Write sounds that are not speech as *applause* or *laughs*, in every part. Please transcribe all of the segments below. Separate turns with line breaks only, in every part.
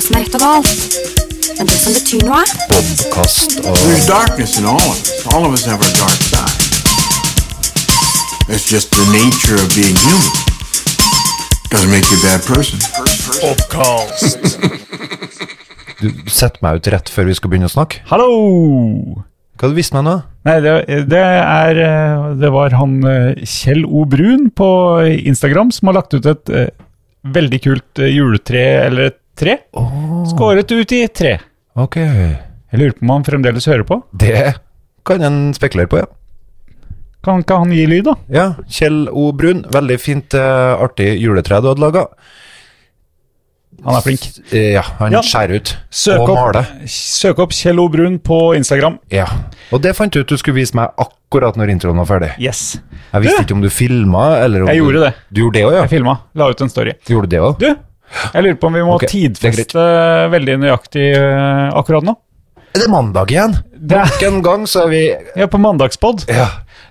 alt. Men det som betyr noe,
Bobkast og
There's darkness in all of us. All of us have our dark side. That's just the nature of being human. Doesn't make you a bad person.
Du setter meg ut rett før vi skal begynne å snakke.
Hallo!
Hva hadde du visst meg nå?
Nei, det, det er eh, Det var han eh, Kjell O. Brun på Instagram som har lagt ut et eh, veldig kult eh, juletre, eller et tre. Skåret ut i tre.
Ok.
Jeg lurer på om han fremdeles hører på.
Det kan en spekulere på, ja.
Kan ikke han gi lyd, da?
Ja, Kjell O. Brun. Veldig fint, eh, artig juletre du hadde laga.
Han er flink.
Ja, han
Ja.
skjærer ut
Søk
og
opp,
maler.
søk opp Kjell O. Brun på Instagram.
Ja. Og det fant du ut du skulle vise meg akkurat når introen var ferdig.
Yes.
Jeg visste
Du?
ikke om du filma, eller om
Jeg
du
gjorde det.
Du gjorde det òg, ja?
Jeg filma. La ut en story.
Gjorde du det òg?
Du, jeg lurer på om vi må
Ok, det er greit.
tidfeste veldig nøyaktig eh, akkurat nå.
Er det mandag igjen?
Det er,
Nok en gang så er vi
vi er på mandagspod.
Ja.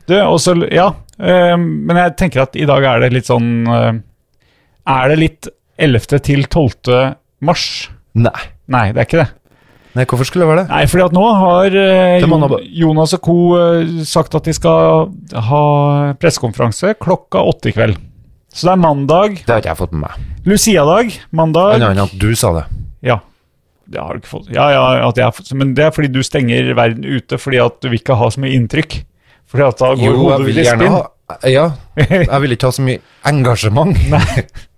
Du, også, ja, eh, men jeg tenker at i dag er det litt sånn eh, Er det litt 11. til 12. mars?
Nei.
Nei, det er ikke det.
Nei, hvorfor skulle det være det?
Nei, fordi at nå har eh,
Det må nå
Jon- Jonas og co. eh, sagt at de skal ha pressekonferanse klokka åtte i kveld. Så det er mandag.
Det har ikke jeg fått med meg.
Luciadag. Mandag.
Annet enn at du sa det.
Ja. Det har du ikke fått. Ja, ja, at jeg, har fått- men det er fordi du stenger verden ute fordi at du vil ikke ha så mye inntrykk. Fordi at da går
Jo, jeg
hodet
vil
ditt i
gjerne
spinn.
ha Ja, jeg vil ikke ha så mye *laughs* engasjement.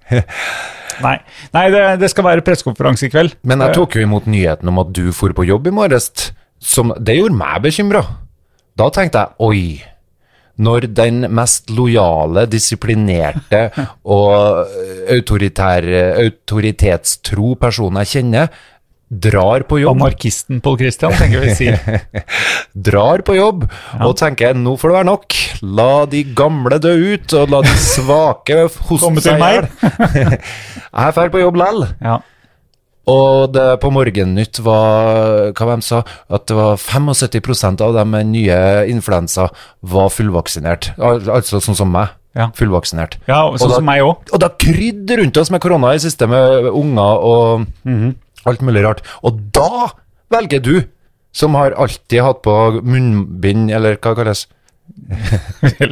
Nei, Nei det, det skal være pressekonferanse i kveld.
Men jeg tok jo imot nyheten om at du for på jobb i morges. Som, det gjorde meg bekymra. Da tenkte jeg oi. Når den mest lojale, *laughs* disiplinerte og autoritær, autoritetstro personen jeg kjenner, drar på jobb,
Anarkisten Pål Christian, tenker vi å si.
drar på jobb og tenker nå får det være nok. La de gamle dø ut, og la de svake *laughs*
Komme
hoste
til
seg i
meg.
hjel. *laughs* Jeg drar på jobb lell.
*laughs* Ja.
Og det på Morgennytt var hva de sa, at det var 75 av de med nye influensa var fullvaksinert. Al altså sånn som meg.
Ja.
Fullvaksinert.
ja,
Og
sånn
da-
som meg *laughs* òg.
Og det har krydd rundt oss med korona i det siste, med unger og
Mhm.
alt mulig rart. Og da velger du, som har alltid hatt på munnbind, eller hva kalles det?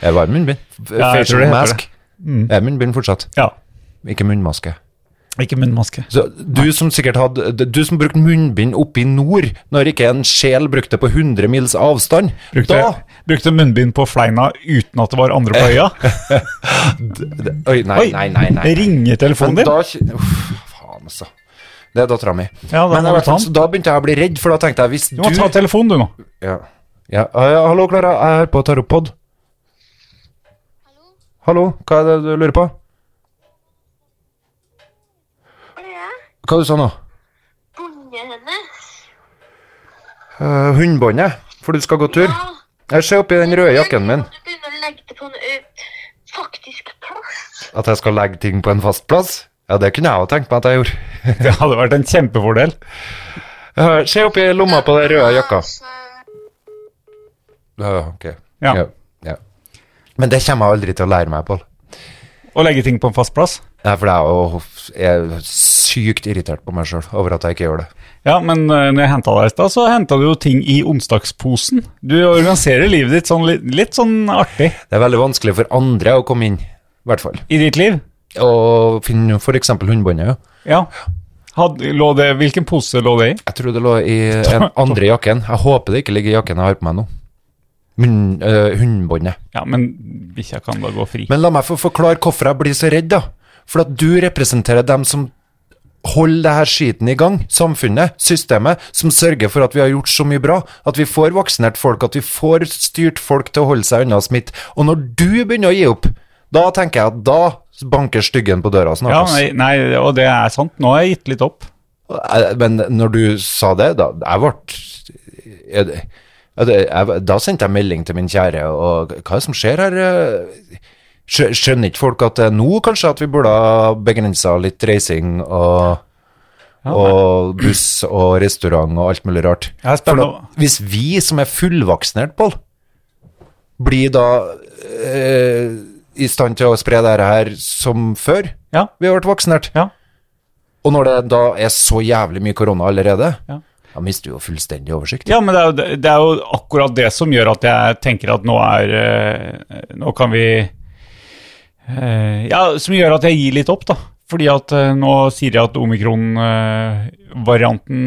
Var munnbind?
Ja, jeg tror det Mhm.
Facial
heter
mask. Det Er munnbind fortsatt,
Ja.
ikke munnmaske.
Ikke munnmaske.
Så du som sikkert hadde Du som brukte munnbind oppe i nord, når ikke en sjel brukte på 100 mils avstand,
Brukte, brukte munnbind på fleina uten at det var andre på øya. *laughs*
da Oi, nei, nei, nei. nei.
ringer
Men
telefonen din?
da Uff, faen, altså. Det er dattera mi.
Ja, da må
Men i
du
hvert fall,
ta
så da begynte jeg å bli redd, for da tenkte jeg hvis
Du må ta telefonen, du nå.
ja. Ja. ja, hallo, Klara. Jeg hører på og tar opp pod. Hallo, hva er det du lurer på? Hva du sa du nå?
Ungen hennes.
Eh, Hundbåndet, for du skal gå tur. Jeg ser oppi den røde jakken min.
Du begynner å legge det på en eh, faktisk plass.
At jeg skal legge ting på en fast plass? Ja, det kunne jeg jo tenkt meg at jeg gjorde.
*laughs*
*laughs*
Det hadde vært en kjempefordel.
Eh, Se oppi lomma på den røde jakka. Ja, ok.
Ja.
Ja, ja. Men det kommer jeg aldri til å lære meg, Pål.
Å legge ting på en fast plass.
Nei, for jeg er jo jeg er sykt irritert på meg sjøl over at jeg ikke gjør det.
Ja, men eh, når jeg henta deg i stad, så henta du jo ting i onsdagsposen. Du organiserer livet ditt sånn, litt, litt sånn artig
Det er veldig vanskelig for andre å komme inn, i hvert fall.
i ditt liv.
Og finne f.eks. hundebåndet. ja.
Ja. Had, lå det, hvilken pose lå det i?
Jeg tror det lå i den andre jakken. Jeg håper det ikke ligger i jakken jeg har på meg nå. Munn- øh, Hundebåndet.
Ja, men bikkja kan da gå fri.
Men la meg få forklare hvorfor jeg blir så redd, da. For at du representerer dem som holder det her skiten i gang. Samfunnet, systemet, som sørger for at vi har gjort så mye bra. At vi får vaksinert folk, at vi får styrt folk til å holde seg unna smitt. Og når du begynner å gi opp, da tenker jeg at da banker styggen på døra snart.
ja,
ass.
nei, nei, og det er sant. Nå har jeg gitt litt opp.
Eh, Men når du sa det, da jeg ble jeg- jeg- jeg- Da sendte jeg melding til min kjære, og hva er det som skjer her? eh? Skjø- Skjønner ikke folk at det er nå kanskje at vi burde ha begrensa litt reising og, og buss og restaurant og alt mulig rart?
Jeg er
For
spent
da,
om-
hvis vi som er fullvaksinert, Pål, blir da eh, i stand til å spre det her som før
Ja.
vi har vært vaksinert,
Ja.
Og når det da er så jævlig mye korona allerede,
Ja.
da mister du jo fullstendig oversikt.
Ja, men det er, jo, det er jo akkurat det som gjør at jeg tenker at nå er eh, Nå kan vi eh, Ja, som gjør at jeg gir litt opp, da. Fordi at eh, nå sier jeg at omikron-varianten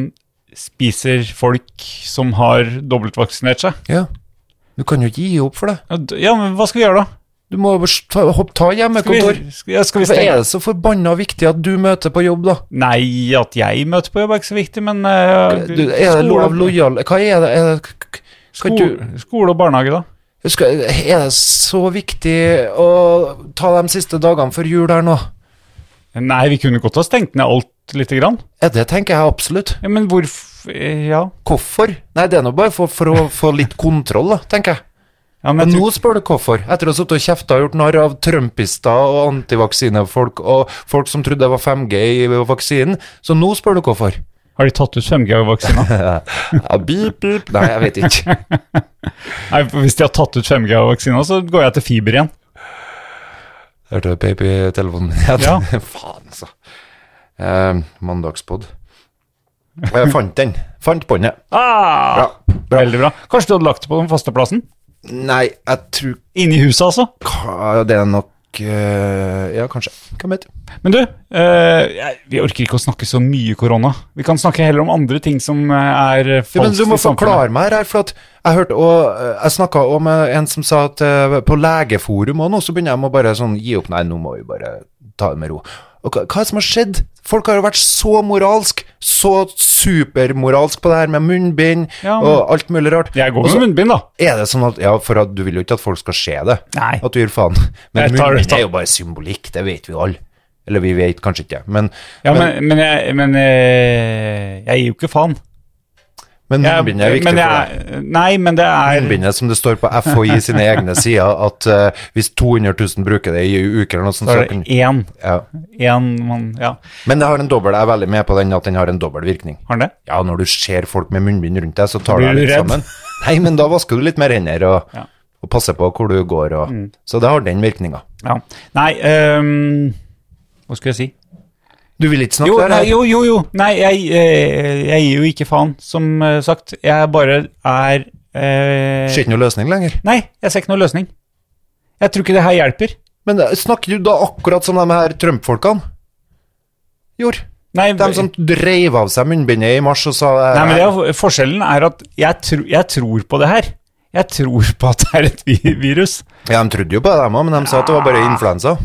spiser folk som har dobbeltvaksinert seg.
Ja. Du kan jo ikke gi opp for det.
Ja, d- Ja, men hva skal vi gjøre da?
Du må bare ta, hopp, ta
Skal
hjemmekontor.
vi, skal, ja, skal vi
Hvorfor
stenge
er det så forbanna viktig at du møter på jobb, da?
Nei, at jeg møter på jobb er ikke så viktig, men eh,
Du, er det lov lojal Hva er det? Er det k- k- skal
skole,
du,
skole og barnehage, da.
skal, er det så viktig å ta de siste dagene før jul her nå?
Nei, vi kunne godt ha stengt ned alt lite grann.
Ja, det tenker jeg absolutt.
Ja, men hvorfor Ja.
Hvorfor? Nei, det er nå bare for, for å få litt kontroll, da, tenker jeg.
ja
Men
men jeg
nå spør du hvorfor, etter å ha sittet og kjefta og gjort narr av trumpister og antivaksinefolk og folk som trodde det var 5G i vaksinen, så nå spør du hvorfor.
Har de tatt ut
*laughs*
5G-vaksina?
Ja, beep, beep. Nei, jeg vet ikke.
Nei, for hvis de har tatt ut 5G-vaksina, så går jeg til fiber igjen.
Hørte du babytelefonen min igjen?
Ja.
*laughs* Faen, altså. Eh, Mandagspod. Jeg fant den. Fant båndet.
Ah,
Bra. Bra.
Veldig bra. Kanskje du hadde lagt det på den faste plassen?
Nei, jeg tror
Inni huset, altså.
ka- det er nok eh, Ja, kanskje. Hvem vet?
Men du, eh, jeg- vi orker ikke å snakke så mye korona. Vi kan snakke heller om andre ting som eh, er falskt
Ja, men du må
i samfunnet.
forklare meg her, for at jeg hørte og eh, Jeg snakka om eh, en som sa at eh, på legeforum og nå, så begynner jeg med å bare sånn gi opp. Nei, nå må vi bare ta det med ro. Og hva, hva er det som har skjedd? Folk har jo vært så moralsk, så supermoralsk på det her med munnbind
Ja, men-
og alt mulig rart.
Jeg går
Og så
med munnbind, da.
er det sånn at Ja, for at du vil jo ikke at folk skal se det.
Nei.
At du gir faen. Men
*laughs* Jeg tar-
munnbind
tar-
er jo bare symbolikk, det vet vi jo alle. Eller vi vet kanskje ikke, men,
Ja,
men,
men, men, jeg, men eh, jeg gir jo ikke faen.
men
Jeg-
munnbind er viktig for
men
deg.
jeg, Nei, men det er
munnbindet som det står på FHI sine egne sider, at eh, hvis 200 000 bruker det i uker eller noe sånt,
Da
så
er
kan
det én.
ja.
Én mann Ja,
Men det har en dobbel, jeg er veldig med på den, at den har en dobbel virkning.
har den det?
Ja, når du ser folk med munnbind rundt deg, så tar du deg
Blir du
litt
redd?
sammen. Nei, men da vasker du litt mer hender og,
Ja. Mm.
og passer på hvor du går. Og, Så det har den virkninga.
Ja. Nei, ehm, hva skulle jeg si?
Du vil ikke snakke
Jo,
der?
nei,
her?
jo, jo, jo. Nei, jeg, eh, jeg gir jo ikke faen, som eh, sagt. Jeg bare er eh,
Ser ikke noe løsning lenger.
Nei, jeg ser ikke noen løsning. Jeg tror ikke det her hjelper.
Men eh, snakker du da akkurat som de her Trump-folkene gjorde?
Nei,
De som dreiv av seg munnbindet i mars og sa eh,
nei men det, er- forskjellen er at jeg, tro, jeg tror på det her. Jeg tror på at det er et vi- virus.
Ja, de trodde jo på det, dem òg, men de sa at det var bare influensa.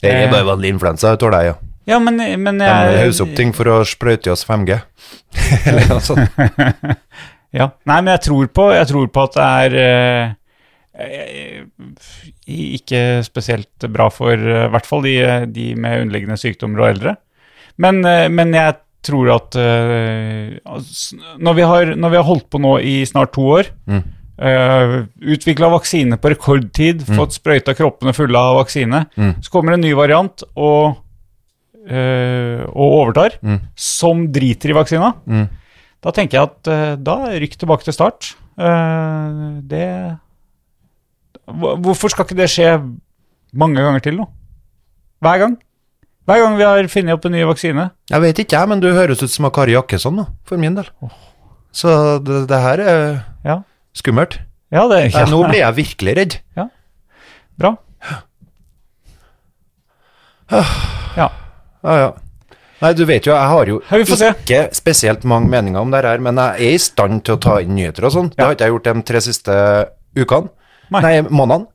Det er
Eh.
bare vanlig influensa, jeg tror det, ja.
Ja, men, men eh,
De
jeg
hauser opp ting for å sprøyte i oss 5G. *laughs* Eller noe sånt.
Ja. Nei, men jeg tror på, jeg tror på at det er eh, eh, ikke spesielt bra for eh, i hvert fall de, de med underliggende sykdommer og eldre. Men, eh, men jeg tror at eh, altså, når, vi har, når vi har holdt på nå i snart to år,
Mm.
utvikla vaksine på rekordtid, fått sprøyta kroppene fulle av vaksine,
Mm.
så kommer en ny variant og, eh, og overtar,
Mm.
som driter i vaksina.
Mm.
Da tenker jeg at eh, da rykk tilbake til start. Eh, det Hva- Hvorfor skal ikke det skje mange ganger til nå? Hver gang. Hver gang vi har funnet opp en ny vaksine.
Jeg vet ikke, jeg, men du høres ut som av Kari Jakkesson, da, for min del. Så det, det her er
Ja,
skummelt.
ja det
Nei, nå blir jeg virkelig redd.
Bra. Ja.
Ja, ja. Nei, du vet jo, jeg har jo
Ja, vi får se.
ikke spesielt mange meninger om det her, men jeg er i stand til å ta inn nyheter og sånn. Det har ikke jeg gjort de tre siste ukene.
Nei.
Nei månedene.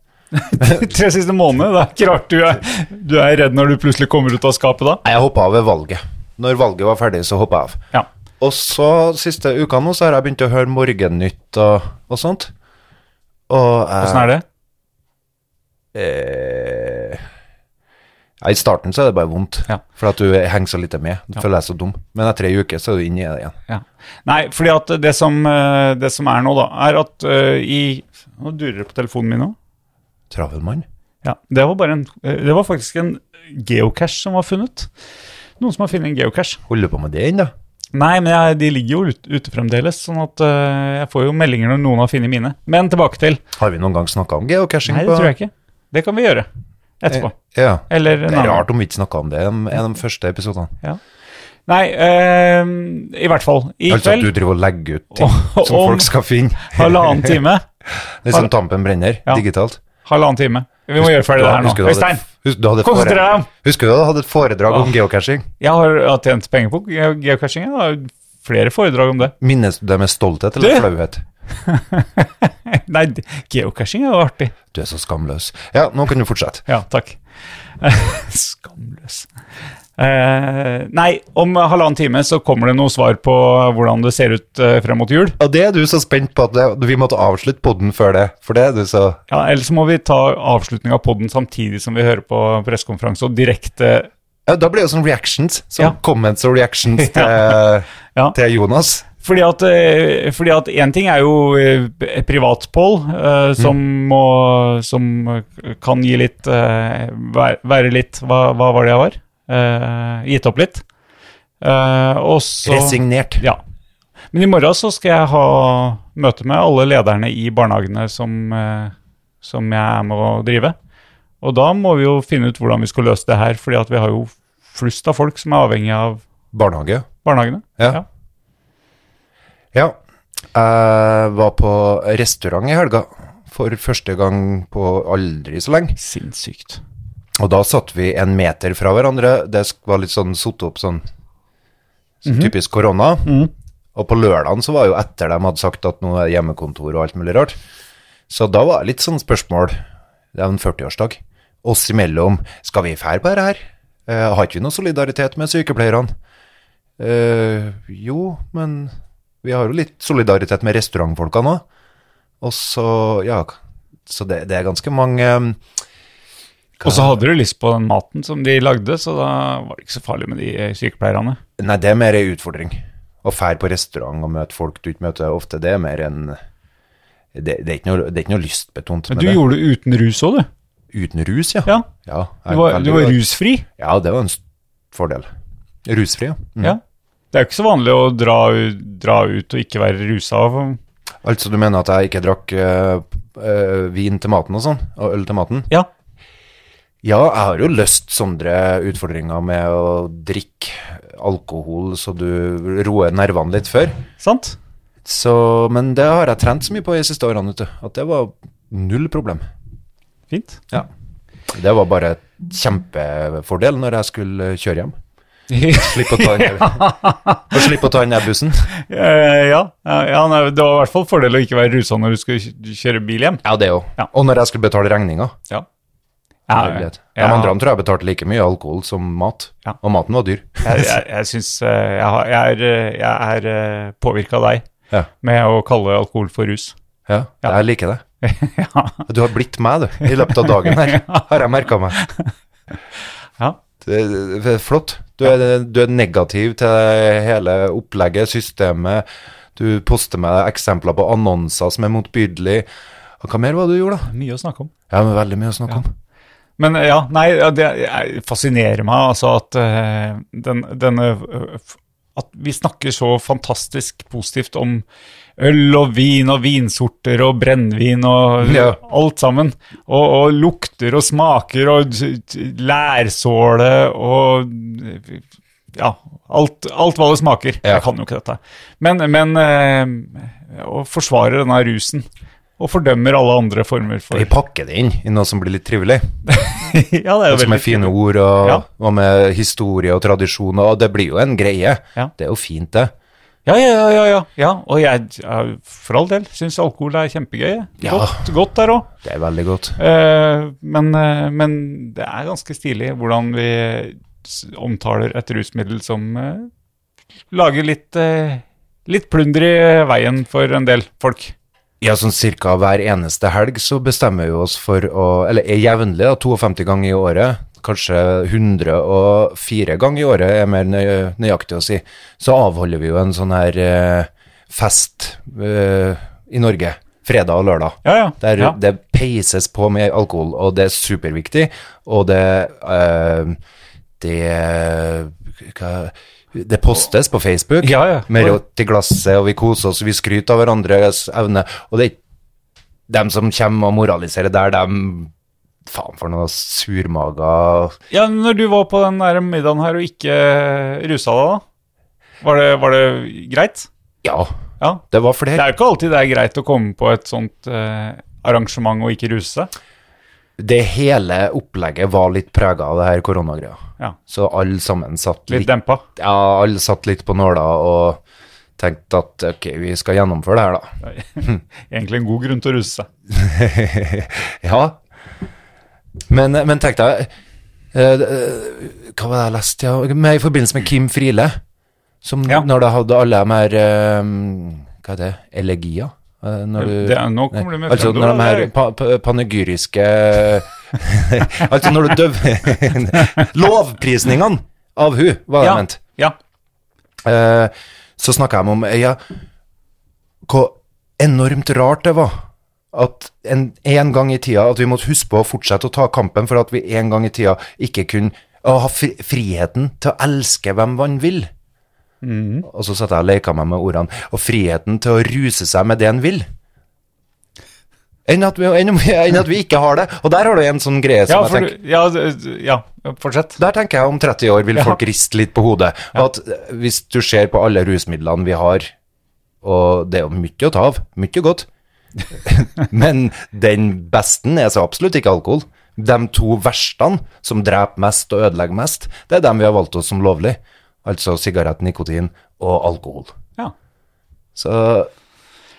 Tre siste måneder. Det er ikke rart du er, du er redd når du plutselig kommer ut av skapet da.
Nei, Jeg hoppa av ved valget. Når valget var ferdig, så hoppa jeg av.
Ja.
Og så siste uka nå, så har jeg begynt å høre Morgennytt og, og sånt. Og
Åssen er det?
Eh, ja, I starten så er det bare vondt,
Ja.
for at du henger så lite med. Du føler deg så dum. Men etter ei uke så er du inne i det igjen.
Ja. Nei, fordi at det som, eh, det som er nå, da, er at eh, i Nå durer det på telefonen min nå.
Travel mann.
Ja, det var, bare en, eh, det var faktisk en geocache som var funnet. Noen som har funnet en geocache.
Holder du på med det ennå?
Nei, men jeg, de ligger jo ut- ute fremdeles, sånn at eh, jeg får jo meldinger når noen har funnet mine. Men tilbake til
Har vi noen gang snakka om geocaching?
Nei, det tror jeg ikke. Eh, Det kan vi gjøre etterpå.
Ja.
Eller en
Det er
annen.
rart om vi ikke snakka om det i en en av de første episodene.
Ja. Nei, eh, i hvert fall. I
Altså at du
kveld,
driver og legger ut
*laughs*
ting
Om-
som folk skal finne.
*laughs* halvannen
*laughs*
time.
Litt som Tampen brenner,
Ja.
digitalt.
Halvannen time. Vi må gjøre ferdig det her nå.
Husker du hadde-
Øystein,
husker du hadde
konsentrer
foredrag-
deg om-
Husker du du hadde et foredrag om
Åh.
geocaching?
jeg har jeg har tjent penger på ge- geocaching. Jeg har flere foredrag om det. *laughs*
Minnes du det med stolthet eller
Du!
flauhet?
Nei, d- geocaching er jo artig.
Du er så skamløs. Ja, nå kan du fortsette.
Ja, takk. *laughs* Skamløs. Eh, nei, om halvannen time så kommer det noe svar på hvordan det ser ut eh, frem mot jul.
Og det er du så spent på at det, vi måtte avslutte podden før det, for det er du så
Ja, Eller så må vi ta avslutning av poden samtidig som vi hører på pressekonferanse og direkte
ja, Da blir det jo sånn reactions. Sånn
*laughs* Ja.
comments og reactions til,
Ja.
til Jonas.
Fordi at, eh, fordi at en ting er jo eh, privatpoll, eh, som, må, som kan gi litt eh, væ- Være litt Hva, hva var det jeg var? Eh, gitt opp litt. Eh, og så
Resignert.
Ja. Men i morgen så skal jeg ha møte med alle lederne i barnehagene som, eh, som jeg er med å drive. Og da må vi jo finne ut hvordan vi skal løse det her, fordi at vi har jo flust av folk som er avhengig av
Barnehage.
barnehagene.
Ja. Ja. Jeg var på restaurant i helga for første gang på aldri så lenge.
Sinnssykt.
Og da satt vi en meter fra hverandre. Det sk- var litt sånn satt opp sånn sånn typisk korona. Og på lørdagen så var jo etter de hadde sagt at nå er det hjemmekontor og alt mulig rart. Så da var det litt sånn spørsmål. Det er en 40-årsdag. Oss imellom, skal vi fære på dette her? Eh, har ikke vi noe solidaritet med sykepleierne? Eh, jo, men vi har jo litt solidaritet med restaurantfolka nå. Og så, ja, så det, det er ganske mange eh,
Og så hadde du lyst på den maten som de lagde, så da var det ikke så farlig med de eh, sykepleierne.
Nei, det er mer en utfordring. Å fære på restaurant og møte folk du ikke møter ofte, det er mer en Det, det, er, ikke noe, det er ikke noe lystbetont.
Men
med
du
det.
gjorde det uten rus òg, du.
Uten rus, ja.
Ja.
jeg
Du
er
var, du
veldig-
var rusfri.
Ja, det var en s- fordel. Rusfri, ja. Mm.
Ja. Det er jo ikke så vanlig å dra, u- dra ut og ikke være rusa.
Altså, du mener at jeg ikke drakk eh, eh, vin til maten og sånn? Og øl til maten?
Ja.
Ja, jeg har jo løst sånne utfordringer med å drikke alkohol så du roer nervene litt før.
Sant?
Så, men det har jeg trent så mye på de siste årene, vet du, at det var null problem.
Fint.
Ja. Det var bare et kjempefordel når jeg skulle kjøre
*laughs*
hjem. Slippe å ta den, og slippe å ta den der bussen.
*laughs* Eh, ja, ja, ja nei, det var i hvert fall fordel å ikke være rusa når du skulle kj- kjøre bil hjem.
Ja, det òg.
Ja.
Og når jeg skulle betale regninga.
Ja.
Ja, De andre tror jeg betalte like mye alkohol som mat.
Ja.
Og maten var dyr.
jeg, jeg, jeg syns eh, jeg, har- jeg er, eh, jeg er eh, påvirka av deg
Ja.
med å kalle alkohol for rus.
*laughs* Ja, Jeg liker det.
ja.
Du har blitt meg, du, i løpet av dagen her,
*laughs*
har jeg merka meg.
Ja.
Det er- det er flott. Du er, du er negativ til hele opplegget, systemet. Du poster meg eksempler på annonser som er motbydelige. Og Hva mer var det du gjorde, da?
*laughs* Mye å snakke om.
Ja, men veldig mye å snakke om.
Men eh, ja, nei, ja, det eh, fascinerer meg altså at eh, den, denne eh, f- At vi snakker så fantastisk positivt om øl og vin og vinsorter og brennevin og
*laughs* Ja.
alt sammen. Og, og lukter og smaker og t- t- lærsåle og eh, Ja, alt, alt hva det smaker.
Ja.
Jeg kan jo ikke dette. Men, men eh, å forsvare denne rusen. Og fordømmer alle andre former for
Vi pakker det inn i noe som blir litt trivelig.
*laughs* Ja, det er jo
Som er
veldig
fine ord, og,
Ja.
og med historie og tradisjoner. Og det blir jo en greie.
Ja.
Det er jo fint, det.
Ja, ja, ja, ja, ja. ja. Og jeg, ja, for all del, syns alkohol er kjempegøy. jeg.
Ja.
Godt, godt der òg.
Det er veldig godt.
men, eh, men det er ganske stilig hvordan vi s- omtaler et rusmiddel som eh, lager litt, eh, litt plunder i veien for en del folk.
Ja, sånn cirka hver eneste helg så bestemmer vi oss for å Eller er jevnlig, da. 52 ganger i året. Kanskje 104 ganger i året er mer nøy nøyaktig å si. Så avholder vi jo en sånn her eh, fest eh, i Norge. Fredag og lørdag.
Ja, ja.
Der,
ja.
Det peises på med alkohol, og det er superviktig. Og det eh, det, hva, det postes på Facebook
Ja, ja.
med rått i glasset, og vi koser oss, og vi skryter av hverandres evne. Og det er ikke dem som kommer og moraliserer der, dem Faen for noe surmaga
ja, når du var på den der middagen her og ikke rusa eh, deg, da? Var det, var det greit?
Ja,
Ja.
det var
Det
flere.
er jo ikke alltid det er greit å komme på et sånt eh, arrangement og ikke ruse seg.
Det hele opplegget var litt prega av det her koronagreia.
Ja.
Så alle sammen satt
Litt
litt,
dempa.
ja, alle satt litt på nåla og tenkte at ok, vi skal gjennomføre det her, da. Hmm.
Egentlig en god grunn til å ruse seg.
Ja. Men, men tenk deg eh, Hva var det jeg leste ja? med, i forbindelse med Kim Friele? Som
Ja.
når de hadde alle de her eh, Hva er det? Elegier? Eh, når du-
Det er- nå kommer du med
Altså
fremmedord,
når de her
eller?
pa, pa, panegyriske *laughs* Altså når du døver *laughs* Lovprisningene av hun, var det
Ja,
jeg mente.
ja.
Eh, så snakka jeg om eh, ja, hvor enormt rart det var at en, en gang i tida at vi måtte huske på å fortsette å ta kampen for at vi en gang i tida ikke kunne å, ha fri, friheten til å elske hvem man vil.
Mm.
Og så satt jeg og leka meg med ordene. Og friheten til å ruse seg med det en vil. Enn at, vi, enn, om vi- enn at vi ikke har det. Og der har du en sånn greie
Ja,
som jeg
for,
tenker
du- ja, d- ja, fortsett.
der tenker jeg om 30 år vil
Ja.
folk riste litt på hodet. At eh, hvis du ser på alle rusmidlene vi har, og det er jo mye å ta av, mye godt, *laughs* men den besten er så absolutt ikke alkohol. De to verstene som dreper mest og ødelegger mest, det er dem vi har valgt oss som lovlig. Altså sigarett, nikotin og alkohol.
Ja.
Så,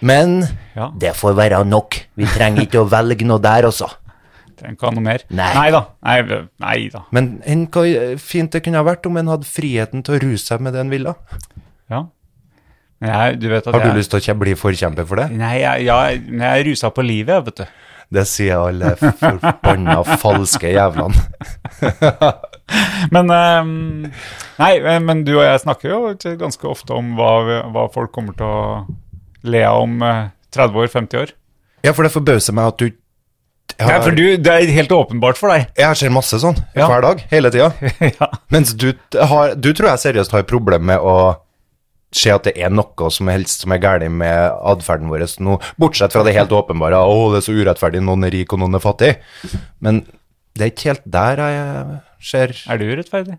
men
Ja.
det får være nok. Vi trenger ikke å velge noe der også.
Trenger ikke ha noe mer.
Nei.
Nei da. Nei, v- nei da.
Men enn hva fint det kunne ha vært om en hadde friheten til å ruse seg med det en ville.
Ja. Men jeg, du vet at
Har du
jeg,
lyst til å kjem- bli forkjemper for det?
Nei, jeg, ja, jeg, men jeg er rusa på livet, jeg, vet du.
Det sier alle forbanna falske jævlene.
Men ehm, Nei, eh, men du og jeg snakker jo til- ganske ofte om hva, vi- hva folk kommer til å le av om eh, 30 år, 50 år.
*laughs* Ja, for det forbauser meg at du jeg
Nei,
har,
for du, det er helt åpenbart for
*laughs*
deg.
jeg ser masse sånn
Ja.
hver dag, hele tida.
ja.
Mens du, t- har, du tror jeg seriøst har problem med å se at det er noe som helst som er galt med atferden vår nå, bortsett fra det helt åpenbare å, det er så urettferdig, noen er rik og noen er fattig. Men det er ikke helt der jeg ser
Er det urettferdig?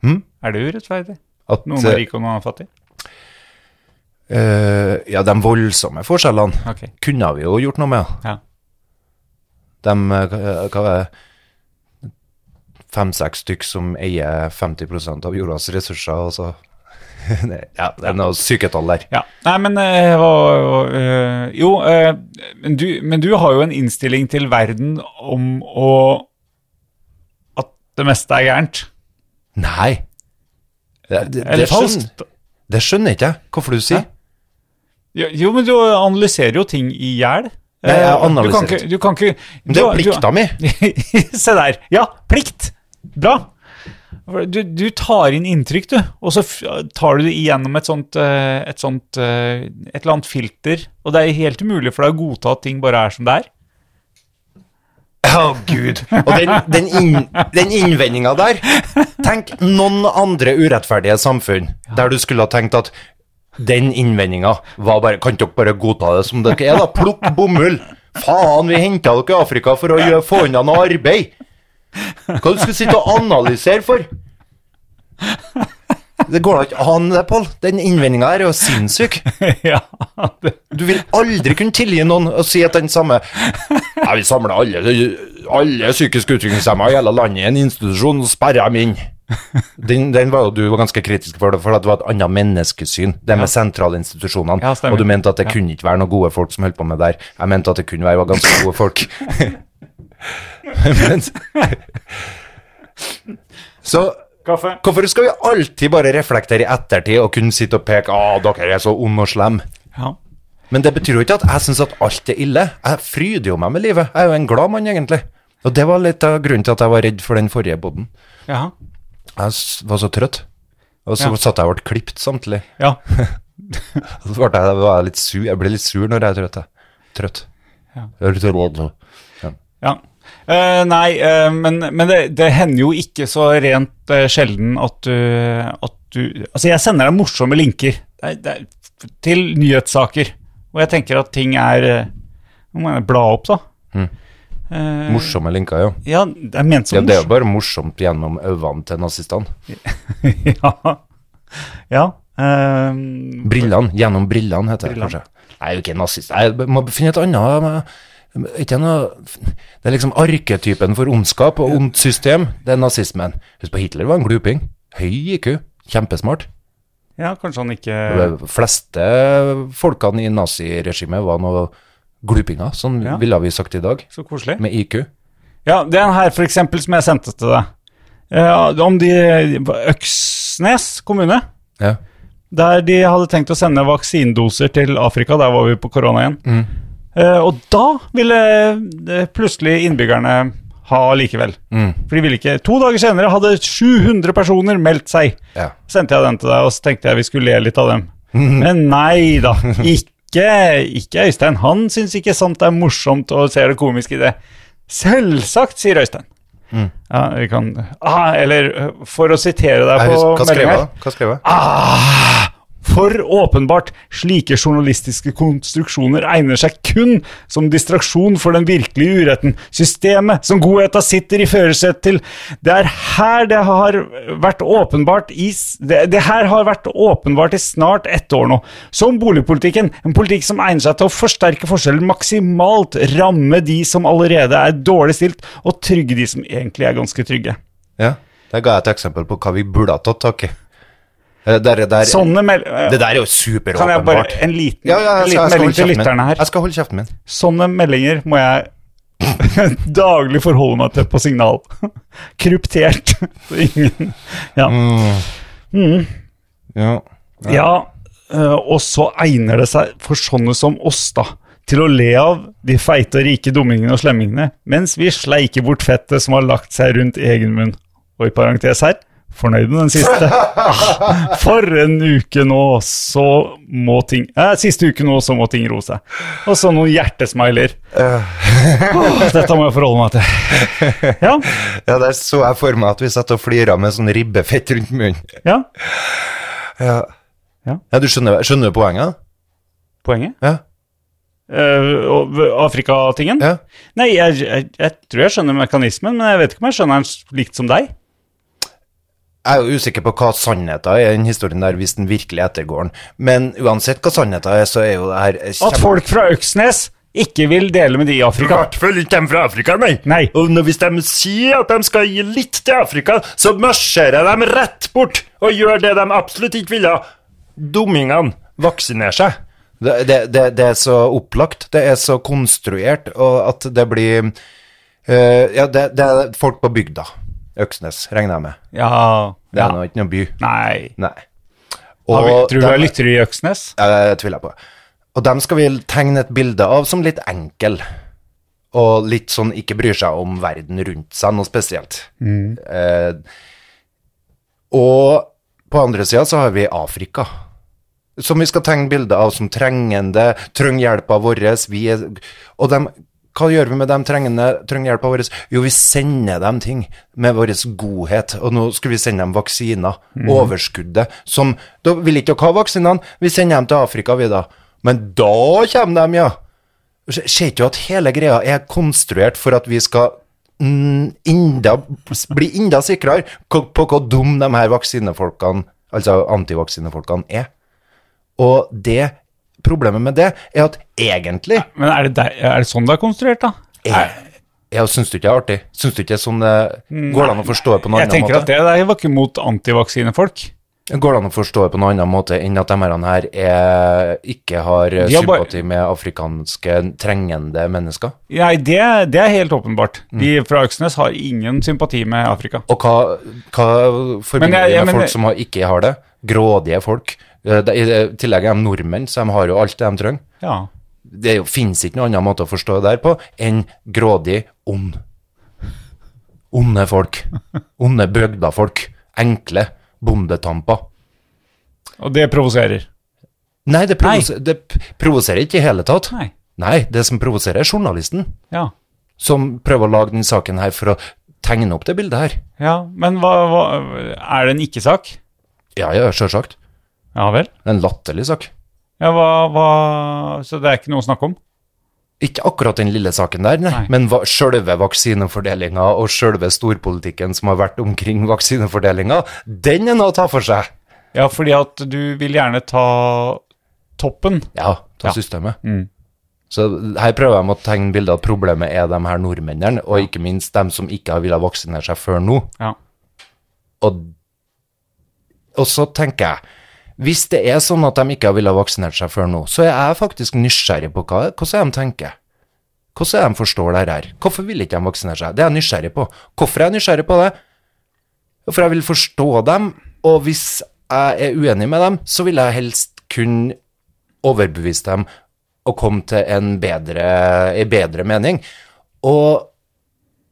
Hm?
Er det urettferdig?
at
Noen er rike og noen er fattige?
eh, Ja, de voldsomme forskjellene
Ok.
kunne vi jo gjort noe med.
Ja.
De eh, hva er fem-seks stykk som eier 50 av jordas ressurser. Altså. *laughs* ja, det er noe syketall der.
ja. Nei, men eh, hva, eh, Jo, eh, men, du, men du har jo en innstilling til verden om å At det meste er gærent.
Nei. Det, det,
Eller
det, skjønner,
falskt.
det skjønner ikke jeg hvorfor du sier.
Jo, jo, men du analyserer jo ting i hjel. Eh,
Nei, jeg
Du kan
analyserer
ikke, du kan ikke
Men det er jo plikta mi.
mi! *laughs* Se der. Ja, plikt! Bra. Du, du tar inn inntrykk, du, og så f- tar du det igjennom et sånt, eh, et sånt eh, Et eller annet filter. Og det er helt umulig for deg å godta at ting bare er som det er.
Å, gud. Og den, den, inn, den innvendinga der Tenk noen andre urettferdige samfunn der du skulle ha tenkt at den innvendinga var bare Kan dere bare godta det som dere er, da? Plukk bomull! Faen, vi henta dere i Afrika for å gjøre, få unna noe arbeid! Hva du skulle sitte og analysere for? Det går da ikke an, det, Pål. Den innvendinga her er jo sinnssyk.
*laughs* ja, *laughs* det,
Du vil aldri kunne tilgi noen å si at den samme Jeg vil samle alle, alle psykisk utviklingshemma i hele landet i en institusjon og sperre dem inn. Den, den var jo du var ganske kritisk for, det, for at det var et annet menneskesyn. Det med sentralinstitusjonene.
Ja, stemmer.
og du mente at det
Ja.
kunne ikke være noen gode folk som holdt på med det der. Jeg mente at det kunne være ganske gode folk. *laughs* Men, så
Kaffe.
hvorfor skal vi alltid bare reflektere i ettertid og kunne sitte og peke Å, dere er så onde og slemme?
Ja.
Men det betyr jo ikke at jeg syns at alt er ille. Jeg fryder jo meg med livet. Jeg er jo en glad mann, egentlig. Og det var litt av grunnen til at jeg var redd for den forrige boden.
Ja.
Jeg s- var så trøtt. Og så
Ja.
satt jeg og ble klipt samtidig.
ja.
Og så ble jeg, var jeg litt sur. Jeg ble litt sur når jeg er trøtt. jeg. Trøtt.
Ja.
Jeg er litt redd nå.
Ja. Eh, nei, eh, men, men det, det hender jo ikke så rent eh, sjelden at du, at du Altså, jeg sender deg morsomme linker det, er- det, er f- til nyhetssaker, og jeg tenker at ting er eh, Nå må jeg bla opp, da. Eh,
Morsomme linker, jo.
ja, det er ment
Mm. Ja,
som
det er
*laughs*
jo bare morsomt gjennom øynene til nazistene.
morsomt. ja. ja. Eh,
Brillene. Gjennom brillene, heter det
Brillene.
kanskje. Jeg er jo ikke nazist. Jeg må finne et annet men- ikke noe, Det er liksom arketypen for ondskap og ondt system. Det er nazismen. Husk på Hitler var en gluping. Høy IQ. Kjempesmart.
ja, kanskje han ikke
De fleste folkene i naziregimet var noe glupinger. Sånn
Ja.
ville vi sagt i dag.
Så koselig.
Med IQ.
Ja, den her for eksempel som jeg sendte til deg. Eh, om de Øksnes kommune,
Ja.
der de hadde tenkt å sende vaksinedoser til Afrika. Der var vi på korona igjen.
Mm.
Eh, og da ville eh, plutselig innbyggerne ha likevel.
Mm.
For de ville ikke To dager senere hadde 700 personer meldt seg.
ja.
sendte jeg den til deg, og så tenkte jeg vi skulle le litt av
*laughs*
dem. Men nei da, ikke, ikke Øystein. Han syns ikke sånt er morsomt og ser det komiske i det. Selvsagt, sier Øystein.
Mm.
Ja, vi kan ah, Eller øh, for å sitere deg
Jeg
på
husker, hva skrev
meldingen
jeg?
her.
Hva skrev jeg?
Ah, For åpenbart, slike journalistiske konstruksjoner egner seg kun som distraksjon for den virkelige uretten. Systemet som godheta sitter i førersetet til. Det er her det har vært åpenbart i s- det, det her har vært åpenbart i snart ett år nå. Som boligpolitikken, en politikk som egner seg til å forsterke forskjeller maksimalt, ramme de som allerede er dårlig stilt, og trygge de som egentlig er ganske trygge.
Ja, der ga jeg et eksempel på hva vi burde ha tatt tak i. Eh, Der, der,
Sånne mel... eh,
det der er jo
Kan jeg bare
superåpenbart.
En liten,
Ja, ja, jeg
en
skal- jeg
liten
skal
melding
holde
til
kjeften min.
lytterne her.
Jeg skal holde kjeften min.
Sånne meldinger må jeg *laughs* daglig forholde meg til på signal. *laughs* Kryptert. *laughs* Så ingen Ja.
Ja.
ja øh, og så egner det seg for sånne som oss, da. Til å le av de feite og rike dummingene og slemmingene, mens vi sleiker bort fettet som har lagt seg rundt egen munn. Og i parentes her fornøyd med den siste. *laughs* Ah, For en uke nå, så må ting eh, Siste uke nå, så må ting roe seg. Og så noen hjertesmiler. Åh, dette må jeg forholde meg til. Ja,
ja, der så jeg for meg at vi satt og flira med sånn ribbefett rundt munnen.
ja.
Ja,
Ja.
du skjønner, skjønner du poenget?
Poenget?
Ja.
Eh, og- Afrika-tingen?
ja.
Nei, jeg, jeg, jeg tror jeg skjønner mekanismen, men jeg vet ikke om jeg skjønner den likt som deg.
Jeg er jo usikker på hva sannheten er i den historien der, hvis den virkelig ettergår den. Men uansett hva sannheten er, så er jo det her kjempe...
At folk fra Øksnes ikke vil dele med de i Afrika.
fall ikke de fra Afrika, nei.
Nei.
Og når- hvis de sier at de skal gi litt til Afrika, så marsjerer de rett bort og gjør det de absolutt ikke ville. Dummingene vaksinerer seg. Det, det, det, det er så opplagt, det er så konstruert, og at det blir eh, Ja, det, det er folk på bygda. Øksnes, regner jeg med.
Ja,
Det er
ja.
nå ikke noen by.
Nei.
Nei.
Har vi,
Og
tror du
de-
jeg lytter i Øksnes?
ja, det tviler Eh, jeg på. Og dem skal vi tegne et bilde av som litt enkel. Og litt sånn ikke bryr seg om verden rundt seg noe spesielt. Eh, og på andre sida så har vi Afrika. Som vi skal tegne bilde av som trengende, trenger hjelpa vår. Vi er, og dem, hva gjør vi med dem trengende, trenger hjelpa vår? Jo, vi sender dem ting med vår godhet. Og nå skulle vi sende dem vaksiner. Overskuddet. Som Da vil ikke dere ha vaksinene. Vi sender dem til Afrika, vi, da. Men da kommer de, ja. Ser ikke du at hele greia er konstruert for at vi skal mm, enda, bli enda sikrere på, på hvor dum de her vaksinefolkene, altså antivaksinefolkene, er? Og det, problemet med det, er at egentlig
Men er det, deg- er det sånn det er konstruert, da?
er, Jeg syns du ikke det er artig? Syns du ikke det er sånn eh, Går det an å forstå det på en
Mm, Jeg
annen
tenker at
måte?
det der var ikke mot antivaksinefolk.
Går det an å forstå det på en annen måte enn at de her her er, ikke har eh,
De har bare-
sympati med afrikanske trengende mennesker?
Nei, det, det er helt åpenbart.
Mm.
De fra Øksnes har ingen sympati med Afrika.
Og hva, hva
Men
forbinder
jeg-
vi
jeg
med
mener-
folk som har, ikke har det? Grådige folk. Eh, det- I tillegg er de nordmenn, så de har jo alt det de trenger.
Ja.
Det er jo- finnes ikke noen annen måte å forstå det der på enn grådig, ond. Onde folk. Onde bøgdafolk. Enkle bondetamper.
Og det provoserer.
Nei, det, provoser, det p- provoserer ikke i hele tatt.
Nei.
Nei, det som provoserer, er journalisten
Ja.
som prøver å lage den saken her for å tegne opp det bildet her.
ja. Men hva, hva Er det en ikke-sak?
Ja, ja, sjølsagt.
Ja vel?
Det er en latterlig sak.
Ja, hva, hva Så det er ikke noe å snakke om?
Ikke akkurat den lille saken der, nei.
Nei.
men va selve vaksinefordelinga og selve storpolitikken som har vært omkring vaksinefordelinga, den er noe å ta for seg.
Ja, fordi at du vil gjerne ta toppen.
Ja, ta
Ja.
systemet. Så her prøver jeg med å tegne bilder at problemet er de her nordmennene, og ikke minst dem som ikke har villet vaksinere seg før nå.
Ja.
Og, og så tenker jeg, hvis det er sånn at de ikke har villet vaksinere seg før nå, så er jeg faktisk nysgjerrig på hva, hvordan er de tenker. Hvordan er de forstår det her? Hvorfor vil ikke de vaksinere seg? Det er jeg nysgjerrig på. Hvorfor er jeg nysgjerrig på det? For jeg vil forstå dem, og hvis jeg er uenig med dem, så vil jeg helst kunne overbevise dem og komme til en bedre, en bedre mening. Og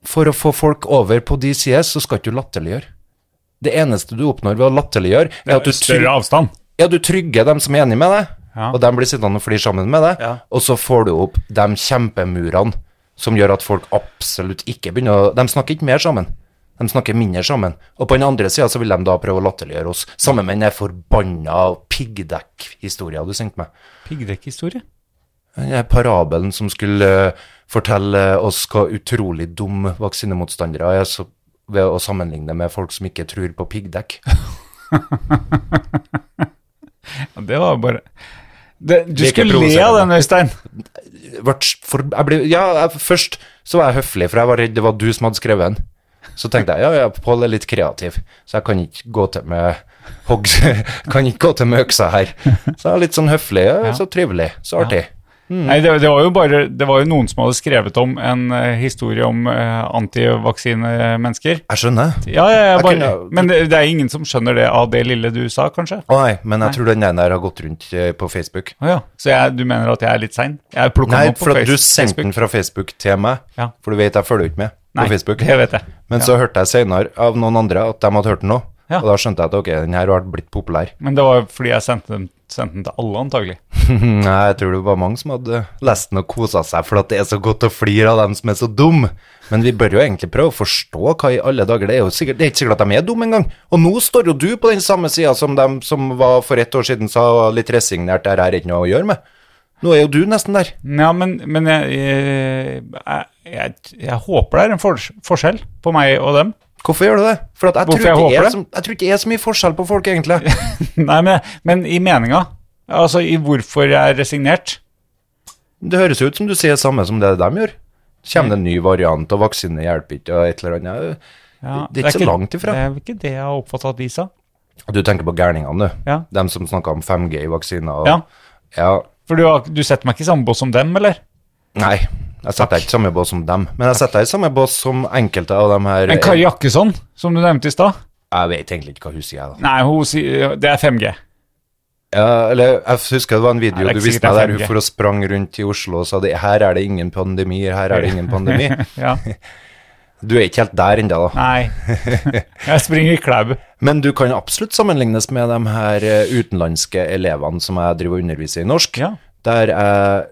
for å få folk over på de sider, så skal ikke du latterliggjøre. Det eneste du oppnår ved å latterliggjøre, er at du, tryg,
Større avstand.
ja, du trygger dem som er enig med deg,
Ja.
og de blir sittende og flire sammen med deg,
Ja.
og så får du opp de kjempemurene som gjør at folk absolutt ikke begynner å De snakker ikke mer sammen. De snakker mindre sammen. Og på den andre sida så vil de da prøve å latterliggjøre oss. Samme med den der forbanna piggdekkhistoria du sendte meg.
Piggdekkhistorie.
Den her parabelen som skulle eh, fortelle oss hva utrolig dum vaksinemotstandere er, så, ved å sammenligne med folk som ikke tror på piggdekk.
Ja, Det var bare det, Du
Virker
skulle le av den, Øystein.
Vart s- For, jeg ble, ja, jeg, først så var jeg høflig, for jeg var redd det var du som hadde skrevet den. Så tenkte jeg ja, ja, Pål er litt kreativ, så jeg kan ikke gå til med hogg, *laughs* kan ikke gå til med øksa her. Så jeg var litt sånn høflig, ja, så trivelig, så artig.
Nei, det, det var jo bare Det var jo noen som hadde skrevet om en eh, historie om eh, antivaksinemennesker.
Jeg skjønner.
Ja, ja, ja,
Jeg
bare,
kunne-
men det, det er ingen som skjønner det av det lille du sa, kanskje?
Å nei, men jeg tror den der har gått rundt eh, på Facebook.
Å ja. Så jeg, du mener at jeg er litt sein? Jeg plukka
Nei,
den opp på
for at du
Face-
sendte den fra Facebook til meg.
Ja.
For du vet jeg følger jo ikke med
Nei,
på Facebook.
Det vet jeg.
Men så hørte jeg senere av noen andre at de hadde hørt den nå.
Ja.
Og da skjønte jeg at ok, den her har blitt populær.
Men det var fordi jeg sendte den, sendte den til alle, antagelig.
Mm, Nei, jeg tror det var mange som hadde lest den og kosa seg, for at det er så godt å flire av dem som er så dum. Men vi bør jo egentlig prøve å forstå hva i alle dager det er. jo sikkert, Det er ikke sikkert at de er dumme engang. Og nå står jo du på den samme sida som dem som var for ett år siden sa litt resignert, det her er ikke noe å gjøre med. Nå er jo du nesten der.
Ja, men, men jeg, jeg, jeg, jeg håper det er en fors- forskjell på meg og dem. *laughs*
Hvorfor gjør du det? For at jeg, tror
Hvorfor jeg
ikke
håper
er
det?
så- jeg tror ikke det er så mye forskjell på folk, egentlig.
Nei, men, men i meninga. Altså i hvorfor jeg er resignert.
Det høres jo ut som du sier det samme som det de gjør. Kommer det en ny variant, og vaksine hjelper ikke, og et eller annet.
Ja,
Det er ikke så langt ifra.
Det er vel ikke det jeg har oppfatta at de sa.
Du tenker på gærningene, du.
Ja.
De som snakker om 5G-vaksiner. Og...
Ja,
Ja,
For du, har, du setter meg ikke i samme bås som dem, eller?
Nei, jeg setter deg ikke i samme bås som dem. Men jeg setter deg i samme bås som enkelte av dem her.
Men Kari Jakkesson, som du nevnte i stad
Jeg vet egentlig ikke hva hun sier, jeg, da.
Nei, hun sier det er 5G.
Ja, eller jeg husker det var en video
Nei, det er
du
ikke
viste
sikkert
meg
det er
der hun
5G.
for og sprang rundt i Oslo og sa det, her er det ingen pandemi, her
*laughs*
er det ingen pandemi.
*laughs* Ja.
Du er ikke helt der ennå, da. *laughs*
Nei. Jeg springer i klæbu.
Men du kan absolutt sammenlignes med de her eh, utenlandske elevene som jeg driver og underviser i norsk,
Ja.
der jeg,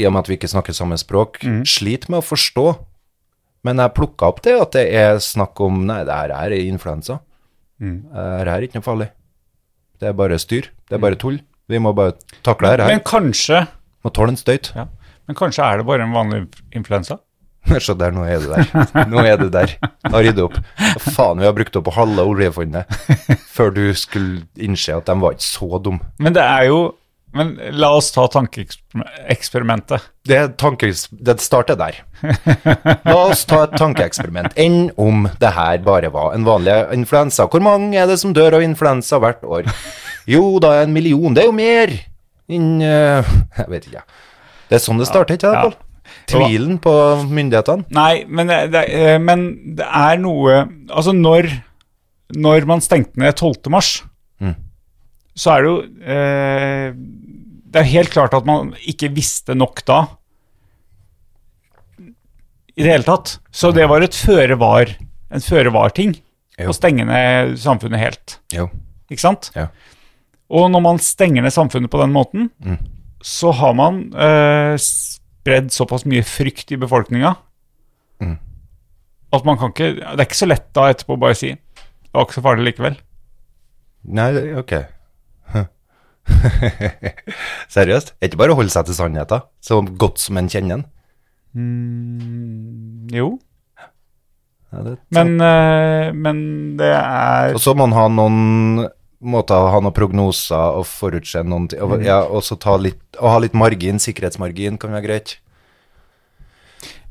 i og med at vi ikke snakker samme språk,
Mm.
sliter med å forstå. Men jeg plukka opp det at det er snakk om Nei, det her er influensa.
Mm.
Eh, Det her er ikke noe farlig. Det er bare styr. Det er bare tull. Vi må bare takle det her.
Mm. Men kanskje
Må tåle en støyt. *laughs*
ja. Men kanskje er det bare en vanlig influensa?
Se der, nå er du der. Nå er du der. Har ryddet opp. Faen, vi har brukt opp halve oljefondet før du skulle innse at de var ikke så dumme.
Men det er jo Men la oss ta tankeeksperimentet.
Det, er tankes, det starter der. La oss ta et tankeeksperiment. Enn om det her bare var en vanlig influensa? Hvor mange er det som dør av influensa hvert år? Jo, da er en million. Det er jo mer enn eh, Jeg vet ikke. Det er sånn det starter, ikke
Ja.
sant? Pål? Tvilen på myndighetene.
Nei, men det, det, eh, men det er noe Altså, når, når man stengte ned 12. mars, så er det jo eh, Det er helt klart at man ikke visste nok da. I det hele tatt. Så det var et føre var, en føre var-ting.
Jo.
Å stenge ned samfunnet helt.
Jo.
Ikke sant?
Ja.
Og når man stenger ned samfunnet på den måten, så har man eh, spredd såpass mye frykt i befolkninga at man kan ikke Det er ikke så lett da etterpå å bare si det var ikke så farlig likevel.
Nei, det- ok. *laughs* Seriøst? Er det ikke bare å holde seg til sannheten, så godt som en kjenner den?
Jo,
Ja, det-
men, eh, men det er
Og så må man ha noen måter å ha noen prognoser og forutse noen ting. Og, ja, og så ta litt, og ha litt margin, sikkerhetsmargin kan være greit.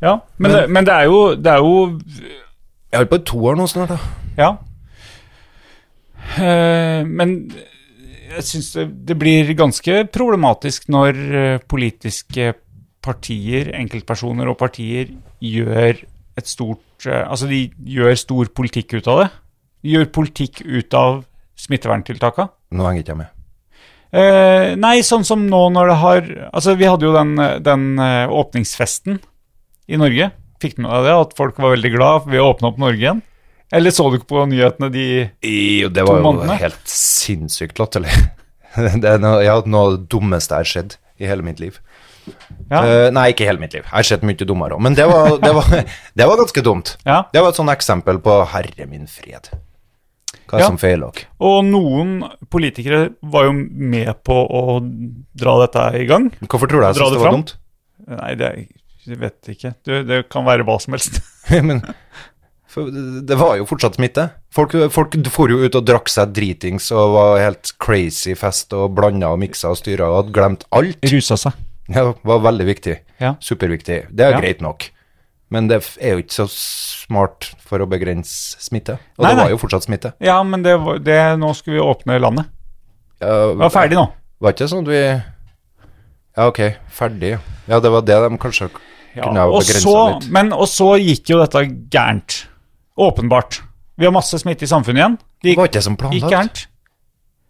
Ja, men, det, men det, er jo, det er jo
Jeg holder på i to år nå snart, da.
Ja. Eh, men jeg syns det, det blir ganske problematisk når eh, politiske partier, enkeltpersoner og partier, gjør et stort eh, Altså, de gjør stor politikk ut av det. De gjør politikk ut av smitteverntiltaka.
Nå henger ikke jeg med.
Eh, nei, sånn som nå når det har Altså, vi hadde jo den, eh, den eh, åpningsfesten i Norge. Fikk du med deg det? At folk var veldig glad ved å åpne opp Norge igjen? Eller så du ikke på nyhetene de
Jo, det
To
var jo
månedene.
helt sinnssykt latterlig. *laughs* Det er noe, ja, noe av det dummeste jeg har sett i hele mitt liv.
Ja.
Eh, nei, ikke i hele mitt liv. Jeg har sett mye dummere òg. Men det var, det, var, *laughs* det var ganske dumt.
Ja.
Det var et sånt eksempel på herre min fred. Hva
Ja.
som feiler dere?
Og noen politikere var jo med på å dra dette i gang.
Hvorfor tror du jeg
Dra
syns
det
det var
fram?
dumt?
Nei, det er- jeg vet ikke. Det, det kan være hva som helst.
Men for det- det var jo fortsatt smitte. Folk, folk for jo ut og drakk seg dritings og var helt crazy fest og blanda og miksa og styra og hadde glemt alt.
*laughs* Rusa seg.
Ja, det var veldig viktig.
Ja.
Superviktig. Det er
Ja.
greit nok. Men det f- er jo ikke så smart for å begrense smitte. Og
Nei,
det
nei.
var jo fortsatt smitte.
Ja, men det, var- det, nå skulle vi åpne landet.
Ja,
Vi var ferdig nå.
Var ikke sånn at vi Ja, ok, ferdig. Ja, det var det de kanskje
Ja,
kunne ha
og,
begrensa
så,
litt.
men, og så gikk jo dette gærent. Åpenbart. Vi har masse smitte i samfunnet igjen. Det
Det var
gikk,
ikke som
gikk
planlagt.
gærent.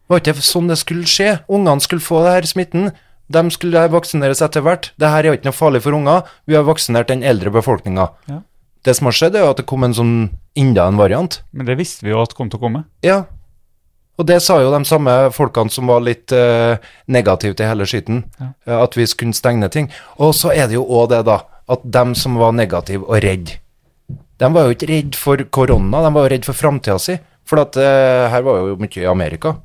Var ikke sånn det skulle skje? Ungene skulle få det her smitten. De skulle vaksineres etter hvert. Det her er jo ikke noe farlig for unger. Vi har vaksinert den eldre befolkninga.
Ja.
Det som har skjedd, er jo at det kom en sånn enda en variant.
Men det visste vi jo at kom til å komme.
Ja. Og det sa jo de samme folkene som var litt eh, negative til hele skiten, eh, at vi skulle stenge ned ting. Og så er det jo òg det, da, at dem som var negative og redde, de var jo ikke redde for korona, de var jo redde for framtida si. For at eh, her var jo mye i Amerika.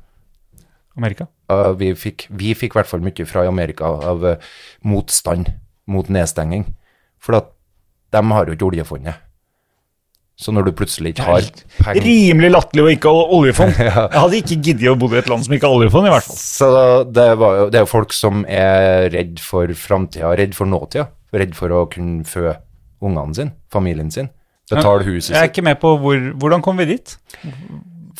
Amerika.
Eh, vi fikk vi fikk i hvert fall mye fra Amerika av eh, motstand mot nedstenging. For at de har jo ikke oljefondet. Så når du plutselig ikke har penger
Rimelig latterlig å ikke ha *laughs* oljefond. Jeg hadde ikke giddet å bo i et land som ikke har oljefond, i hvert fall.
Så det, var jo, det er jo folk som er redd for framtida, redd for nåtida. Redd for å kunne fø ungene sine, familien sin. Betale huset
Jeg er
sitt.
ikke med på hvor, hvordan kom vi dit.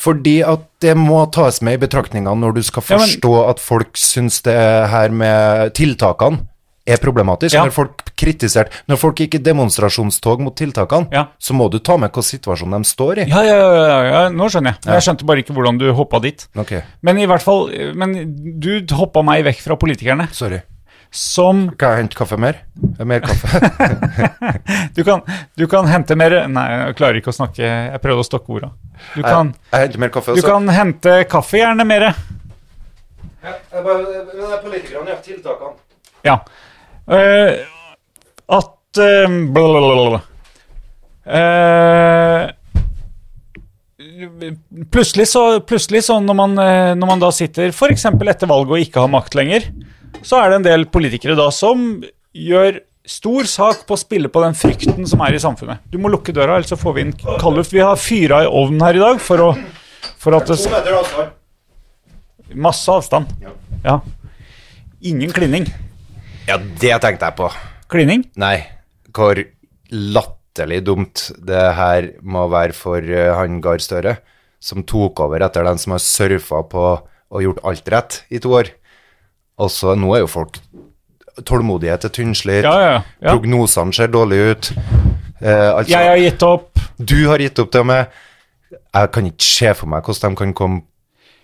Fordi at det må tas med i betraktninga når du skal
Ja, men-
forstå at folk syns det her med tiltakene er problematisk.
Ja.
Når folk kritiserte Når folk gikk i demonstrasjonstog mot tiltakene,
Ja.
så må du ta med hva situasjonen de står i.
Ja, ja, ja, ja, ja, nå skjønner jeg. Jeg skjønte bare ikke hvordan du hoppa dit.
Ok,
Men i hvert fall, men du hoppa meg vekk fra politikerne,
sorry.
som
Kan jeg hente kaffe mer? Eh, Mer
*laughs*
kaffe?
Du kan, du kan hente mer Nei, jeg klarer ikke å snakke, jeg prøvde å stokke orda. Du kan,
jeg henter mer kaffe.
du kan hente kaffe gjerne mer.
Jeg bare, men det er politikerne, ja. Tiltakene.
Ja. Eh, at eh, blablabla. Eh, plutselig, så, plutselig så når man, eh, når man da sitter f.eks. etter valget og ikke har makt lenger, så er det en del politikere da som gjør stor sak på å spille på den frykten som er i samfunnet. Du må lukke døra, ellers så får vi inn kald luft. Vi har fyra i ovnen her i dag for, å, for at det skal
meter avstand.
Masse avstand. Ja. Ingen klining.
Ja, det tenkte jeg på.
Klining?
Nei, hvor latterlig dumt det her må være for eh, han Gahr Støre, som tok over etter den som har surfa på og gjort alt rett i to år. Og så nå er jo folk Tålmodighet er tynnslitt,
Ja, ja, ja.
prognosene ser dårlige ut. Eh, altså,
Jeg har gitt opp.
Du har gitt opp til meg. Jeg kan ikke se for meg hvordan de kan komme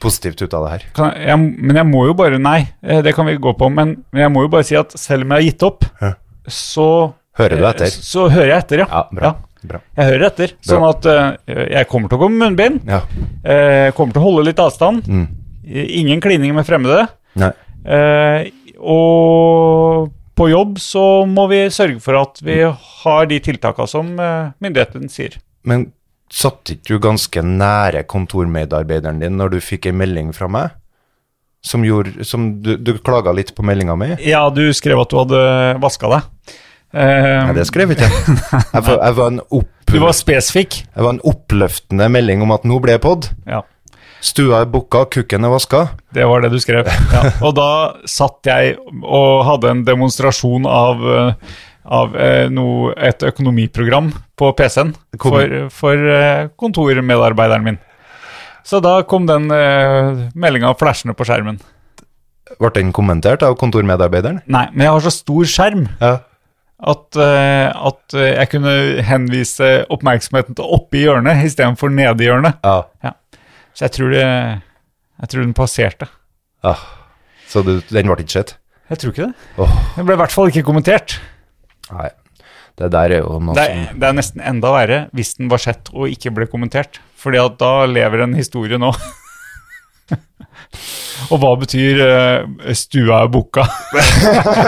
positivt ut av det her.
Kan jeg, jeg, men jeg må jo bare Nei, eh, det kan vi gå på, men, men jeg må jo bare si at selv om jeg har gitt opp, så
Hører du etter?
Så, hører jeg etter, ja.
Ja, bra.
Eh, Ja,
bra.
Jeg hører etter. Sånn at eh, jeg kommer til å gå med munnbind.
Ja. Mm.
eh, kommer til å holde litt avstand. eh, Ingen klining med fremmede.
Nei.
eh, og på jobb så må vi sørge for at vi har de tiltakene som eh, myndighetene sier.
Men satt ikke du ganske nære kontormedarbeideren din når du fikk ei melding fra meg? Som gjorde Som du, du klaga litt på meldinga mi?
Ja, du skrev at du hadde vaska deg. Eh,
*laughs* Nei, det skrev ikke jeg. Jeg, var- jeg, var en opp,
du Eh, var spesifikk.
jeg var en oppløftende melding om at nå ble jeg pod.
Ja.
Stua er booka, kukken er vaska.
Det var det du skrev. Ja. *laughs* Og da satt jeg og hadde en demonstrasjon av, eh, av eh, noe, et økonomiprogram på PC-en
Kom-
for, for eh, kontormedarbeideren min. Så da kom den eh, meldinga flashende på skjermen.
Ble den kommentert av kontormedarbeideren?
Nei, men jeg har så stor skjerm
Ja.
at, eh, at eh, jeg kunne henvise oppmerksomheten til oppe i hjørnet istedenfor nede i hjørnet.
ja.
Så jeg tror, det, jeg tror den passerte.
Ah. Så du, den ble ikke sett?
Jeg tror ikke det.
Åh,
Den ble i hvert fall ikke kommentert.
nei. Det der er jo noe
Det
som
er, det er nesten enda verre hvis den var sett og ikke ble kommentert. Fordi at da lever en historie nå. *laughs* og hva betyr eh, 'stua er booka'?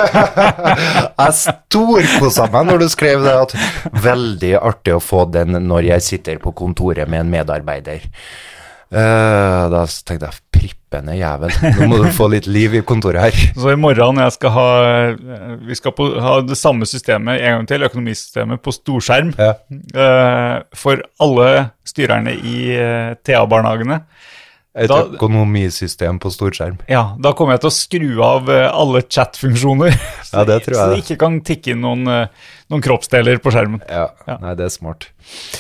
Jeg storkosa meg når du skrev det, at veldig artig å få den når jeg sitter på kontoret med en medarbeider. Eh, da tenkte jeg, prippende jævel, nå må du få litt liv i kontoret her.
*laughs* Så i morgen når jeg skal ha, eh, vi skal på, ha det samme systemet en gang til, økonomisystemet, på storskjerm
Ja.
eh, for alle styrerne i eh, TA-barnehagene.
Et
Da-
økonomisystem på storskjerm.
Ja, da kommer jeg til å skru av eh, alle chat-funksjoner. *laughs* Så
Ja, det tror
Så
jeg.
det ikke kan tikke inn noen, eh, noen kroppsdeler på skjermen.
Ja, nei, det er smart.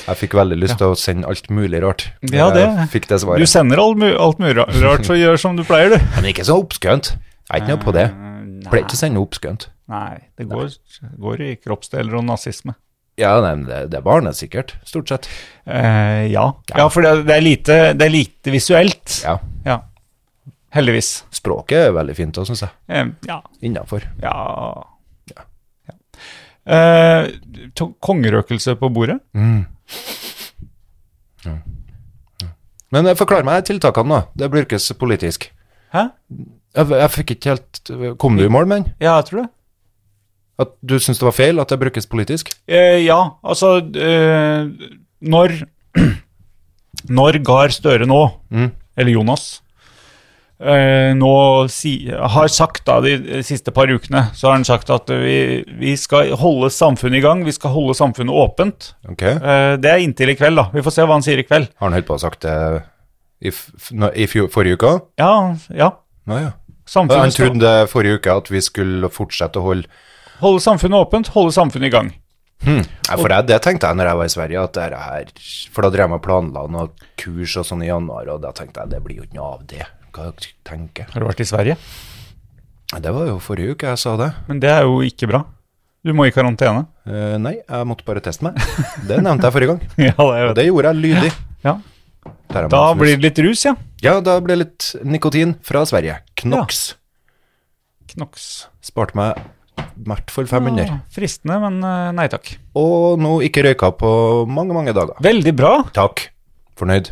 Jeg fikk veldig lyst til å sende alt mulig rart.
Ja, det-
Jeg Fikk det
Du
svaret.
sender alt, mu- alt mulig
*laughs*
rart, så gjør som du pleier, du. Eh,
Men ikke så oppskønt. Jeg er ikke noe på det. Pleier ikke å sende oppskønt.
Nei, det går, går i kroppsdeler og nazisme.
Ja, nei, men det, det er barnesikkert, stort sett.
Eh, ja. ja, for det, det, er lite, det er lite visuelt.
Ja,
Ja. Heldigvis.
språket er veldig fint, synes jeg.
Eh, ja.
Innenfor.
Ja. Ja. Eh, to- kongerøkelse på bordet?
Men eh, forklar meg tiltakene, da. Det brukes politisk.
Hæ?
Jeg, jeg fikk ikke helt Kom du i mål med den?
Ja, jeg tror det.
At du syns det var feil at det brukes politisk?
Eh, ja, altså eh, Når *clears throat* Når Gahr Støre nå, eller Jonas, eh, nå si, har sagt da de siste par ukene, så har han sagt at vi, vi skal holde samfunnet i gang, vi skal holde samfunnet åpent.
Ok. Har
Eh, det er inntil i kveld, da. Vi får se hva han sier i kveld.
han holdt på å ha sagt det i, f nå- i fjor, forrige uke?
Ja, ja.
Nå, ja. Han
Samfunnet skal
trodde forrige uke at vi skulle fortsette å holde
holde samfunnet åpent, holde samfunnet i gang.
Nei, for jeg, Det tenkte jeg når jeg var i Sverige, at det her For da drev jeg med planla noe kurs og sånn i januar, og da tenkte jeg det blir jo ikke noe av det. Hva tenker jeg?
Har du vært i Sverige?
Det var jo forrige uke jeg sa det.
Men det er jo ikke bra. Du må i karantene. *laughs*
Eh, nei, jeg måtte bare teste meg. Det nevnte jeg forrige gang.
ja, det
Og
vet jeg.
det gjorde jeg lydig.
Ja.
Der er man
Da
snus.
blir det litt rus, ja.
Ja, da ble det litt nikotin fra Sverige. Knox.
Knoks.
Sparte meg i hvert fall 500.
Ja, Fristende, men eh, nei takk.
Og nå ikke røyka på mange, mange dager.
Veldig bra.
Takk. Fornøyd.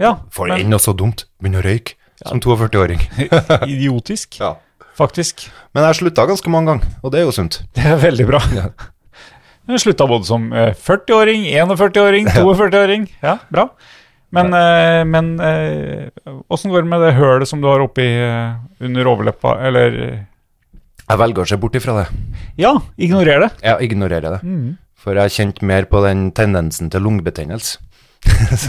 Ja,
For
men
ennå så dumt. Begynne å røyke som 42-åring.
*laughs* idiotisk,
Ja.
faktisk.
Men jeg slutta ganske mange ganger, og det er jo sunt.
*laughs* Det er veldig bra. Jeg slutta både som eh, 40-åring, 41-åring, 42-åring. Ja, bra. Men, eh, men eh, åssen går det med det hølet som du har oppi eh, under overleppa, eller eh,
Jeg velger å se bort ifra det.
Ja, ignorer det.
Jeg ignorerer det.
Mm.
For jeg har kjent mer på den tendensen til lungebetennelse.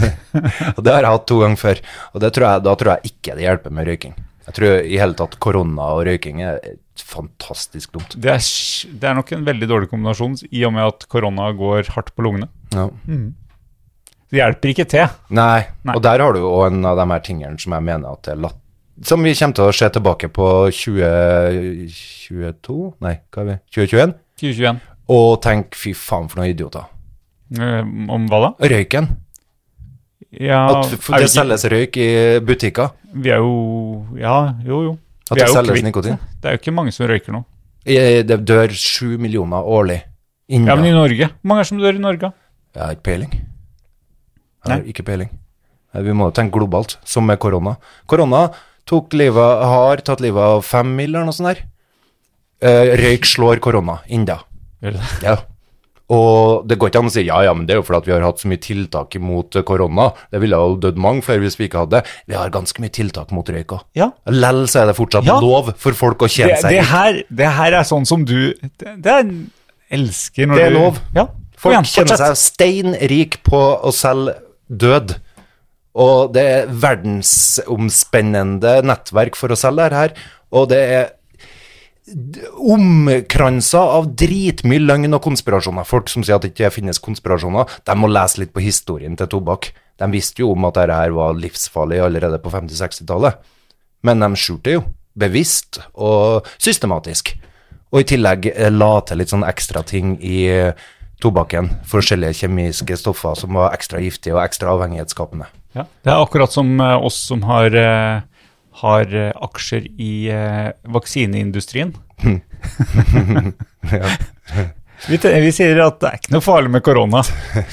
*laughs* og det har jeg hatt to ganger før, og det tror jeg, da tror jeg ikke det hjelper med røyking. Jeg tror i hele tatt korona og røyking er fantastisk dumt.
Det er, sj- det er nok en veldig dårlig kombinasjon, i og med at korona går hardt på lungene.
Ja.
Det hjelper ikke til.
Nei.
Nei.
og der har du jo også en av de her tingene som jeg mener at er latt... Som vi kommer til å se tilbake på 2022? Nei, hva er vi? 2021?
2021.
Og tenk, fy faen for noen idioter.
Eh, om hva da?
Røyken.
Ja,
At f- det
er vi ikke-
selges røyk i butikker.
Vi er jo Ja, jo, jo.
At
Vi er
det
jo
selges
kvitt
nikotin.
det. Det er jo ikke mange som røyker nå.
I- Det dør sju millioner årlig. Innen
Ja, men i Norge. Hvor mange er det som dør i Norge?
Jeg har ikke peiling. Jeg har
Nei.
ikke peiling. Nei, Vi må jo tenke globalt, som med korona. Korona tok livet, har tatt livet av fem mil eller noe sånt der. Eh, røyk slår korona, enda.
Gjør det det?
Ja. Og det går ikke an å si ja, ja, men det er jo fordi at vi har hatt så mye tiltak imot eh, korona. Det ville jo dødd mange før hvis vi ikke hadde det. Vi har ganske mye tiltak mot røyk òg.
Ja.
Lell så er det fortsatt
Ja.
lov for folk å
Det,
tjene seg
det,
rik.
her, det her er sånn som du Det, det er, elsker når du
Det er lov.
Ja. Kom
Folk
igjen,
kjenner
fortsett.
seg steinrik på å selge død Og det er verdensomspennende nettverk for å selge det her. Og det er omkransa av dritmye løgn og konspirasjoner. Folk som sier at det ikke finnes konspirasjoner, de må lese litt på historien til tobakk. De visste jo om at dette her var livsfarlig allerede på 50-60-tallet, men de skjulte det jo. Bevisst og systematisk. Og i tillegg eh, la til litt sånn ekstra ting i eh, tobakken. Forskjellige kjemiske stoffer som var ekstra giftige og ekstra avhengighetsskapende.
Ja. Det er akkurat som eh, oss som har, eh, har eh, aksjer i eh, vaksineindustrien.
Hmm.
*laughs* vi, te- vi sier at det er ikke noe farlig med korona.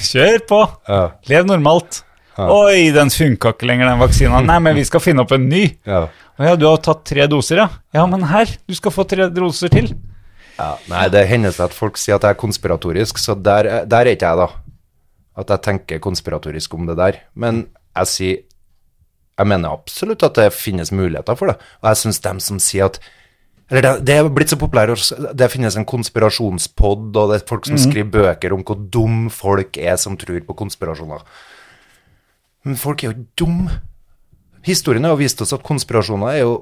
Kjør på!
Ja.
Lev normalt. Oi, den funka ikke lenger, den vaksina. Nei, men vi skal finne opp en ny.
Ja.
Å ja, du har tatt tre doser, ja. Ja, men her, du skal få tre doser til.
Nei, det hender seg at folk sier at jeg er konspiratorisk, så der, er- der er ikke jeg, da. At jeg tenker konspiratorisk om det der. Men jeg sier Jeg mener absolutt at det finnes muligheter for det. Og jeg syns dem som sier at eller det, det er blitt så populært, å s- det finnes en konspirasjonspod, og det er folk som skriver bøker om hvor dum folk er som tror på konspirasjoner. Men folk er jo ikke dum. Historien har jo vist oss at konspirasjoner er jo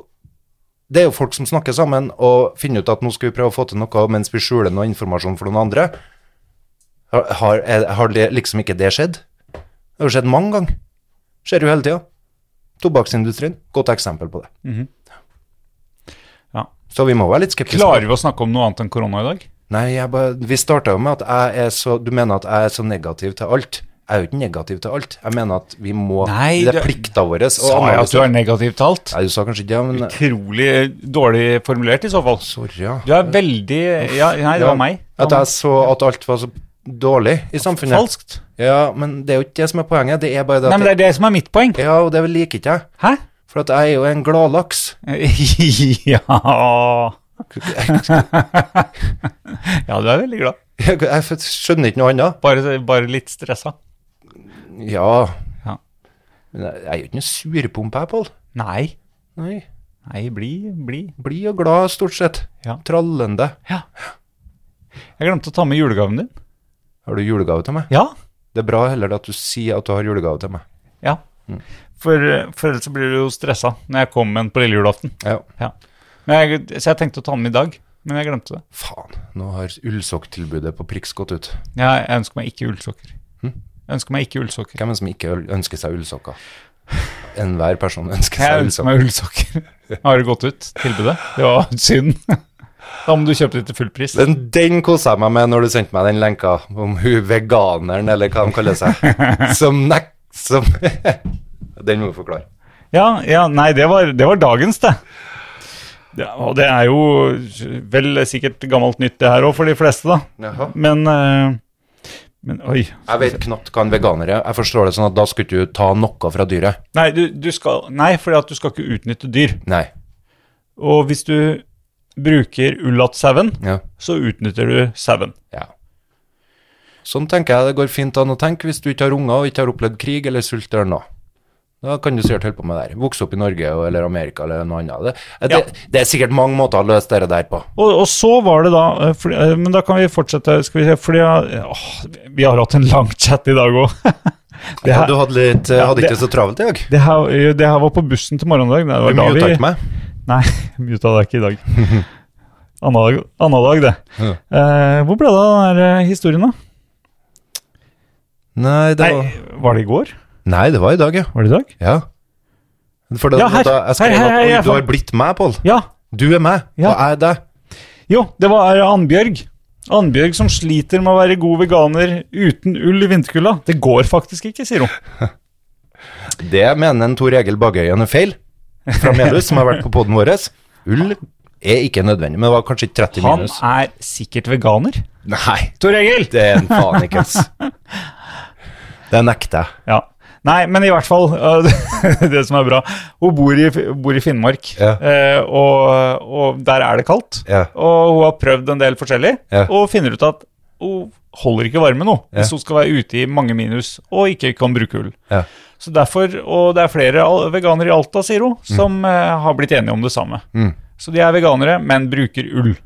det er jo folk som snakker sammen og finner ut at nå skal vi prøve å få til noe mens vi skjuler noe informasjon for noen andre. Har, har, er- har det liksom ikke det skjedd? Det har jo skjedd mange ganger. Skjer jo hele tida. Tobakksindustrien, godt eksempel på det.
Ja.
Så vi må være litt skeptiske.
Klarer vi å snakke om noe annet enn korona i dag?
Nei, jeg bare, vi starta jo med at jeg er så Du mener at jeg er så negativ til alt. Jeg er jo ikke negativ til alt. Jeg mener at vi må
Nei,
Det er
du-
plikta vår. å
Sa jeg at
analysere-
du er negativt talt?
Nei, du sa kanskje ikke det, men
Utrolig dårlig formulert i så fall.
Sorry, ja.
Du er veldig ja, Nei, det var meg.
At jeg så at alt var så dårlig i samfunnet.
Falskt.
Ja, men det er jo ikke det som er poenget. Det er bare det
Nei,
at
men det er det som er mitt poeng.
Ja, og det liker ikke jeg.
Hæ? *laughs*
For at jeg er jo en gladlaks.
ja *laughs* Ja, du er veldig glad.
Jeg, *laughs* jeg skjønner ikke noe annet.
Bare, bare litt stressa.
Ja.
Ja.
Men jeg jeg er jo ikke noen surpompe, jeg, Pål.
Nei.
Nei.
Nei, bli, bli.
Blid og glad, stort sett.
Ja.
Trallende.
Jeg glemte å ta med julegaven din.
Har du julegave til meg?
Ja.
Det er bra heller at du sier at du har julegave til meg.
Ja. For, for ellers så blir du jo stressa når jeg kommer med den på lille julaften.
Ja.
Ja. Men jeg, så jeg tenkte å ta den med i dag, men jeg glemte det.
Faen, nå har ullsokktilbudet på Prix gått ut.
Jeg, jeg ønsker meg ikke ullsokker. Jeg ønsker meg ikke ullsokker.
Hvem er det som ikke ønsker seg ullsokker? Enhver person ønsker
Jeg
seg
ønsker
ullsokker.
meg ullsokker. *laughs* Har det gått ut, tilbudet? Det var *laughs* synd. Da må du kjøpe det til full pris.
Den, den kosa jeg meg med når du sendte meg den lenka om hun veganeren, eller hva de kaller seg,
*laughs*
som nek... Som *laughs* den må du forklare.
Ja, ja nei, det var, det var dagens, det. Ja, og det er jo vel sikkert gammelt nytt det her òg, for de fleste, da.
Jaha.
Men, eh, men oi.
Jeg vet knapt hva en veganer er. Jeg forstår det sånn at da skulle du ta noe fra dyret.
Nei, du, du skal, nei, fordi at du skal ikke utnytte dyr.
Nei.
Og hvis du bruker ullatt-sauen,
Ja.
så utnytter du sauen.
ja. Sånn tenker jeg det går fint an å tenke hvis du ikke har unger og ikke har opplevd krig eller sult eller noe. Da kan du sikkert holde på med det her. Vokse opp i Norge og- eller Amerika eller noe annet. Det, det,
Ja.
det er sikkert mange måter å løse det der på.
Og, og så var det da eh, fordi, eh, Men da kan vi fortsette. Skal vi se, fordi eh, åh, Vi har hatt en lang chat i dag òg. *laughs* det,
Ja,
her-
du hadde, litt,
Ja,
hadde
det-
ikke så travelt i dag.
det, her- eh, det her var på bussen til morgendag. Det
Du
var da
muta
vi-
ikke meg.
*laughs* Nei, muta deg ikke i dag.
*laughs*
Anna dag, anna dag det.
Ja.
Eh, hvor ble det av den der eh, historien, da?
Nei, det var...
Nei, var det i går?
Nei, det var i dag, ja.
Var det i dag?
ja. For da,
Ja, her.
da, jeg skrev
Her, her, her,
at
jeg
oi, du har
fant-
blitt meg, Pål.
Ja.
Du er meg,
Ja.
og jeg er deg.
Jo, det var eh, Annbjørg. Annbjørg som sliter med å være god veganer uten ull i vinterkulda. Det går faktisk ikke, sier hun.
Det mener en Tor Egil Bagøyen er feil, fra Melhus, som har vært på poden vår. Ull er ikke nødvendig, men det var kanskje ikke 30
Han
minus.
er sikkert veganer.
Nei,
Tor Egil!
det er en fanikens. Det nekter jeg.
Ja. Nei, men i hvert fall, øh, *laughs* det som er bra Hun bor i, bor i Finnmark,
Ja.
eh, og, og der er det kaldt.
Ja.
Og hun har prøvd en del forskjellig,
Ja.
og finner ut at hun holder ikke varme nå hvis hun skal være ute i mange minus og ikke kan bruke ull.
Ja.
Så derfor, Og det er flere al- veganere i Alta, sier hun,
Mm.
som eh, har blitt enige om det samme. Så de er veganere, men bruker ull.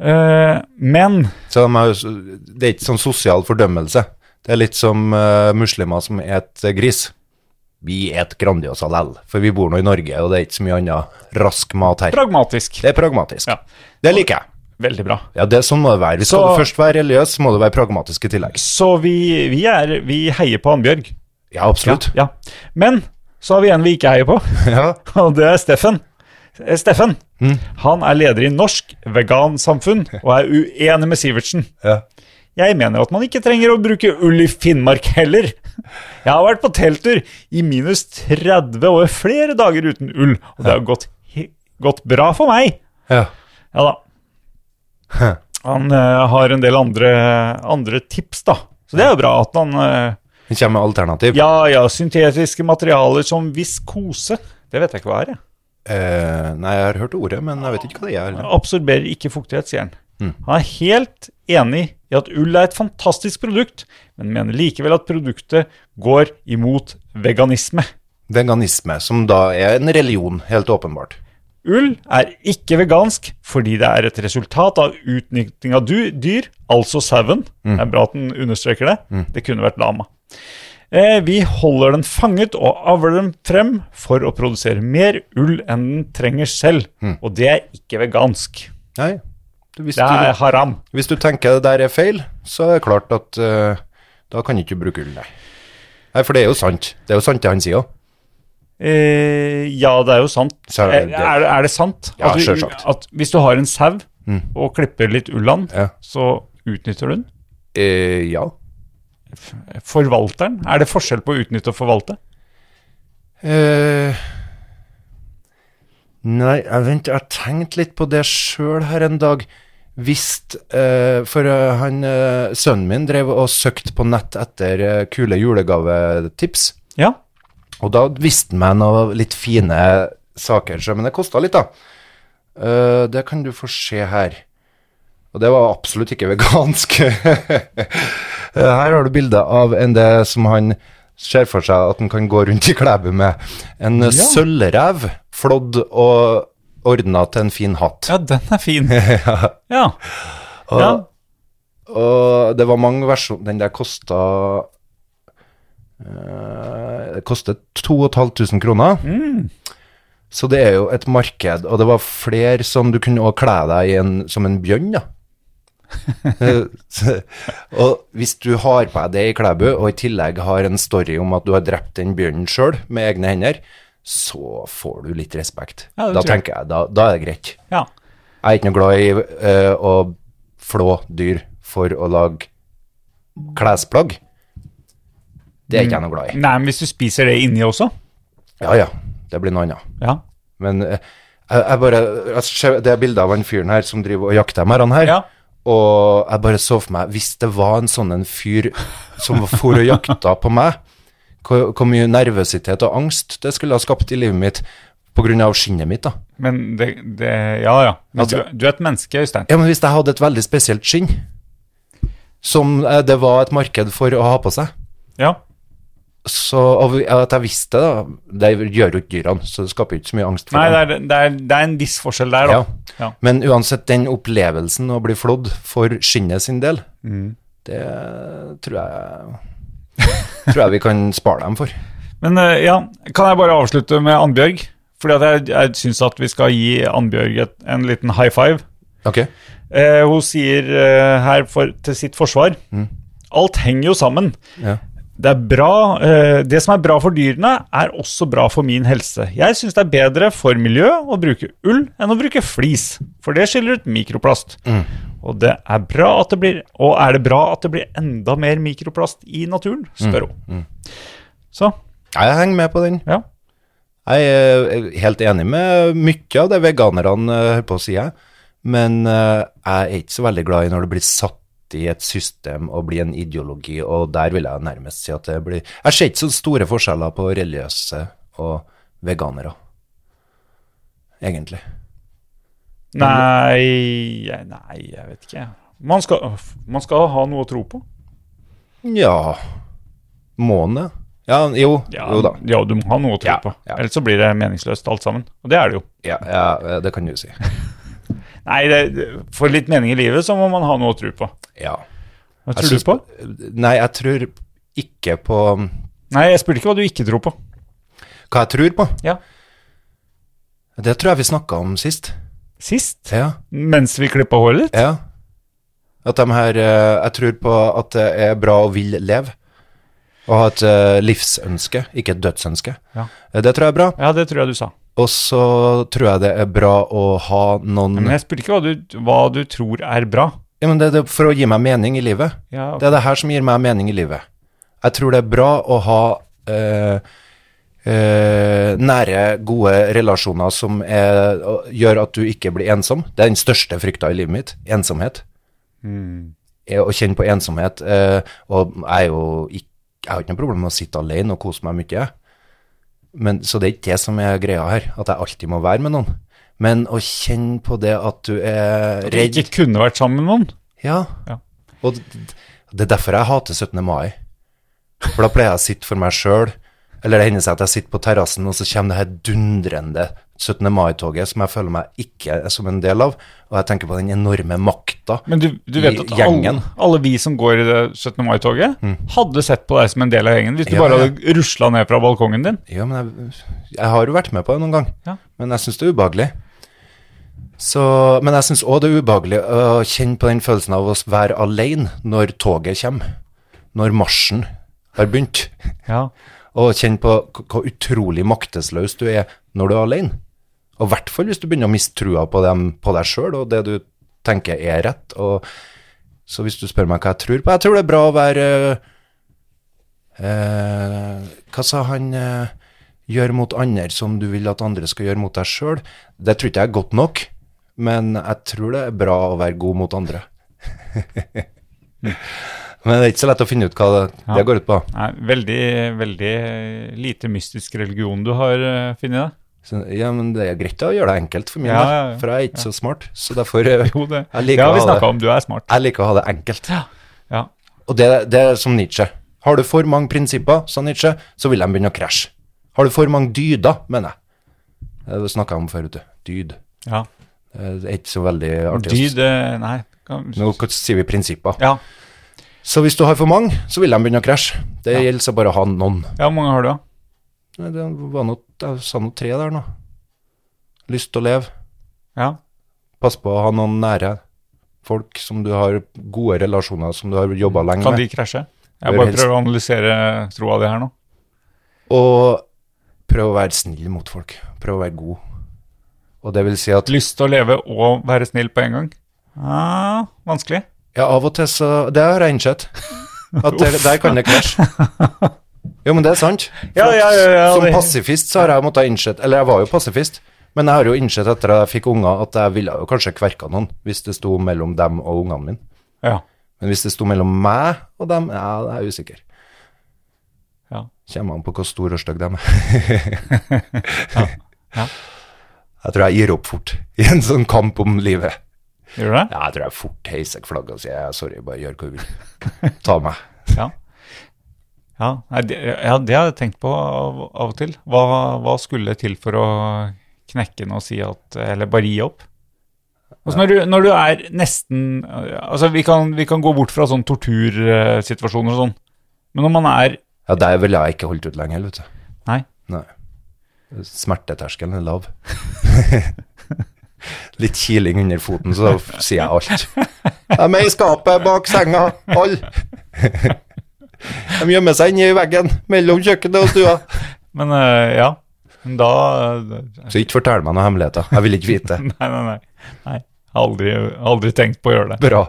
Eh, men
Så de er, jo så- det er ikke sånn sosial fordømmelse. Det er litt som eh, muslimer som et gris. Vi et Grandiosa lell, for vi bor nå i Norge, og det er ikke så mye annen rask mat her.
Pragmatisk.
Det er pragmatisk.
Ja.
Det liker jeg.
Veldig bra.
Ja, det er Sånn må det være. Hvis
Så-
du først være religiøs, så må du være pragmatisk i tillegg.
Så vi, vi, er, vi heier på Annbjørg.
Ja, absolutt.
Ja. Men så har vi en vi ikke heier på, *laughs*
*laughs* Ja.
og det er Steffen. Eh, Steffen han er leder i Norsk Vegansamfunn og er uenig med Sivertsen.
Ja.
Jeg mener at man ikke trenger å bruke ull i Finnmark heller. Jeg har vært på telttur i minus 30 over flere dager uten ull, og det har gått, he- gått bra for meg.
Ja.
Ja da. Han eh, har en del andre, andre tips, da. Så det er jo bra at han eh,
Vi kommer med alternativ.
Ja ja, syntetiske materialer som viskose. Det vet jeg ikke hva er. jeg.
Eh, nei, jeg har hørt ordet, men jeg vet ikke hva det er.
Absorberer ikke fuktighet, sier han. Han er helt enig i at ull er et fantastisk produkt, men mener likevel at produktet går imot veganisme.
Veganisme, som da er en religion, helt åpenbart.
Ull er ikke vegansk fordi det er et resultat av utnytting av du- dyr, altså sauen.
Mm.
Det er bra at den understreker det. Det kunne vært lama. Eh, vi holder den fanget og avler den frem for å produsere mer ull enn den trenger selv.
Mm.
Og det er ikke vegansk.
Nei. Hvis
Det er
du,
haram.
hvis du tenker det der er feil, så er det klart at eh, da kan du ikke bruke ull, nei. Nei, for det er jo sant. Det er jo sant det han sier òg.
Eh, ja, det er jo sant.
Så
er,
er det-
er, det- er det sant?
Ja,
At du-
selvsagt.
At hvis du har en sau og klipper litt ull av den,
Ja.
så utnytter du den?
Eh, ja.
Forvalteren? Er det forskjell på å utnytte og forvalte?
Eh, nei, jeg vent, jeg har tenkt litt på det sjøl her en dag. Visst, eh, for eh, han, eh, sønnen min drev og søkte på nett etter eh, kule julegavetips.
Ja.
Og da visste han meg noen litt fine saker, så- men det kosta litt, da. Eh, det kan du få se her. Og det var absolutt ikke vegansk. *laughs* Eh, her har du bilde av en det som han ser for seg at han kan gå rundt i Klæbu med. En ja. sølvrev, flådd og ordna til en fin hatt.
Ja, den er fin. ja. ja.
Og det var mange versjoner. Den der kosta eh, Det kostet 2500 kroner.
Mm.
Så det er jo et marked, og det var flere som du kunne også kle deg i en, som en bjørn,
*laughs*
da. *laughs* Eh, så- og hvis du har på deg det i Klæbu, og i tillegg har en story om at du har drept den bjørnen sjøl med egne hender, så får du litt respekt.
Ja, det
da
tror jeg.
tenker jeg, da, da er det greit.
ja.
Jeg er ikke noe glad i eh, å flå dyr for å lage klesplagg. Det er ikke jeg noe glad i.
Nei, men hvis du spiser det inni også
Ja, ja, det blir noe annet.
Ja.
Men eh, jeg, jeg bare jeg ser- Det er bildet av han fyren her som driver og jakter med han her.
Ja.
Og jeg bare så for meg Hvis det var en sånn en fyr som for og jakta på meg, hvor, hvor mye nervøsitet og angst det skulle ha skapt i livet mitt pga. skinnet mitt, da.
Men det, det Ja, ja. Men
Altså-
du, du er et menneske, Øystein.
Ja, men hvis jeg hadde et veldig spesielt skinn, som eh, det var et marked for å ha på seg,
Ja.
så, og vi- at jeg visste det, da, det gjør jo ikke dyrene, så det skaper ikke så mye angst for
Nei, det
dem.
er, det, er, det er en viss forskjell der, da.
Ja. Men uansett, den opplevelsen å bli flådd for skinnet sin del,
Mm.
det tror jeg, tror jeg vi kan spare dem
*laughs*
for.
Men eh, ja, kan jeg bare avslutte med Annbjørg? Fordi at jeg, jeg syns at vi skal gi Annbjørg et, en liten high five.
Ok,
Eh, hun sier eh, her for, til sitt forsvar Alt henger jo sammen.
Ja.
Det, er bra, eh, det som er bra for dyrene, er også bra for min helse. Jeg syns det er bedre for miljøet å bruke ull enn å bruke flis, for det skiller ut mikroplast.
Mm.
Og, det er bra at det blir, og er det bra at det blir enda mer mikroplast i naturen,
Mm.
spør hun. Så,
jeg henger med på den.
ja.
Jeg er helt enig med mye av det veganerne eh, holder på å si, jeg. men eh, jeg er ikke så veldig glad i når det blir satt i et system og blir en ideologi, og der vil jeg nærmest si at det blir Jeg ser ikke så store forskjeller på religiøse og veganere, egentlig.
Nei, jeg- nei, jeg vet ikke. Man skal, man skal ha noe å tro på.
Ja Måne? Ja, jo, jo da.
ja du må ha noe å tro
Ja,
på.
ja.
Ellers så blir det meningsløst alt sammen. Og det er det jo.
Ja, ja, det kan du si.
Nei, det, det- for litt mening i livet så må man ha noe å tro på.
Ja.
Hva
Jeg
tror du
syns-
på?
Nei, jeg tror ikke på
Nei, jeg spurte ikke hva du ikke tror på.
hva jeg tror på.
Ja.
Det tror jeg vi snakka om sist.
Sist?
Ja.
Mens vi klippa håret ditt?
ja. At de her eh, Jeg tror på at det er bra å vil leve. Og ha et eh, livsønske, ikke et dødsønske.
Ja.
Eh, Det tror jeg er bra.
Ja, det tror jeg du sa.
Og så tror jeg det er bra å ha noen
Men jeg spurte ikke hva du, hva du tror er bra.
ja, men det, det, For å gi meg mening i livet.
Ja, ok.
Det er det her som gir meg mening i livet. Jeg tror det er bra å ha eh, eh, nære, gode relasjoner som er, og gjør at du ikke blir ensom. Det er den største frykta i livet mitt. Ensomhet.
Mm.
Eh, Å kjenne på ensomhet. eh, og jeg er jo ikke jeg har ikke noe problem med å sitte alene og kose meg mye. Men, så det er ikke det som er greia her, at jeg alltid må være med noen. Men å kjenne på det at du er
Du
redd
ikke kunne vært sammen med noen.
ja.
Ja.
Og d- d- det er derfor jeg hater 17. mai. For da pleier jeg å sitte for meg sjøl. Eller det hender seg at jeg sitter på terrassen, og så kommer det her dundrende 17. mai-toget som jeg føler meg ikke som en del av. Og jeg tenker på den enorme makta.
Men du, du vet
I
at alle,
gjengen. Mm.
alle vi som går i det 17. mai-toget, hadde sett på deg som en del av gjengen hvis du
Ja,
bare
ja.
hadde rusla ned fra balkongen din.
Ja, men jeg, jeg har jo vært med på det noen gang,
Ja.
men jeg syns det er ubehagelig. Så, men jeg syns òg det er ubehagelig å kjenne på den følelsen av å være alene når toget kommer. Når marsjen har begynt.
Ja.
Og kjenn på k- hvor utrolig maktesløs du er når du er alene. Og i hvert fall hvis du begynner å miste trua på, dem, på deg sjøl og det du tenker er rett. Og så hvis du spør meg hva jeg tror på Jeg tror det er bra å være eh, eh, Hva sa han eh, Gjør mot andre som du vil at andre skal gjøre mot deg sjøl. Det tror ikke jeg er godt nok, men jeg tror det er bra å være god mot andre. *laughs* men det er ikke så lett å finne ut hva det, det går ut på.
Nei, veldig, veldig lite mystisk religion du har eh, funnet deg.
Så, ja, men det er greit å gjøre det enkelt for min
Ja,
del,
ja, ja.
for jeg er ikke så smart. Så derfor eh,
Jo, det,
Jeg
det
liker
har
å
vi
ha det.
snakka om. Du er smart.
jeg liker å ha det enkelt.
Ja.
Og det, det er som Nietzsche. Har du for mange prinsipper, sa Nietzsche, så vil de begynne å krasje. Har du for mange dyder, mener jeg. Eh, Det snakka jeg om før, vet du. Dyd.
ja.
Eh, Det er ikke så veldig artig. å s-
Dyd eh, Nei. Kan,
Nå k- sier vi prinsipper.
ja.
Så hvis du har for mange, så vil de begynne å krasje. Det gjelder så bare å ha noen.
ja, hvor mange har du, da?
Nei, Det var noe, jeg sa noe tre der nå. Lyst til å leve.
Ja.
Pass på å ha noen nære folk som du har gode relasjoner som du har jobba lenge
Kan
med.
de krasje? Jeg
Bør
bare
helst.
prøver å analysere troa di her nå.
Og prøv å være snill mot folk. Prøv å være god. Og det vil si at
Lyst til å leve og være snill på en gang? Ah, vanskelig.
ja, av og til så Det har jeg innsett.
*laughs*
At der, der kan det krasje. Jo, men det er sant.
Ja, ja, ja, ja,
Som
det-
pasifist så har jeg måttet innsett Eller jeg var jo pasifist, men jeg har jo innsett etter at jeg fikk unger, at jeg ville jo kanskje kverka noen hvis det sto mellom dem og ungene mine.
Ja.
Men hvis det sto mellom meg og dem, ja, da er jeg usikker.
Ja.
Kommer an på hvor stor og stygg de er.
*laughs* Ja.
Jeg tror jeg gir opp fort i en sånn kamp om livet.
Gjør du det?
Ja, jeg tror jeg fort heiser et flagg og sier «Ja, sorry, bare gjør hva du vil. Ta meg.
Ja. Ja, nei, det, ja, det har jeg tenkt på av, av og til. Hva, hva skulle til for å knekke den og si at Eller bare gi opp? Altså når, du, når du er nesten altså vi, kan, vi kan gå bort fra sånne tortursituasjoner og sånn, men når man er
Ja, der ville jeg ikke holdt ut lenger, vet du.
Nei.
Nei. Smerteterskelen er lav. *laughs* Litt kiling under foten, så sier jeg alt. De er i skapet bak senga, alle. De gjemmer seg inni veggen mellom kjøkkenet og stua.
Men eh, ja. Men da *laughs* eh,
Så ikke fortell meg noen hemmeligheter. Jeg vil ikke vite.
Nei, nei, nei. nei. Aldri, aldri tenkt på å gjøre det.
Bra.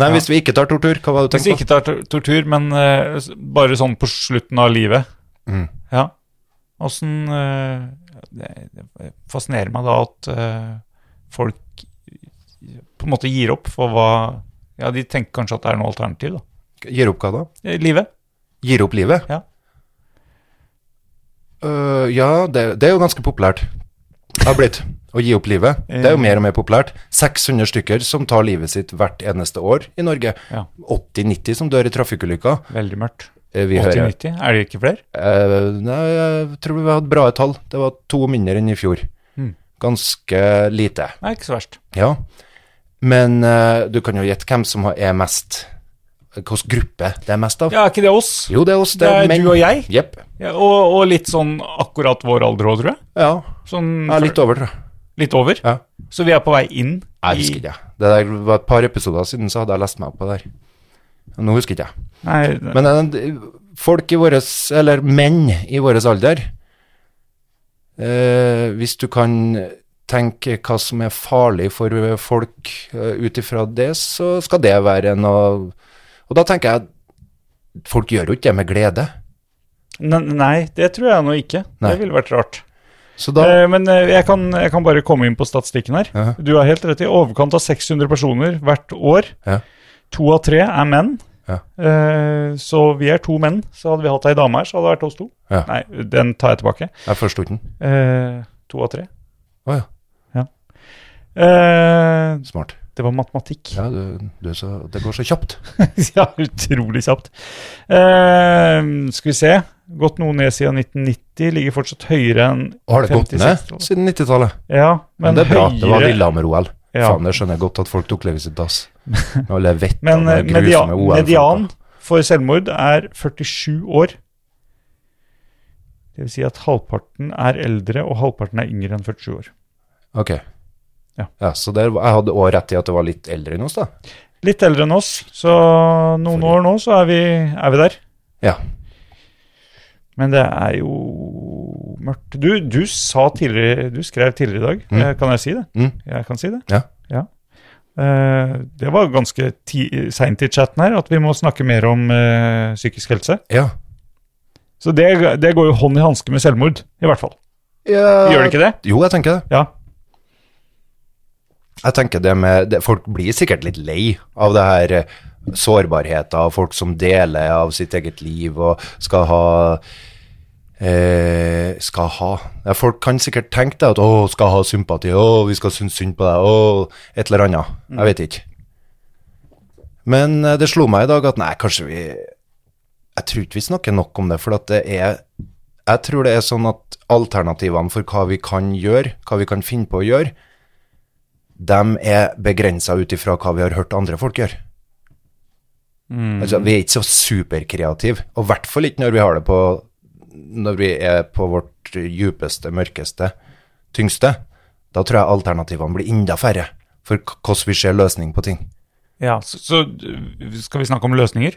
Nei, hvis vi ikke tar tortur, hva var det du
Hvis vi
tenkte på?
ikke tar tor- tortur, men eh, s- bare sånn på slutten av livet.
Mm.
Ja. Åssen eh, det, det fascinerer meg da at eh, folk på en måte gir opp for hva Ja, de tenker kanskje at det er noe alternativ, da.
Gir opp hva da?
Eh, Livet.
Gir opp livet?
Ja.
Øh, ja, det, det er jo ganske populært. Det har blitt å gi opp livet. Det er jo
Eh.
mer og mer populært. 600 stykker som tar livet sitt hvert eneste år i Norge.
Ja.
80-90 som dør i trafikkulykker.
Veldig mørkt.
Eh, Vi hører
80-90. Er det ikke flere?
Eh, Nei, jeg tror vi hadde bra tall. Det var to mindre enn i fjor.
Hmm.
Ganske lite.
Nei, ikke så verst.
Ja, men eh, du kan jo gjette hvem som har- er mest hvilken gruppe det er mest av.
Ja, er ikke det oss?
Jo, det er oss. Det er,
Det er
menn.
du og jeg?
Jepp.
Ja, og, og litt sånn akkurat vår alder òg, tror jeg.
Ja.
Sånn
ja, litt over, tror jeg.
litt over.
Ja.
Så vi er på vei inn
Jeg husker ikke. jeg. Det der var et par episoder siden, så hadde jeg lest meg opp på det der. Nå husker ikke jeg.
Nei, det-
Men eh, d- folk i våres, eller menn i våres alder, eh, hvis du kan tenke hva som er farlig for eh, folk eh, ut ifra det, så skal det være noe Og da tenker jeg at folk gjør jo ikke det med glede.
ne- nei, det tror jeg nå ikke.
Nei.
Det ville vært rart.
Så da
Eh, men eh, jeg kan, jeg kan bare komme inn på statistikken her.
Ja.
Du har helt rett i overkant av 600 personer hvert år.
Ja.
To av tre er menn.
Ja.
Eh, så vi er to menn. Så hadde vi hatt ei dame her, så hadde det vært oss to.
Ja.
Nei, den tar jeg tilbake.
Jeg forsto den.
Eh, to av tre.
Å ja,
Eh,
smart.
det var matematikk.
Ja, du, du er så, det går så kjapt.
*laughs* ja, utrolig kjapt. Eh, skal vi se. Gått noe ned siden 1990. Ligger fortsatt høyere enn
Har det gått
50,
ned
60-tallet?
siden 90-tallet?
Ja, men,
Men det er bra.
høyere
Det var Lillehammer-OL.
Ja.
Faen, det skjønner jeg godt at folk tok livet sitt, ass. Med alle vettene
Men eh,
og
media,
grusomme OL-folka.
median for selvmord er 47 år. Det vil si at halvparten er eldre, og halvparten er yngre enn 47 år.
Ok.
Ja.
Ja, så der, var- jeg hadde også rett i at det var litt eldre enn oss, da.
Litt eldre enn oss, så noen
Sorry.
år nå så er vi, er vi der.
Ja.
Men det er jo mørkt. Du, du sa tidligere, du skrev tidligere i dag,
Mm.
Eh, kan jeg si det?
Mm.
Jeg kan si det.
Ja.
Eh, det var ganske seint i chatten her at vi må snakke mer om eh, psykisk helse.
Ja.
Så det, det går jo hånd i hanske med selvmord, i hvert fall.
ja.
Gjør det ikke det?
Jo, jeg tenker det.
Ja.
Jeg tenker det med det, Folk blir sikkert litt lei av det her eh, sårbarheten av folk som deler av sitt eget liv og skal ha eh, Skal ha ja, Folk kan sikkert tenke deg at å, skal ha sympati, å, vi skal synes synd på deg, å, et eller annet. Jeg vet ikke. Men eh, det slo meg i dag at nei, kanskje vi Jeg tror ikke vi snakker nok om det, for at det er Jeg tror det er sånn at alternativene for hva vi kan gjøre, hva vi kan finne på å gjøre, de er begrensa ut ifra hva vi har hørt andre folk gjøre.
Mm.
Altså, vi er ikke så superkreative, og i hvert fall ikke når vi har det på Når vi er på vårt djupeste, mørkeste, tyngste. Da tror jeg alternativene blir enda færre for k- hvordan vi ser løsning på ting.
ja så, så øh, skal vi snakke om løsninger?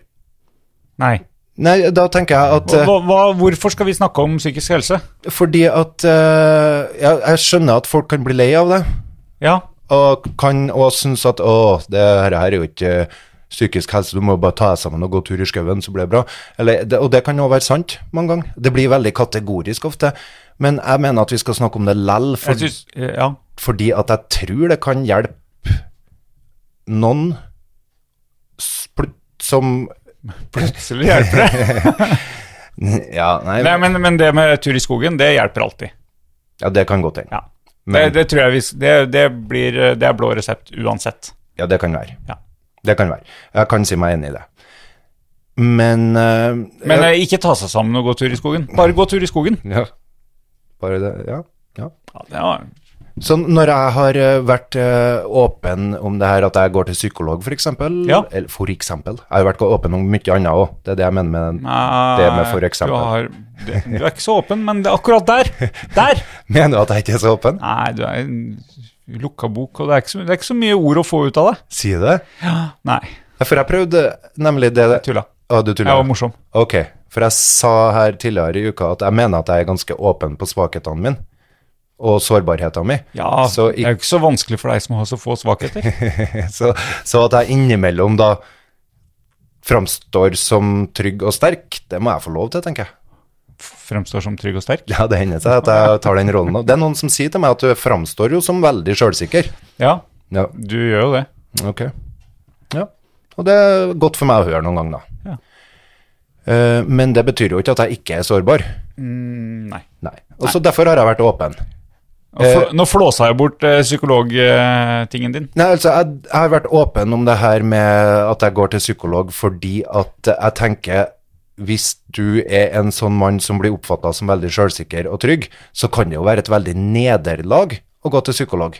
Nei.
Nei, da tenker jeg at
Hva,
eh,
hva, hva- hvorfor skal vi snakke om psykisk helse?
Fordi at eh, jeg, jeg skjønner at folk kan bli lei av det.
Ja.
og kan også synes at å, det her er jo ikke psykisk helse, du må bare ta deg sammen og gå tur i skauen, så blir det bra. Eller, det, og det kan jo være sant mange ganger. Det blir veldig kategorisk ofte. Men jeg mener at vi skal snakke om det lell, for,
Jeg synes, eh, ja.
fordi at jeg tror det kan hjelpe noen s- plut- som *laughs*
Plutselig hjelper det.
Ja, nei,
*laughs* Nei, men, men det med tur i skogen, det hjelper alltid.
ja det kan godt hende.
Ja.
Men-
det, det tror jeg vi s- det, det, blir, øh, det er blå resept uansett.
Ja, det kan være.
Ja.
Det kan være. Jeg kan si meg enig i det. Men eh,
Men
ja,
øh, ikke ta seg sammen og gå tur i skogen. Bare gå tur i skogen.
ja. Bare det, ja. ja.
Ja, det var-
Så når jeg har eh, vært eh, åpen om det her, at jeg går til psykolog for eksempel,
Ja.
eller for eksempel, jeg har vært åpen om mye annet også, det er det jeg mener med,
Nei,
Det med for eksempel.
Du, har, det, du er ikke så åpen, men det, akkurat der! Der!
*laughs* mener du at jeg ikke er så åpen?
Nei, du er en lukka bok, og det er ikke så, det er ikke så mye ord å få ut av det.
Sier du det?
Nei,
Ja, For jeg prøvde nemlig det,
tulla.
å du
Jeg
tuller.
var morsom.
Ok, for jeg sa her tidligere i uka at jeg mener at jeg er ganske åpen på svakhetene mine, og sårbarheten min.
Ja,
Så i-
det er jo ikke så vanskelig for deg som har så få svakheter.
*laughs* Så, så at jeg innimellom da framstår som trygg og sterk, det må jeg få lov til, tenker jeg.
Fremstår som trygg og sterk.
*laughs* Ja, det hender seg at jeg tar den rollen. nå. Det er noen som sier til meg at du framstår jo som veldig sjølsikker.
Ja,
Ja,
du gjør jo det.
ok. Ja. Og det er godt for meg å høre noen ganger, da.
Ja.
Eh, men det betyr jo ikke at jeg ikke er sårbar.
Mm, nei.
Nei. Og så derfor har jeg vært åpen.
Og
Eh,
fl- Nå flåsa jeg bort eh, psykologtingen din.
Nei, altså, jeg, jeg har vært åpen om det her med at jeg går til psykolog fordi at jeg tenker hvis du er en sånn mann som blir oppfatta som veldig sjølsikker og trygg, så kan det jo være et veldig nederlag å gå til psykolog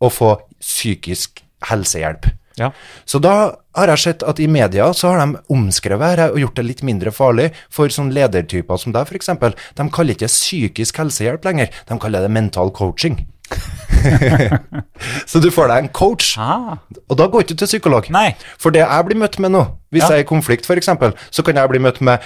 og få psykisk helsehjelp.
Ja.
Så da har jeg sett at i media så har de omskrevet dette og gjort det litt mindre farlig for sånne ledertyper som deg, f.eks. De kaller ikke psykisk helsehjelp lenger, de kaller det mental coaching. *laughs* så du får deg en coach,
Ah.
og da går ikke du til psykolog.
Nei.
For det jeg blir møtt med nå, hvis
Ja.
jeg er i konflikt f.eks., så kan jeg bli møtt med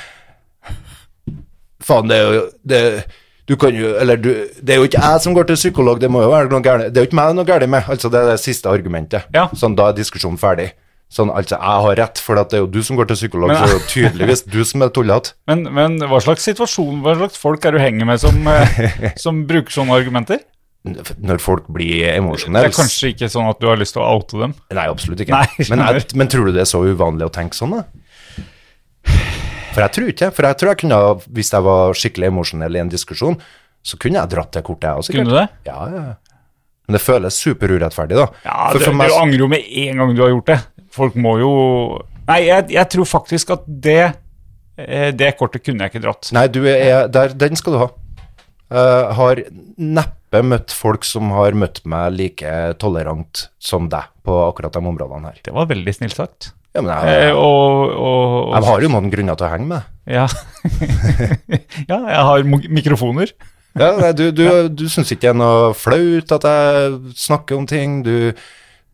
Faen, det er jo det, du kan jo, eller du, det er jo ikke jeg som går til psykolog, det må jo være noe gærent. Det er jo ikke meg det er noe gærent med. Altså, det er det siste argumentet.
Ja.
Sånn, da er diskusjonen ferdig. Sånn, altså, jeg har rett, for at det er jo du som går til psykolog,
Men-
så det er jo tydeligvis du som er tullete.
Men, men hva slags situasjon, hva slags folk er du henger med som,
*laughs*
eh, som bruker sånne argumenter?
Når folk blir
*laughs* Det
emosjonelle
er kanskje ikke sånn at du har lyst til å oute dem.
Nei, absolutt ikke.
Nei,
*laughs* men,
skjønner.
jeg, men tror du det er så uvanlig å tenke sånn, da? For jeg tror ikke For jeg tror jeg kunne, ha- hvis jeg var skikkelig emosjonell i en diskusjon, så kunne jeg dratt det kortet, jeg også. sikkert.
Kunne du det?
Ja, ja. Men det føles superurettferdig, da.
Ja,
for,
du,
for meg,
du angrer jo med en gang du har gjort det. Folk må jo Nei, jeg, jeg tror faktisk at det eh, Det kortet kunne jeg ikke dratt.
Nei, du er der, den skal du ha. Eh, har neppe møtt folk som har møtt meg like tolerant som deg på akkurat de områdene her.
Det var veldig snilt sagt.
Ja, men
Eh,
jeg,
og, og, og
jeg har jo noen grunner til å henge med deg.
Ja. *laughs* ja, jeg har mo- mikrofoner.
Ja, nei, du, du, du syns ikke det er noe flaut at jeg snakker om ting. Du,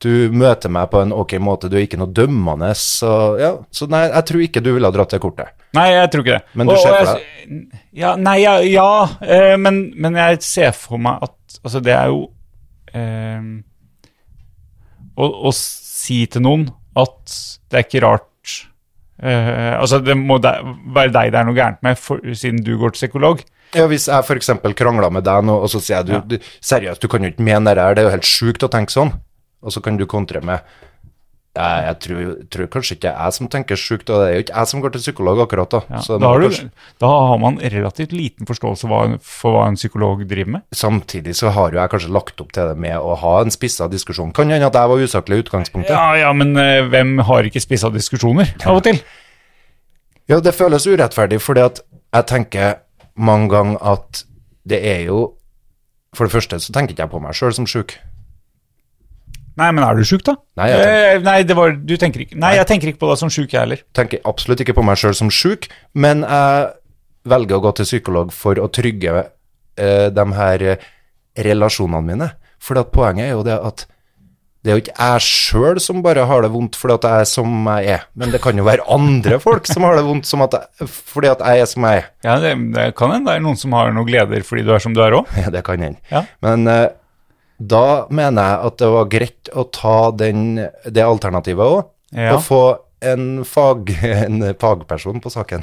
du møter meg på en ok måte, du er ikke noe dømmende. Så, ja. så nei, jeg tror ikke du ville ha dratt det kortet.
Nei, jeg tror ikke det.
Men du
Og-
ser
og
for
jeg- Ja, nei, ja, ja eh, men, men jeg ser for meg at Altså, det er jo eh, å, å si til noen at det er ikke rart eh, Altså, det må de, være deg det er noe gærent med, for, siden du går til psykolog.
Ja, hvis jeg f.eks. krangla med deg nå, og så sier jeg du,
Ja.
du, seriøst, du kan jo ikke mene det her, det er jo helt sjukt å tenke sånn. Og så kan du kontre med «Nei, jeg tror, tror kanskje ikke det er jeg som tenker sjukt, og det er jo ikke jeg som går til psykolog akkurat da.
Ja,
Så det
da,
må
har du,
kanskje-
da har man relativt liten forståelse hva en- for hva en psykolog driver med.
Samtidig så har jo jeg kanskje lagt opp til det med å ha en spissa diskusjon. Kan hende at jeg var usaklig i utgangspunktet.
Ja, ja, men eh, hvem har ikke spissa diskusjoner av og til?
Ja, det føles urettferdig, fordi at jeg tenker mange ganger at det er jo For det første så tenker ikke jeg på meg sjøl som sjuk.
Nei, men er du sjuk, da?
Nei, jeg tenker-
eh, nei, det var, du tenker ikke. nei, jeg tenker ikke på deg som sjuk, jeg heller.
Tenker absolutt ikke på meg sjøl som sjuk, men jeg velger å gå til psykolog for å trygge eh, de her eh, relasjonene mine. For at poenget er jo det at det er jo ikke jeg sjøl som bare har det vondt fordi at jeg er som jeg er, men det kan jo være andre folk som har det vondt som at jeg, fordi at jeg er som jeg er.
Ja, Det, det kan hende det er noen som har noen gleder fordi du er som du er òg.
Ja, det kan hende.
Ja.
Men eh, da mener jeg at det var greit å ta den, det alternativet òg,
Ja.
og få en, fag, *laughs* en fagperson på saken.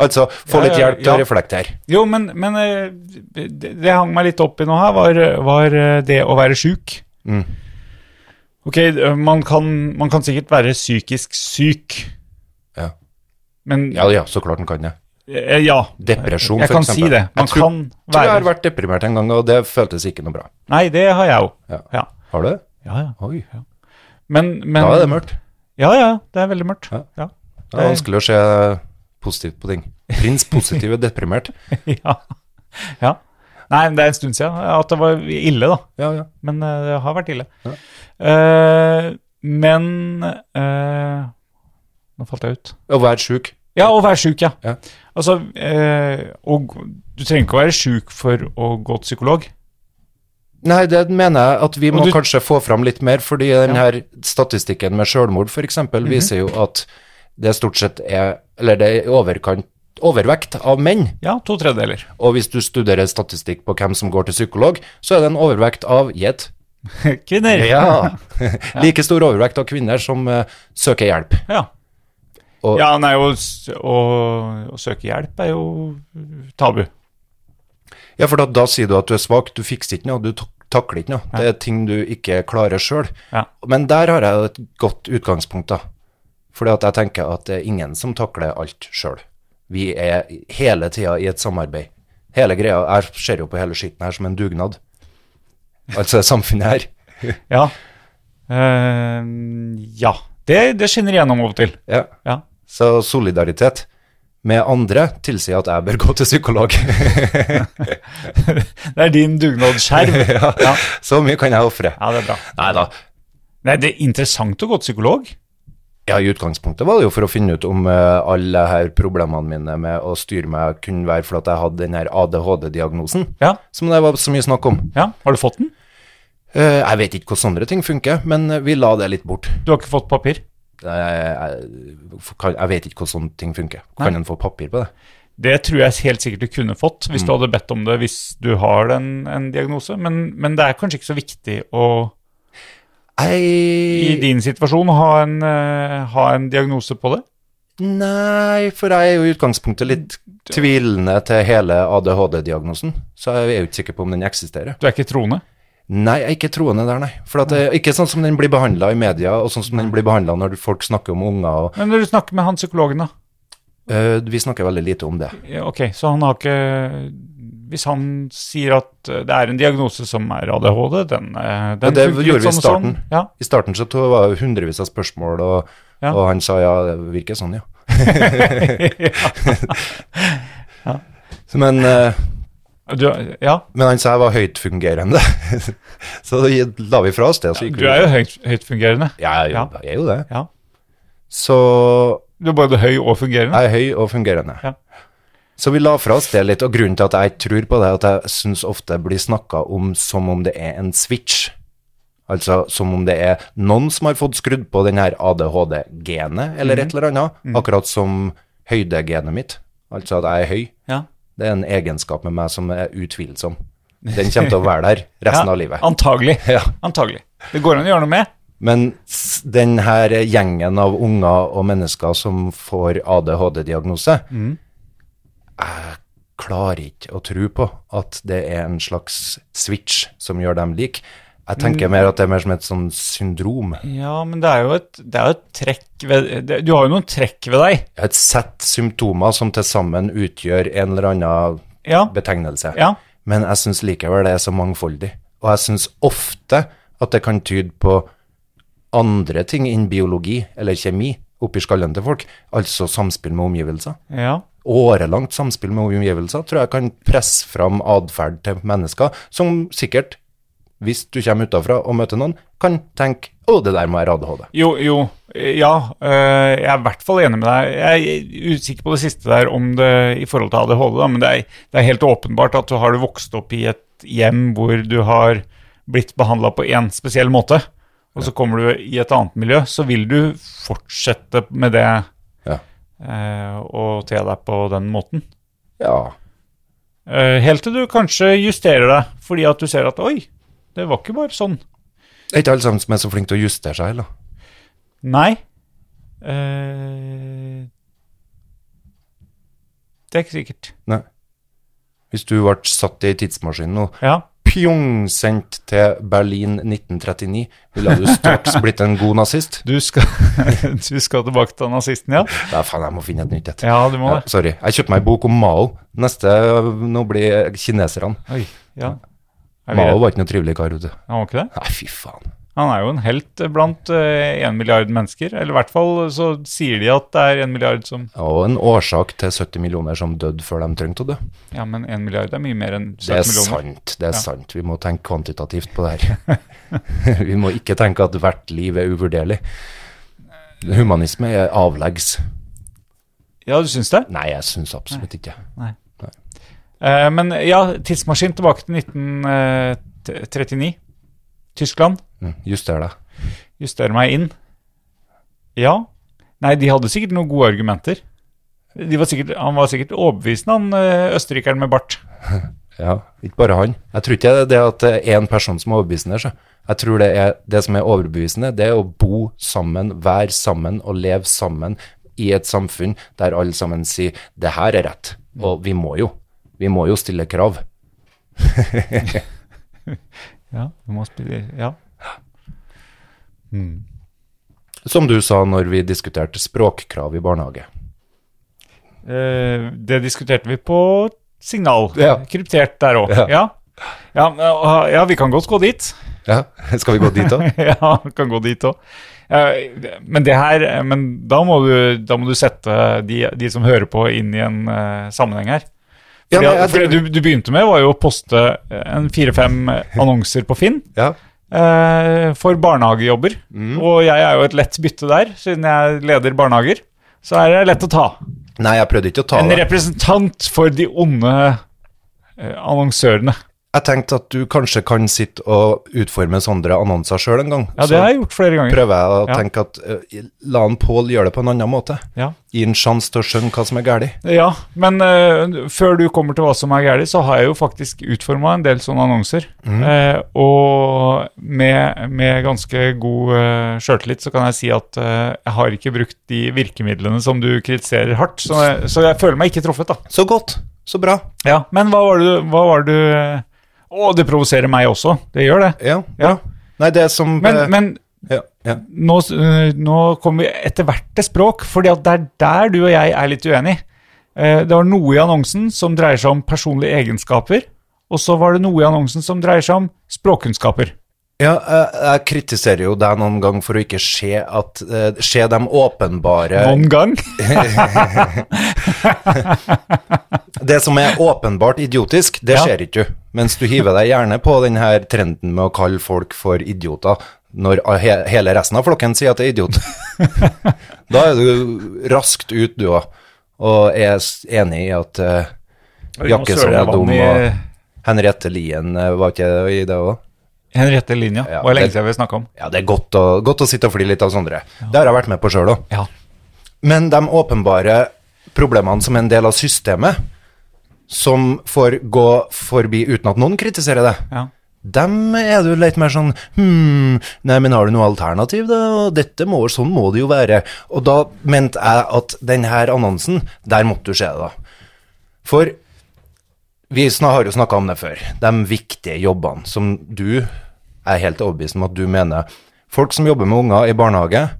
Altså få
Ja,
litt
ja,
hjelp til å
ja.
reflektere.
Jo, men, men eh, det, det hang meg litt opp i nå her, var, var eh, det å være sjuk.
Mm.
Ok, eh, man kan, man kan sikkert være psykisk syk,
Ja.
men
ja ja, så klart den kan det.
eh, ja.
Depresjon,
Jeg
for
kan
eksempel.
si det. Man
jeg tror,
kan
tror jeg har
være
vært deprimert en gang, og det føltes ikke noe bra.
Nei, det har jeg òg.
Ja.
Ja.
Har du det?
Ja, ja.
Oi.
Men, men
Da er det mørkt.
Ja, ja. Det er veldig mørkt.
Ja.
Ja.
Det er vanskelig å se positivt på ting. Prins positiv er deprimert.
*laughs* ja. ja. Nei, men det er en stund siden at det var ille, da.
Ja, ja.
Men eh, det har vært ille.
Ja.
Eh, men eh, Nå falt jeg ut.
Å være sjuk.
Ja, å være sjuk, ja.
Ja.
Altså, eh, og, du trenger ikke å være sjuk for å gå til psykolog.
Nei, det mener jeg at vi må
Og du-
kanskje få fram litt mer, fordi den
Ja. Mhm.
her statistikken med selvmord for eksempel viser jo at det stort sett er, eller det er i overkant, overvekt av menn,
Ja, to tredjedeler.
og hvis du studerer statistikk på hvem som går til psykolog, så er det en overvekt av gjett.
Kvinner.
Ja, *laughs* like stor overvekt av kvinner som eh, søker hjelp.
Ja.
Og-
ja, nei, å, s- å, å søke hjelp er jo tabu.
Ja, for da, da sier du at du er svak, du fikser ikke noe, du tak- takler ikke noe. Det er ting du ikke klarer sjøl.
Ja.
Men der har jeg jo et godt utgangspunkt, da. Fordi at jeg tenker at det er ingen som takler alt sjøl. Vi er hele tida i et samarbeid. Hele greia, Jeg ser jo på hele skitten her som en dugnad. Altså samfunnet her.
Ja. Eh, ja. Det, det skinner igjennom av og til.
Ja.
Ja.
Så solidaritet med andre tilsier at jeg bør gå til psykolog. *laughs*
*laughs* Det er din dugnadsskjerm. ja.
*laughs* Så mye kan jeg ofre.
ja, det er bra.
Nei da.
Nei, det er interessant å gå til psykolog.
Ja, i utgangspunktet var det jo for å finne ut om eh, alle her problemene mine med å styre meg kunne være for at jeg hadde den her ADHD-diagnosen,
Ja.
som det var så mye snakk om.
ja. Har du fått den?
Eh, jeg vet ikke hvordan sånne ting funker, men eh, vi la det litt bort.
Du har ikke fått papir?
Eh, jeg, kan- jeg vet ikke hvordan sånne ting funker. Kan en få papir på det?
Det tror jeg helt sikkert du kunne fått
Mm.
hvis du hadde bedt om det hvis du har en, en diagnose, men, men det er kanskje ikke så viktig å i
Jeg,
din situasjon ha en, eh, ha en diagnose på det.
nei, for jeg er jo i utgangspunktet litt tvilende til hele ADHD-diagnosen, så jeg er jo ikke sikker på om den eksisterer.
Du er ikke troende.
Nei, jeg er ikke troende der, nei. For at det, ikke sånn som den blir behandla i media, og sånn som den blir behandla når folk snakker om unger. Og,
Men når du snakker med han psykologen, da.
øh, vi snakker veldig lite om det.
Ja, ok, så han har ikke Hvis han sier at eh, det er en diagnose som er ADHD, den, eh, den
det
funker litt
gjorde vi i
sånn og sånn.
starten.
Ja.
I starten så tror jeg det var hundrevis av spørsmål, og,
Ja.
og han sa ja, det virker sånn, ja. Så, Men, øh,
Du, *laughs* ja,
men han sa jeg var høytfungerende, *laughs* så da gi- la vi fra oss det. og Så gikk
du er jo høyt, høytfungerende.
Ja, jeg er jo,
Ja.
jeg er jo det.
Ja.
Så
Du er både høy og fungerende.
jeg er høy og fungerende.
Mm. Ja.
Så vi la fra oss det litt, og grunnen til at jeg tror på det, er at jeg syns ofte blir snakka om som om det er en switch. Altså som om det er noen som har fått skrudd på den her ADHD-genet, eller et eller annet. Akkurat som høydegenet mitt. Altså at jeg er høy.
Ja.
Det er en egenskap med meg som er utvilsom. Den kommer til å være der resten av livet.
Antagelig.
Ja.
Antagelig. Det går an å gjøre noe med.
Men s- den her gjengen av unger og mennesker som får ADHD-diagnose, jeg klarer ikke å tro på at det er en slags switch som gjør dem like. Jeg tenker mer at det er mer som et sånn syndrom.
Ja, men det er jo et, det er jo et trekk ved det, Du har jo noen trekk ved deg.
Et sett symptomer som til sammen utgjør en eller annen
Ja.
betegnelse.
Ja.
Men jeg syns likevel det er så mangfoldig. Og jeg syns ofte at det kan tyde på andre ting enn biologi eller kjemi oppi skallen til folk, altså samspill med omgivelser.
ja.
Årelangt samspill med omgivelser tror jeg kan presse fram atferd til mennesker som sikkert, hvis du kommer utafra og møter noen, kan tenke 'Å, det der må være ADHD'.
Jo, jo. eh, Ja. øh, jeg er i hvert fall enig med deg. Jeg er usikker på det siste der om det i forhold til ADHD, da, men det er, det er helt åpenbart at du har du vokst opp i et hjem hvor du har blitt behandla på én spesiell måte, og så kommer du i et annet miljø, så vil du fortsette med det
Ja.
øh, og te deg på den måten.
ja.
Eh, Helt til du kanskje justerer deg, fordi at du ser at oi, det var ikke bare sånn.
Det er ikke alle sammen som er så flinke til å justere seg heller.
Nei. Eh, det er ikke sikkert.
Nei. Hvis du ble satt i tidsmaskinen nå,
Ja.
pjong sendt til Berlin 1939, ville du straks blitt en god nazist?
Du skal, *laughs* du skal tilbake til nazisten, ja?
Nei, faen, jeg må finne et nytt et.
Ja, du må
Ja,
det.
sorry. Jeg kjøpte meg en bok om Mao. Neste nå blir kineserne.
Oi, ja. Er vi
Mao
redd?
var ikke noe trivelig kar, vet du.
Han var ikke det?
Nei, fy faen.
Han er jo en helt blant én milliard mennesker. Eller i hvert fall så sier de at det er én milliard som
Og en årsak til 70 millioner som døde før de trengte å dø.
Ja, men én milliard er mye mer enn 70
Det er
millioner.
sant. Det er sant. Vi må tenke kvantitativt på det her. *laughs* Vi må ikke tenke at hvert liv er uvurderlig. Humanisme er avleggs.
Ja, du syns det?
Nei, jeg syns absolutt ikke.
Eh, men ja, tidsmaskin tilbake til 1939. Tyskland.
Mm, Juster deg.
Justere meg inn. Ja. Nei, de hadde sikkert noen gode argumenter. De var sikkert, han var sikkert overbevisende, han eh, østerrikeren med bart.
Ja, ikke bare han. Jeg tror ikke det er det at det er én person som er overbevisende. Så. Jeg tror det er det som er overbevisende, det er å bo sammen, være sammen og leve sammen i et samfunn der alle sammen sier 'det her er rett', og vi må jo. Vi må jo stille krav.
Ja, du må spille Ja. Mm.
Som du sa når vi diskuterte språkkrav i barnehage.
Eh, det diskuterte vi på signal.
Ja.
Kryptert der òg.
Ja.
Ja. Ja, men, eh, ja, vi kan godt gå dit. *laughs*
Ja, *laughs* Skal vi gå dit, da?
ja, vi kan gå dit òg. men det her eh, Men da må du, da må du sette de, de som hører på, inn i en eh, sammenheng her.
Ja,
Fordi,
nei, jeg
fordi
tror-
eh, du, du begynte med var jo å poste en fire-fem eh, annonser på Finn,
ja.
eh, for barnehagejobber.
Mm.
Og jeg er jo et lett bytte der, siden jeg leder barnehager. Så er det lett å ta.
Nei, jeg prøvde ikke å ta
En
det.
representant for de onde eh, annonsørene.
Jeg tenkte at du kanskje kan sitte og utforme sånne annonser sjøl en gang.
Ja, det har jeg gjort flere
Så
ganger.
prøver jeg å
Ja.
tenke at eh, la han Pål gjøre det på en annen måte.
Ja.
Gi en sjanse til å skjønne hva som er galt.
ja, men eh, før du kommer til hva som er galt, så har jeg jo faktisk utforma en del sånne annonser. Eh, og med, med ganske god uh, sjøltillit så kan jeg si at eh, jeg har ikke brukt de virkemidlene som du kritiserer hardt, så jeg, så jeg føler meg ikke truffet, da.
Så godt. Så bra.
Ja, Men hva var det du hva var det du, eh, Å, det provoserer meg også. Det gjør det.
Ja.
Ja.
Nei, det er som
Men,
eh,
men
ja, ja.
nå, s- øh, nå kommer vi etter hvert til språk, fordi at det er der du og jeg er litt uenige. Eh, Det var noe i annonsen som dreier seg om personlige egenskaper, og så var det noe i annonsen som dreier seg om språkkunnskaper.
Ja, jeg, jeg kritiserer jo deg noen gang for å ikke se at eh, Se de åpenbare
Noen
*laughs*
gang.
Det som er åpenbart idiotisk, det
Ja.
skjer ikke du. Mens du hiver deg gjerne på den her trenden med å kalle folk for idioter når he hele resten av flokken sier at det er idiot. da er du raskt ut, du òg, og er s- enig i at eh, Jakkesson er dum, og Henriette Lien eh, var ikke det i det òg?
Henriette Linja,
Ja,
var det lenge
det-
siden vi snakka om.
Ja, det er godt å, godt å sitte og fly litt av Sondre. Det har jeg vært med på sjøl òg.
Ja.
Men de åpenbare problemene som er en del av systemet, som får gå forbi uten at noen kritiserer det,
Ja.
dem er du litt mer sånn Hm, nei, men har du noe alternativ, da? Og Dette må, sånn må det jo være. Og da mente jeg at denne annonsen, der måtte du se det, da. For vi sna- har jo snakka om det før. De viktige jobbene som du jeg er helt overbevist om at du mener. Folk som jobber med unger i barnehage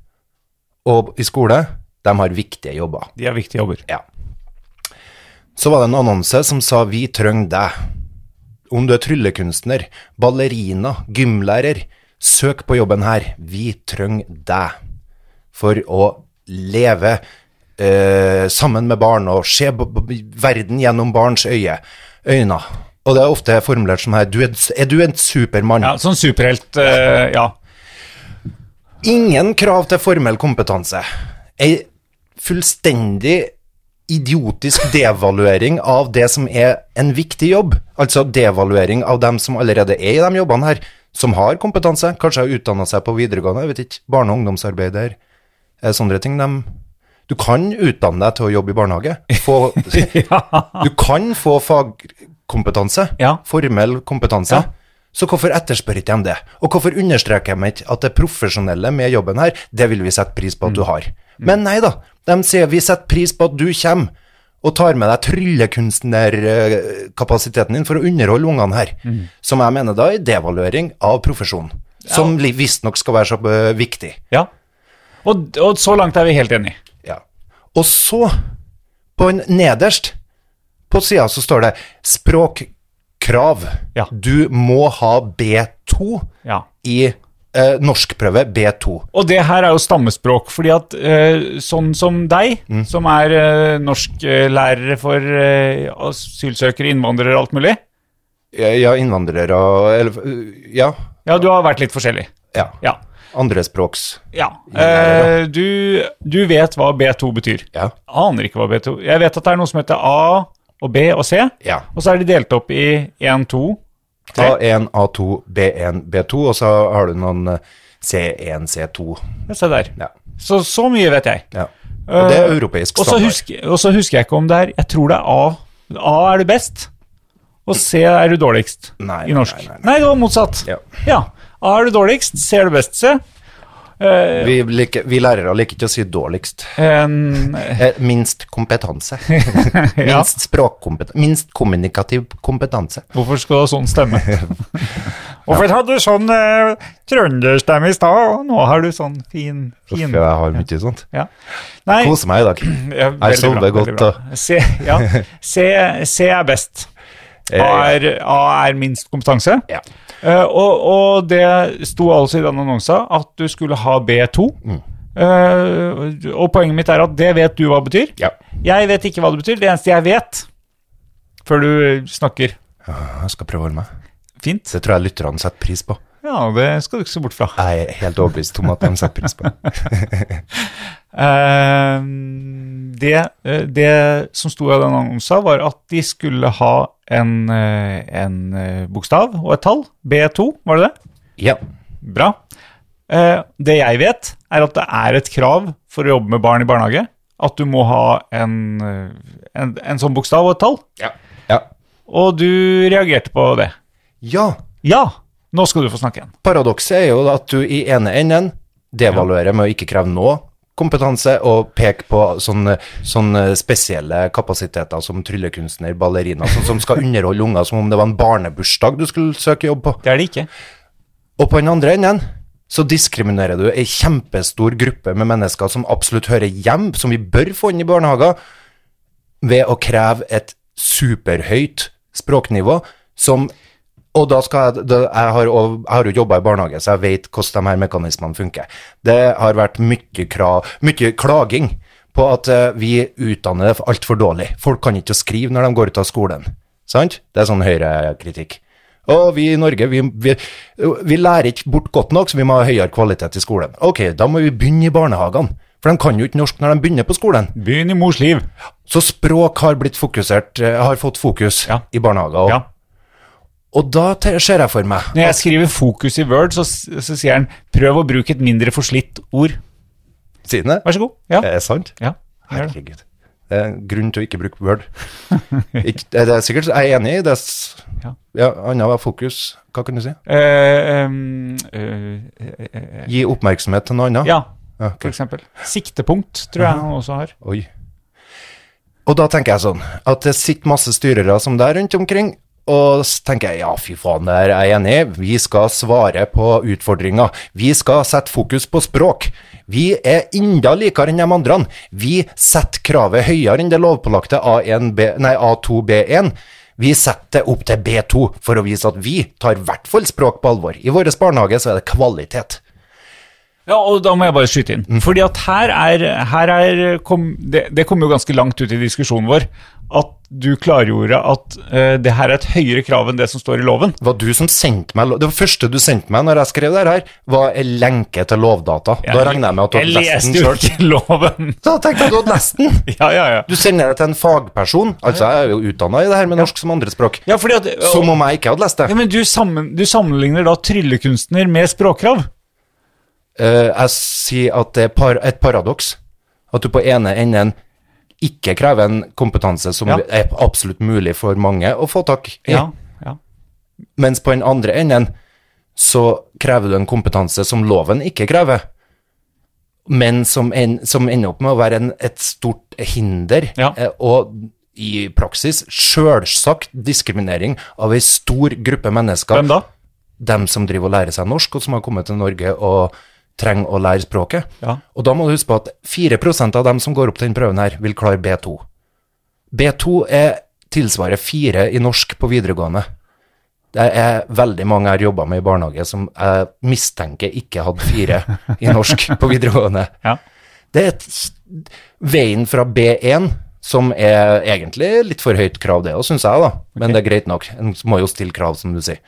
og i skole, de har viktige jobber.
De er viktige jobber.
Ja. Så var det en annonse som sa 'Vi trenger deg'. Om du er tryllekunstner, ballerina, gymlærer, søk på jobben her. Vi trenger deg for å leve eh, sammen med barn og se b b verden gjennom barns øye. øyne. Og det er ofte formulert som her 'Du er, er du en supermann'?
Ja, Sånn superhelt, eh, ja.
Ingen krav til formell kompetanse. Ei fullstendig idiotisk devaluering av det som er en viktig jobb. Altså devaluering av dem som allerede er i de jobbene her, som har kompetanse. Kanskje har utdanna seg på videregående, jeg vet ikke. Barne- og ungdomsarbeider. eh, Sånne ting. dem- du kan utdanne deg til å jobbe i barnehage. Få, Du kan få fagkompetanse.
Ja.
Formell kompetanse. Så hvorfor etterspør ikke de det? Og hvorfor understreker de ikke at det profesjonelle med jobben her, det vil vi sette pris på at du har? Men nei da, de sier vi setter pris på at du kommer og tar med deg tryllekunstnerkapasiteten din for å underholde ungene her. Som jeg mener da er devaluering av profesjonen, som li- visstnok skal være så eh, viktig.
ja. Og, og så langt er vi helt enige.
Ja. Og så, på en nederst, på sida så står det språkkrav.
Ja.
Du må ha B2
Ja.
i eh, norskprøve B2.
Og det her er jo stammespråk, fordi at eh, sånn som deg, som er eh, norsklærere for eh, asylsøkere, innvandrere og alt mulig
Ja, innvandrere og eller, øh, Ja.
Ja, du har vært litt forskjellig.
ja.
Ja.
Andrespråks.
ja.
Innvandrere.
Eh, du, du vet hva B2 betyr.
Ja.
Aner ikke hva B2 Jeg vet at det er noe som heter A og B og C,
ja.
og så er de delt opp i 1, 2
A1, A2, B1, B2, og så har du noen eh, C1, C2.
Ja, Se der.
Ja.
Så så mye vet jeg.
ja. Og det er
Eh,
europeisk
Og så
standard.
husker, og så husker jeg ikke om det er Jeg tror det er A. A er du best, og C er du dårligst
Nei,
i norsk.
nei,
Nei,
nei, nei.
det var motsatt.
Ja.
A er du dårligst, C er du best, C.
Vi, liker, vi lærere liker ikke å si
*laughs*
dårligst. *laughs*
En,
Eh, Minst kompetanse.
ja.
Minst språkkompetanse. Minst kommunikativ kompetanse.
Hvorfor skal du ha sånn
*laughs*
stemme? Hvorfor hadde du sånn eh, trønderstemme i stad, og nå har du sånn fin, fin
Uff, jeg har mye sånt.
ja. Nei,
Koser meg i dag.
*clears throat* ja, veldig bra,
sover
veldig
godt,
bra.
da.
C, ja. C, C er best.
Eh,
A er, A er minst kompetanse.
ja.
Eh, og, og det sto altså i den annonsa at du skulle ha B2. Eh, og poenget mitt er at det vet du hva det betyr.
ja.
Jeg vet ikke hva det betyr. Det eneste jeg vet, før du snakker
Jeg skal prøve å holde meg.
fint
Det tror jeg lytterne setter pris på.
Ja, det skal du ikke se bort fra.
Jeg er helt overbevist om at de setter pris
*laughs*
på det.
Eh, det, eh, det som sto i den annonsen, var at de skulle ha en, eh, en eh, bokstav og et tall. B2, var det det?
Ja.
Bra. Eh, det jeg vet, er at det er et krav for å jobbe med barn i barnehage at du må ha en, eh, en, en sånn bokstav og et tall.
Ja. ja.
Og du reagerte på det.
Ja.
Ja, nå skal du få snakke igjen.
Paradokset er jo at du i ene enden devaluerer med å ikke kreve noe kompetanse og peke på sånne, sånne spesielle kapasiteter som tryllekunstner, ballerina, sånn som skal underholde unger som om det var en barnebursdag du skulle søke jobb på.
Det er det ikke.
Og på den andre enden så diskriminerer du ei kjempestor gruppe med mennesker som absolutt hører hjem, som vi bør få inn i barnehager, ved å kreve et superhøyt språknivå som Og da skal jeg da, Jeg har, og, jeg har jo jobba i barnehage, så jeg vet hvordan de her mekanismene funker. Det har vært mye, krav, mye klaging på at eh, vi utdanner altfor dårlig. Folk kan ikke skrive når de går ut av skolen. Sant? Det er sånn høyrekritikk. Og vi i Norge, vi, vi, vi lærer ikke bort godt nok, så vi må ha høyere kvalitet i skolen. Ok, da må vi begynne i barnehagene, for de kan jo ikke norsk når de begynner på skolen.
Begynn i mors liv.
Så språk har blitt fokusert, eh, har fått fokus
Ja.
i barnehager. Og,
Ja.
og da te- ser jeg for meg
Når jeg skriver fokus i Word, så, så sier han prøv å bruke et mindre forslitt ord.
Sine,
Vær så god. Eh. Ja.
er det sant?
ja. gjør det.
Herregud. Det er en grunn til å ikke bruke Word. Ikke, det er sikkert, jeg er enig i det. s-
Ja.
Ja, Annet var fokus. Hva kan du si?
Eh, em, eh, eh, eh,
Gi oppmerksomhet til noe annet.
ja,
Ok.
for eksempel. Siktepunkt tror jeg han også har.
Oi. Og da tenker jeg sånn, at det sitter masse styrere som det er rundt omkring, og så tenker jeg, ja fy faen, det her er jeg enig i, vi skal svare på utfordringer, vi skal sette fokus på språk, vi er enda likere enn de andre, vi setter kravet høyere enn det lovpålagte A1B, nei, A2B1, vi setter det opp til B2 for å vise at vi tar i hvert fall språk på alvor. I vår barnehage så er det kvalitet.
Ja, og da må jeg bare skyte inn.
Mm.
Fordi at her er, her er kom, det, det kom jo ganske langt ut i diskusjonen vår at du klargjorde at eh, det her er et høyere krav enn det som står i loven.
var du som sendte meg lo- Det første du sendte meg når jeg skrev det her, var en lenke til Lovdata. da regner jeg med at du
Jeg
hadde lest
leste
den
jo
sjøl.
ikke
*laughs*
loven!
Da tenkte jeg at du hadde lest den!
Ja, ja, ja.
Du sender det til en fagperson. Altså, jeg er jo utdanna i det her med norsk som andrespråk.
ja fordi at,
Som om jeg ikke hadde lest det.
Ja, men du, sammen, du sammenligner da tryllekunstner med språkkrav.
Eh, jeg sier at det er par, et paradoks at du på ene enden ikke krever en kompetanse som
Ja.
er absolutt mulig for mange å få tak i,
ja.
mens på den andre enden så krever du en kompetanse som loven ikke krever, men som, en, som ender opp med å være en, et stort hinder,
Ja.
eh, og i praksis selvsagt diskriminering av ei stor gruppe mennesker.
Hvem da?
Dem som driver og lærer seg norsk, og som har kommet til Norge og trenger å lære språket.
Ja.
Og da må du huske på at 4 av dem som går opp til den prøven her, vil klare B2. B2 er tilsvarer 4 i norsk på videregående. Det er veldig mange jeg har jobba med i barnehage som jeg mistenker ikke hadde 4 i norsk på videregående.
*laughs* Ja.
Det er et, veien fra B1, som er egentlig litt for høyt krav, det òg, syns jeg, da. Men det er greit nok. En må jo stille krav, som du sier.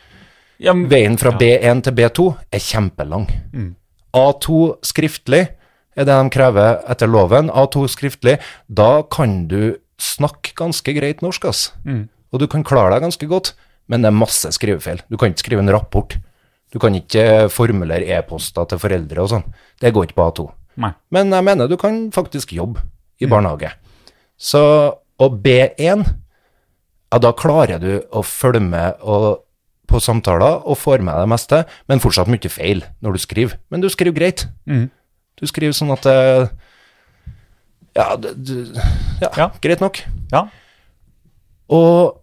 Ja, Mm. men,
Veien fra B1 til B2 er kjempelang. A2 skriftlig er det de krever etter loven. A2 skriftlig, da kan du snakke ganske greit norsk, ass.
Mm.
Og du kan klare deg ganske godt, men det er masse skrivefeil. Du kan ikke skrive en rapport. Du kan ikke eh, formulere e-poster til foreldre og sånn. Det går ikke på A2.
Nei. Mm.
Men jeg mener du kan faktisk jobbe i barnehage. Så, og B1 ja, da klarer du å følge med og, på samtaler og får med deg det meste, men fortsatt mye feil når du skriver. Men du skriver greit. Du skriver sånn at det ja, det- du, ja,
Ja.
greit nok.
ja.
Og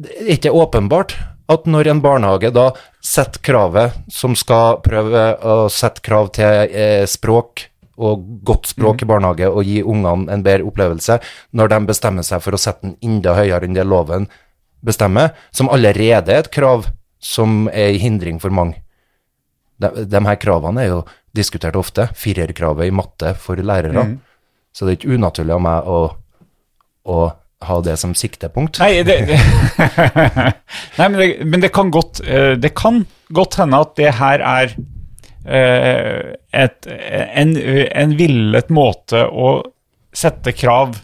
det er ikke åpenbart at når en barnehage da setter kravet som skal prøve å sette krav til eh, språk og godt språk i barnehage og gi ungene en bedre opplevelse, når de bestemmer seg for å sette den enda høyere enn det loven bestemmer, som allerede er et krav som er en hindring for mange. De, de her kravene er jo diskutert ofte. Firerkravet i matte for lærere. Så det er ikke unaturlig av meg å å ha det som siktepunkt.
Nei, det, det. *laughs* Nei men, det, men det kan godt eh, Det kan godt hende at det her er eh, et, en, en villet måte å sette krav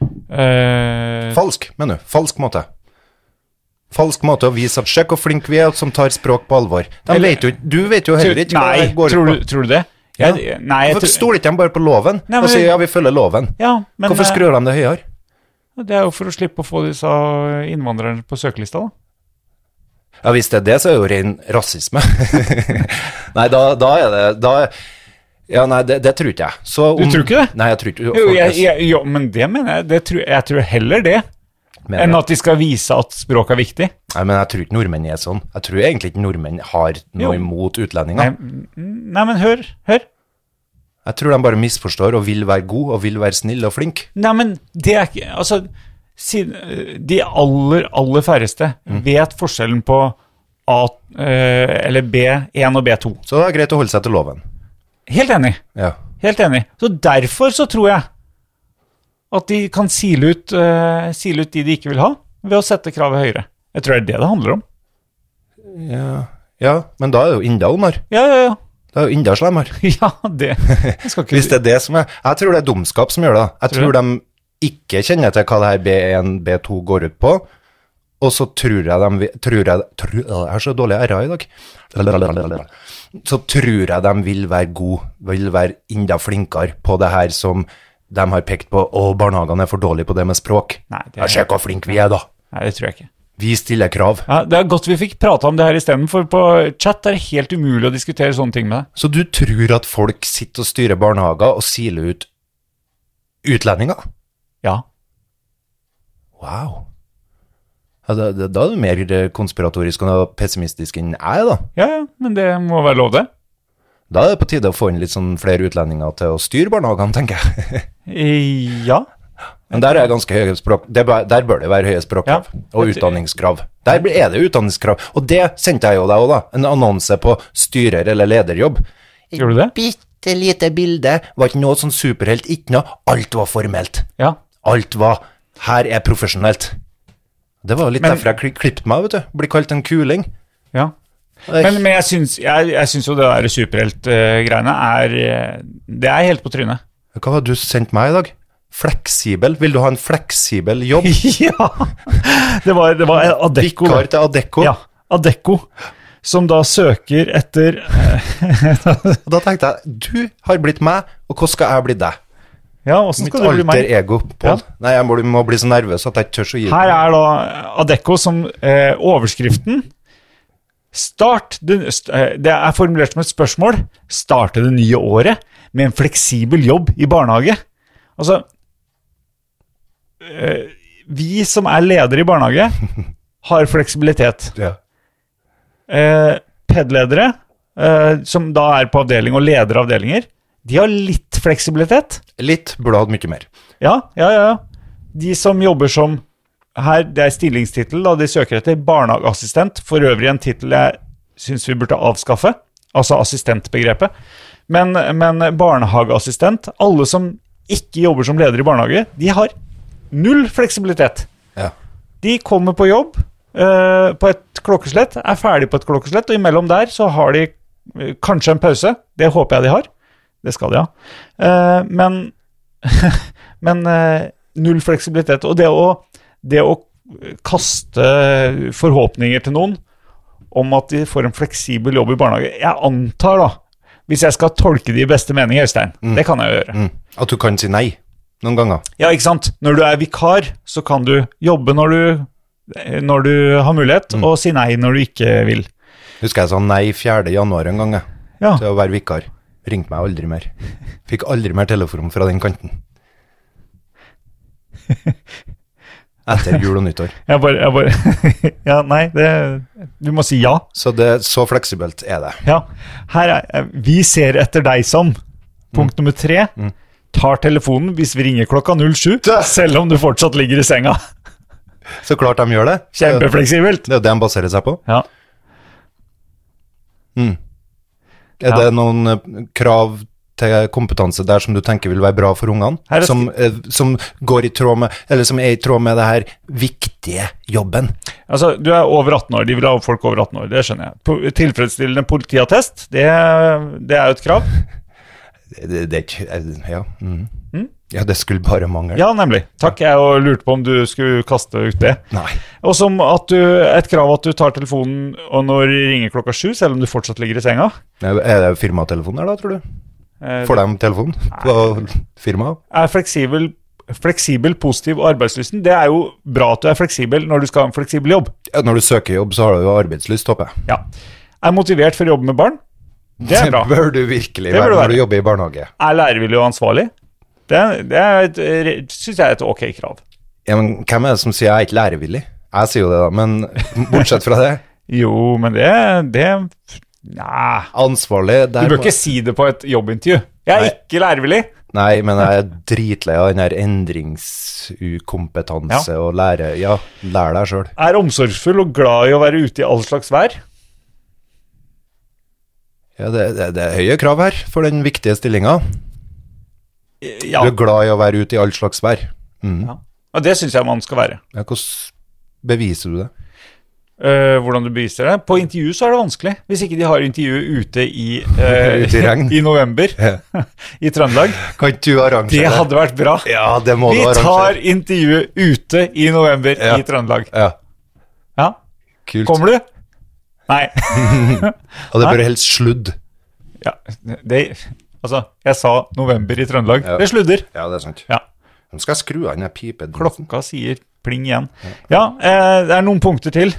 eh,
Falsk, mener du. Falsk måte. Falsk måte å vise at 'sjekk hvor flinke vi er', som tar språk på alvor. De
Eller-
vet jo, ikke- du vet jo heller ikke hva
Nei,
det går ut på.
tror du, tror du det? Jeg, Nei, jeg,
Hvorfor
tror-
stoler ikke de bare på loven
Nei,
og
men-
sier ja, vi følger loven?
ja, men,
Hvorfor skrur de det høyere?
eh, Det er jo for å slippe å få disse innvandrerne på søkelista, da.
Ja, Hvis det er det, så er det jo ren rasisme. *laughs* nei, da, da er det da, Ja, nei, det, det tror ikke jeg. Så om,
Du tror ikke det?
Nei, jeg tror ikke
Jo, jeg, jeg, jo, men det mener jeg. Det tror, jeg tror heller det
mener
enn
det.
at de skal vise at språk er viktig.
Nei, men jeg tror ikke nordmenn er sånn. Jeg tror egentlig ikke nordmenn har noe
Jo.
imot
Nei,
utlendinger.
nei, men hør. hør.
Jeg tror de bare misforstår og vil være god og vil være snill og flink.
Nei, men det er ikke Altså, siden, øh, de aller, aller færreste vet forskjellen på A øh, eller B1 og B2.
Så det er greit å holde seg til loven.
Helt enig.
Ja.
Helt enig. Så derfor så tror jeg at de kan sile ut, øh, sile ut de de ikke vil ha, ved å sette kravet høyere. Jeg tror det er det det handler om.
Ja, ja men da er det jo enda ondere.
Ja, ja, *laughs* ja.
Da er det jo enda slemmere.
Ja, det jeg skal ikke,
Hvis det er det som er Jeg tror det er dumskap som gjør det. Jeg
Tror
tror
du
de ikke kjenner til hva det her B1, B2 går ut på. Og så tror jeg de vi- tror jeg, tror, Jeg har så dårlig r-er i dag. Så tror jeg de vil være gode, vil være enda flinkere på det her som de har pekt på. Å, barnehagene er for dårlige på det med språk.
Nei, det er-
Ja, Sjekk hvor flinke vi er, da.
Nei, det tror jeg ikke.
Vi stiller krav.
Ja, det er godt vi fikk prata om det her isteden, for på chat er det helt umulig å diskutere sånne ting med deg.
Så du tror at folk sitter og styrer barnehager og siler ut utlendinger?
Ja.
Wow. Ja, da, da, da er du mer eh, konspiratorisk og pessimistisk enn jeg, da.
Ja, ja, men det må være lov, det.
Da er det på tide å få inn litt sånn flere utlendinger til å styre barnehagene, tenker jeg. *laughs*
Eh, Ja.
Men der er ganske høye språk... Der, bør- der bør det være høye språkkrav
Ja.
og utdanningskrav. Der blir- er det utdanningskrav. Og det sendte jeg jo deg òg, da. En annonse på styrer- eller lederjobb.
Gjorde du det?
Bitte lite bilde. Var ikke noe sånn superhelt, ikke noe. Alt var formelt.
Ja.
Alt var Her er profesjonelt. Det var litt
Men-
derfor jeg kli- klippet meg, vet du. Blir kalt en kuling.
ja.
Det er
Men, men jeg, syns, jeg, jeg syns jo det der superheltgreiene er eh, Det er helt på trynet.
Hva har du sendt meg i dag? Fleksibel? Vil du ha en fleksibel jobb?
*laughs* *laughs* ja! Det var, det var Adecco.
Vikar til Adecco?
Ja, Adecco. Som da søker etter eh,
Og da tenkte jeg, du har blitt meg, og hvordan skal jeg bli deg?
Ja, åssen
Mitt
skal det bli
alter
meg?
ego, Pål. Nei, jeg må, må bli så nervøs at jeg ikke tør å gi
Her er da Adecco som eh, overskriften. Start det, st- eh, det er formulert som et spørsmål. Starte det nye året med en fleksibel jobb i barnehage. Altså eh, Vi som er ledere i barnehage, har fleksibilitet.
Ja.
Eh, PED-ledere, eh, som da er på avdeling og leder avdelinger, de har litt fleksibilitet.
Litt burde hatt mye mer.
Ja, ja, ja. ja. De som jobber som her, det er stillingstittel, da de søker etter barnehageassistent. For øvrig en tittel jeg syns vi burde avskaffe, altså assistentbegrepet. Men, men barnehageassistent, alle som ikke jobber som leder i barnehage, de har null fleksibilitet.
Ja.
De kommer på jobb eh, på et klokkeslett, er ferdig på et klokkeslett, og imellom der så har de eh, kanskje en pause. Det håper jeg de har. Det skal de ha. Eh, men *laughs* men eh, null fleksibilitet. Og det å, det å kaste forhåpninger til noen om at de får en fleksibel jobb i barnehage Jeg antar, da, hvis jeg skal tolke det i beste mening, Øystein Det kan jeg jo gjøre.
Mm. At du kan si nei noen ganger.
Ja, ikke sant? Når du er vikar, så kan du jobbe når du, eh, når du har mulighet, og si nei når du ikke vil.
Husker jeg sa nei 4. januar en gang, jeg.
Ja.
*laughs* Til å være vikar. Ringte meg aldri mer. Fikk aldri mer telefon fra den kanten. Etter jul og nyttår.
Jeg bare, jeg bare *laughs* Ja, nei, det Du må si ja.
Så det, så fleksibelt er det.
Ja, her er eh, Vi ser etter deg som Punkt nummer tre Tar telefonen hvis vi ringer klokka 07
Det-
Selv om du fortsatt ligger i senga
Så klart de gjør det.
Kjempefleksibelt
Det er jo det de baserer seg på.
ja.
Er
Ja.
det noen eh, krav til kompetanse der som du tenker vil være bra for ungene,
Her er-
som, eh, som går i tråd med, eller som er i tråd med det her viktige jobben.
Altså, Du er over 18 år, de vil ha folk over 18 år, det skjønner jeg. Po tilfredsstillende politiattest, det, det er jo et krav.
Det, det, det er ikke eh, Ja. mhm. Ja, det skulle bare mangle.
Mm? Ja, nemlig. Takk, jeg og lurte på om du skulle kaste ut det.
Nei.
Og som at du, et krav at du tar telefonen og når det ringer klokka sju, selv om du fortsatt ligger i senga.
Er det firmatelefonen her, da, tror du?
Eh,
Får de telefon på firmaet?
er fleksibel, fleksibel, positiv og arbeidslysten. Det er jo bra at du er fleksibel når du skal ha en fleksibel jobb.
Ja, Når du søker jobb, så har du jo arbeidslyst, håper jeg.
Ja. Er motivert for å jobbe med barn. Det er bra.
*laughs* bør du virkelig
bør
være
du
når
være.
du jobber i barnehage.
Er lærevillig og ansvarlig. Det, det er et, eh, synes jeg er et ok krav.
Ja, men hvem er det som sier jeg er ikke lærevillig? Jeg sier jo det, da, men bortsett fra det
Jo, men det, det Nei.
Ansvarlig
Du
der
bør ikke si det på et jobbintervju. Jeg er
Nei.
ikke lærevillig.
Nei, men jeg er dritlei av den her endringsukompetanse og lære Ja, lær deg sjøl.
Er omsorgsfull og glad i å være ute i all slags vær.
Ja, det, det, det er høye krav her for den viktige stillinga.
Ja.
Du er glad i å være ute i all slags vær. Mm.
ja. Og det syns jeg man skal være.
Ja, hvordan beviser du det?
Eh, hvordan du beviser det. På intervju så er det vanskelig, hvis ikke de har intervju ute i, eh,
Ute i regn.
*laughs* i november i Trøndelag.
Kan ikke du
Det
arrangere
hadde vært bra.
Ja, det må
Vi
du
tar
arrangere.
intervjuet ute i november
Ja.
i Trøndelag.
Ja,
Ja.
kult.
Kommer du? Nei. *laughs*
Og det bør helst sludd.
Ja, det, altså, jeg sa november i Trøndelag.
Ja.
Det sludder.
Ja, det er sant.
Ja.
Nå skal jeg skru av den her pipen.
Klokka sier pling igjen. Ja, eh, det er noen punkter til.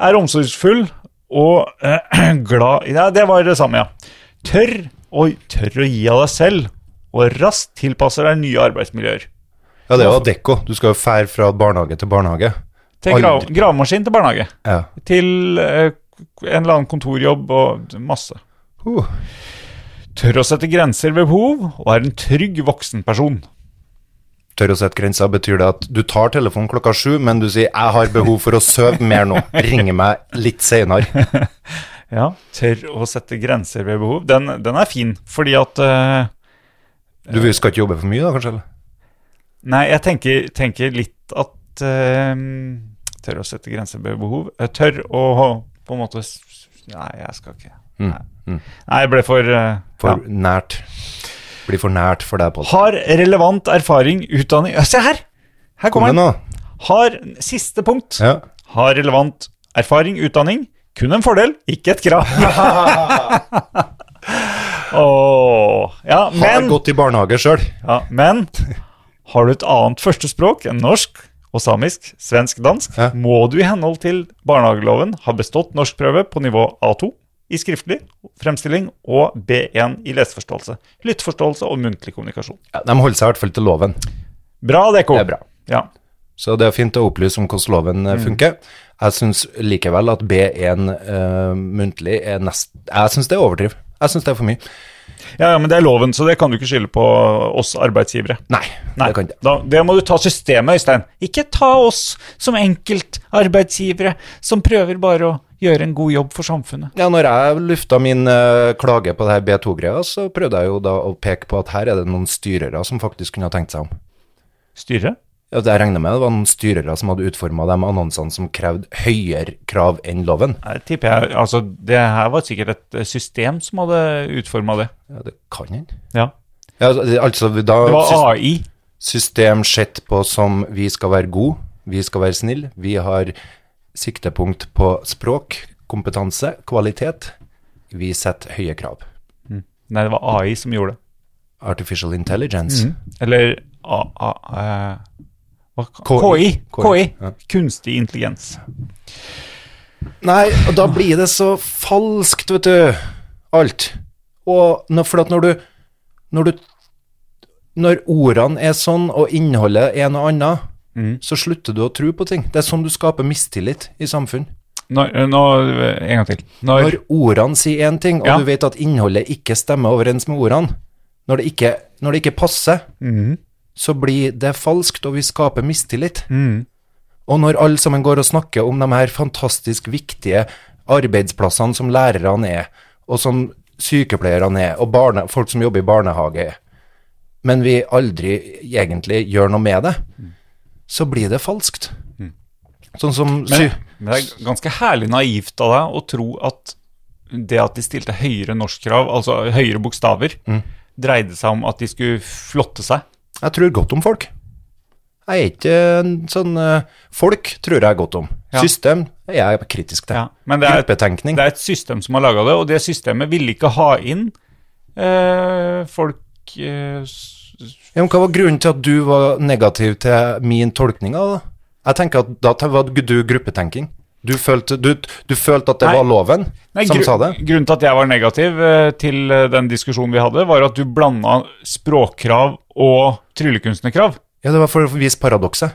Er omsorgsfull og eh, *clears throat* glad Ja, det var det samme, ja. Tør, og, tør å gi av deg selv, og raskt tilpasser deg nye arbeidsmiljøer.
Ja, det er jo Adecco. Du skal jo fære fra barnehage til barnehage.
Til gra
Aldri.
gravemaskin til barnehage.
Ja.
Til eh, en eller annen kontorjobb og masse.
Uh.
Tør å sette grenser ved behov, og er en trygg voksenperson.
Tør å sette grenser betyr det at du tar telefonen klokka sju, men du sier 'jeg har behov for å sove mer
*laughs*
nå', ringe meg litt seinere.
Ja, tør å sette grenser ved behov. Den, den er fin, fordi at eh,
Du skal ikke jobbe for mye da, kanskje? eller?
Nei, jeg tenker, tenker litt at eh, Tør å sette grenser ved behov. Jeg tør å på en måte s- s- Nei, jeg skal ikke. Nei, nei jeg ble for, eh,
Mm, For
ja.
nært. Blir for nært for deg, Pål.
Har relevant erfaring, utdanning Ja, Se her! Her kommer den.
nå.
Har, siste punkt.
Ja.
Har relevant erfaring, utdanning. Kun en fordel, ikke et
*laughs*
krav. Åh, ja,
Har
men
gått i barnehage sjøl.
Ja, men har du et annet førstespråk enn norsk og samisk, svensk, dansk,
Ja.
må du i henhold til barnehageloven ha bestått norskprøve på nivå A2 i skriftlig fremstilling og B1 i leseforståelse, lytteforståelse og muntlig kommunikasjon.
Ja, de holder seg i hvert fall til loven.
Bra, Deko.
Det er bra.
Ja.
Så det er fint å opplyse om hvordan loven
Mm.
eh, funker. Jeg syns likevel at B1 eh, muntlig er nest Jeg syns det er overdriv. Jeg syns det er for mye.
Ja, ja, men det er loven, så det kan du ikke skylde på oss arbeidsgivere.
Nei,
Nei,
det kan jeg.
da, det må du ta systemet, Øystein. Ikke ta oss som enkeltarbeidsgivere som prøver bare å gjøre en god jobb for samfunnet.
Ja, når jeg lufta min eh, klage på det her B2-greia, så prøvde jeg jo da å peke på at her er det noen styrere som faktisk kunne ha tenkt seg om.
Styre?
Ja, det jeg regner med det var noen styrere som hadde utforma de annonsene som krevde høyere krav enn loven.
Nei, tipper jeg, altså Det her var sikkert et eh, system som hadde utforma det.
Ja, det kan hende.
Ja.
Ja, altså, da
Det var
sys-
AI.
system sett på som vi skal være gode, vi skal være snille, vi har siktepunkt på språk, kompetanse, kvalitet. Vi setter høye krav.
Nei, det var AI som gjorde det.
Artificial intelligence.
Mm. Eller A... A, eh, hva ka- KI.
KI.
KI.
Ja.
Kunstig intelligens.
Nei, og da blir det så falskt, vet du. Alt. Og nå- for at når du Når du Når ordene er sånn, og innholdet er noe annet, så slutter du å tro på ting. Det er sånn du skaper mistillit i samfunn.
Når, eh, nå, eh, en gang til. Når,
Når ordene sier én ting, og
Ja.
du vet at innholdet ikke stemmer overens med ordene, når det ikke, når det ikke passer,
Mhm.
så blir det falskt, og vi skaper mistillit.
Mhm.
Og når alle sammen går og snakker om de her fantastisk viktige arbeidsplassene som lærerne er, og som sykepleierne er, og barne, folk som jobber i barnehage er, men vi aldri egentlig gjør noe med det,
Mm.
så blir det falskt. Sånn som sy
Men, men det er ganske herlig naivt av deg å tro at det at de stilte høyere norskkrav, altså høyere bokstaver, dreide seg om at de skulle flotte seg.
Jeg tror godt om folk. Jeg er ikke en sånn eh, Folk tror jeg godt om.
Ja.
System er jeg kritisk til.
Ja, men det er-
Gruppetenkning.
Det er et system som har laga det, og det systemet ville ikke ha inn eh, folk eh, s-
Ja, men hva var grunnen til at du var negativ til min tolkning av det? Jeg tenker at da te- var du gruppetenking. Du følte, du, du følte at det
Nei.
var loven som
gru-
sa det?
Grunnen til at jeg var negativ eh, til eh, den diskusjonen vi hadde, var at du blanda språkkrav og tryllekunstnerkrav.
Ja, det var for å vise paradokset.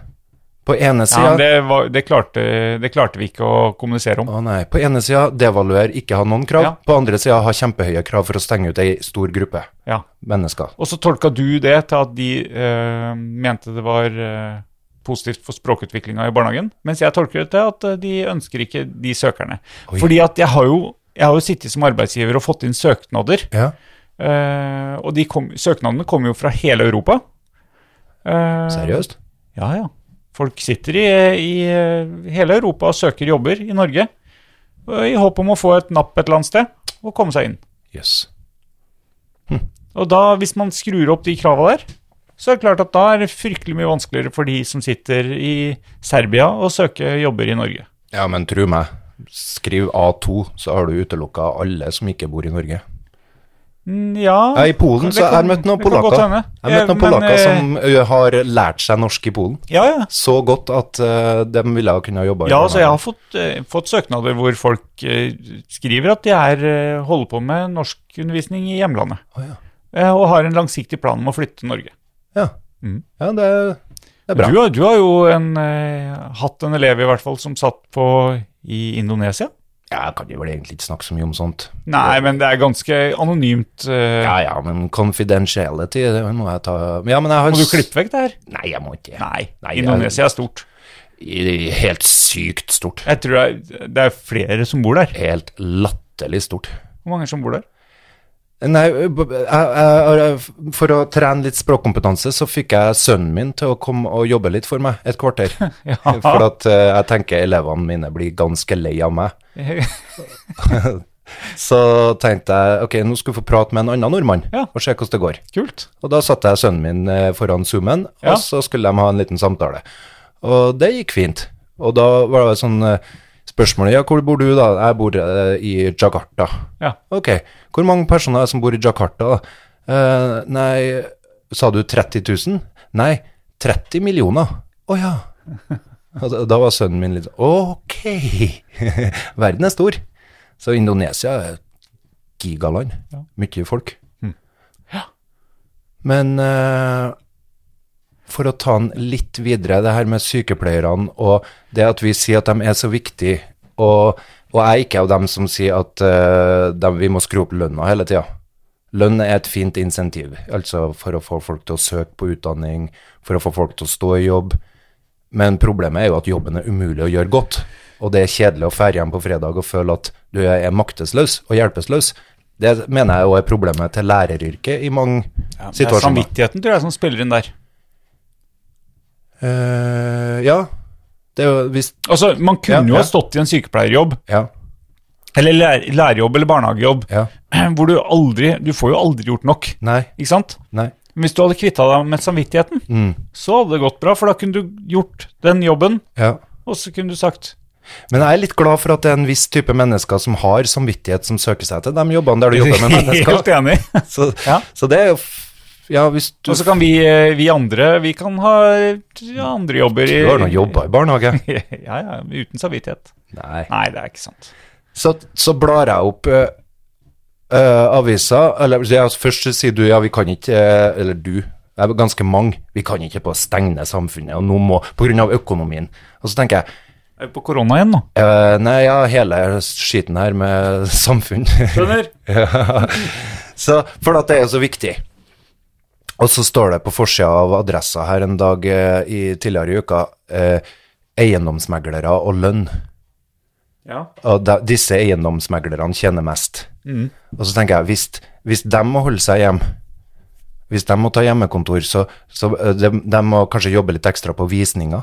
På ene
Ja, men
sida
det, var, det, klarte, det klarte vi ikke å kommunisere om.
Å nei. På ene sida devaluer, ikke ha noen krav.
Ja.
På andre sida ha kjempehøye krav for å stenge ut ei stor gruppe
Ja.
mennesker.
Og så tolka du det til at de eh, mente det var eh, positivt for språkutviklinga i barnehagen, mens jeg tolker det til at eh, de ønsker ikke de søkerne.
Oi.
Fordi at jeg har jo jeg har jo sittet som arbeidsgiver og fått inn søknader.
Ja.
eh, og de kom, søknadene kommer jo fra hele Europa. Eh,
Seriøst?
Ja, ja. Folk sitter i, i eh, hele Europa og søker jobber i Norge eh, i håp om å få et napp et eller annet sted og komme seg inn.
Jøss. Yes.
Og da, hvis man skrur opp de krava der, så er det klart at da er det fryktelig mye vanskeligere for de som sitter i Serbia og søker jobber i Norge.
Ja, men tro meg. Skriv A2, så har du utelukka alle som ikke bor i Norge.
Mm, Ja,
Ja, I Polen
Det
så har
kan-
jeg møtt noen
det kan godt
polakker. Jeg har møtt noen
hende. Eh, men,
polakker
eh,
som ø, har lært seg norsk i Polen.
ja, ja.
Så godt at ø, de ville ha kunnet jobbe i
ja altså, jeg
barnehage.
har fått, eh, fått søknader hvor folk eh, skriver at de er, eh, holder på med norskundervisning i hjemlandet.
Å, ja.
eh, Og har en langsiktig plan om å flytte til Norge.
Ja,
Mm.
ja det, det er bra.
Du, har- du har jo en, eh, hatt en elev i hvert fall som satt på i Indonesia.
Jeg kan jo vel egentlig ikke snakke så mye om sånt.
Nei, men det er ganske anonymt. eh,
Ja, ja, men confidentiality, det må jeg ta Ja, men jeg har
Må du klippe vekk det her?
Nei, jeg må ikke.
Nei,
Nei,
Indonesia er stort.
I- Helt sykt stort.
Jeg tror det er, det er flere som bor der.
Helt latterlig stort.
Hvor mange som bor der?
Nei, eh, b- b- jeg, jeg, jeg- for å trene litt språkkompetanse, så fikk jeg sønnen min til å komme og jobbe litt for meg et kvarter.
*laughs* Ja.
For at eh, jeg tenker elevene mine blir ganske lei av meg. Så tenkte jeg ok, nå skal vi få prate med en annen nordmann
Ja.
og se hvordan det går.
*laughs* Kult.
Og da satte jeg sønnen min eh, foran Zoomen,
Ja.
og så skulle de ha en liten samtale. Og det gikk fint. Og da var det sånn eh, spørsmål ja, hvor bor du da? Jeg bor eh, i Jakarta.
Ja.
Ok, hvor mange personer er det som bor i Jakarta da? Eh, nei, sa du 30 000? Nei, 30 millioner. Å ja. Og Da da var sønnen min litt ok, *laughs* verden er stor. Så Indonesia er et gigaland, mye folk. Men eh, for å ta den litt videre, det her med sykepleierne og det at vi sier at de er så viktige, og, og jeg er ikke av dem som sier at eh, de, vi må skru opp lønna hele tida. Lønn er et fint insentiv, altså for å få folk til å søke på utdanning, for å få folk til å stå i jobb. Men problemet er jo at jobben er umulig å gjøre godt. Og det er kjedelig å fære hjem på fredag og føle at du er maktesløs og hjelpeløs. Det mener jeg òg er problemet til læreryrket i mange
Det er
situasjoner.
samvittigheten tror jeg som spiller inn der.
Eh, ja. Det er jo hvis
Altså, Man kunne
Ja,
jo
ja.
ha stått i en sykepleierjobb,
Ja.
eller lær lærerjobb eller barnehagejobb,
ja.
*clears throat* hvor du aldri Du får jo aldri gjort nok,
Nei.
ikke sant?
Nei. Mm.
Men hvis du hadde kvitta deg med samvittigheten, så hadde det gått bra, for da kunne du gjort den jobben,
Ja.
og så kunne du sagt
Men jeg er litt glad for at det er en viss type mennesker som har samvittighet, som søker seg til de jobbene der du jobber *laughs* med
Helt
mennesker.
enig.
*laughs* Så,
Ja.
så det er jo f- Ja, hvis du
Og så kan vi, eh, vi andre Vi kan ha ja, andre jobber i
Du har nå jobba i barnehage.
*laughs*
*laughs*
Ja, ja, uten samvittighet.
Nei.
Nei, det er ikke sant.
Så, så blar jeg opp ø, ø, avisa, eller ja, altså, først så sier du ja, vi kan ikke, ø, eller du, det er ganske mange, vi kan ikke på å stenge samfunnet, og nå må, på grunn av økonomien. Og så tenker jeg,
Er vi på korona igjen nå?
ø, Eh, nei, ja, hele skiten her med *laughs* samfunn.
Skjønner.
Ja. så, for at det er så viktig. Og så står det på forsida av adressa her en dag eh, i tidligere i uka eh, eiendomsmeglere og lønn.
Ja.
og da, disse eiendomsmeglerne tjener mest. Og så tenker jeg, hvis, hvis de må holde seg hjem, hvis de må ta hjemmekontor, så, så ø, de, de må kanskje jobbe litt ekstra på visninger.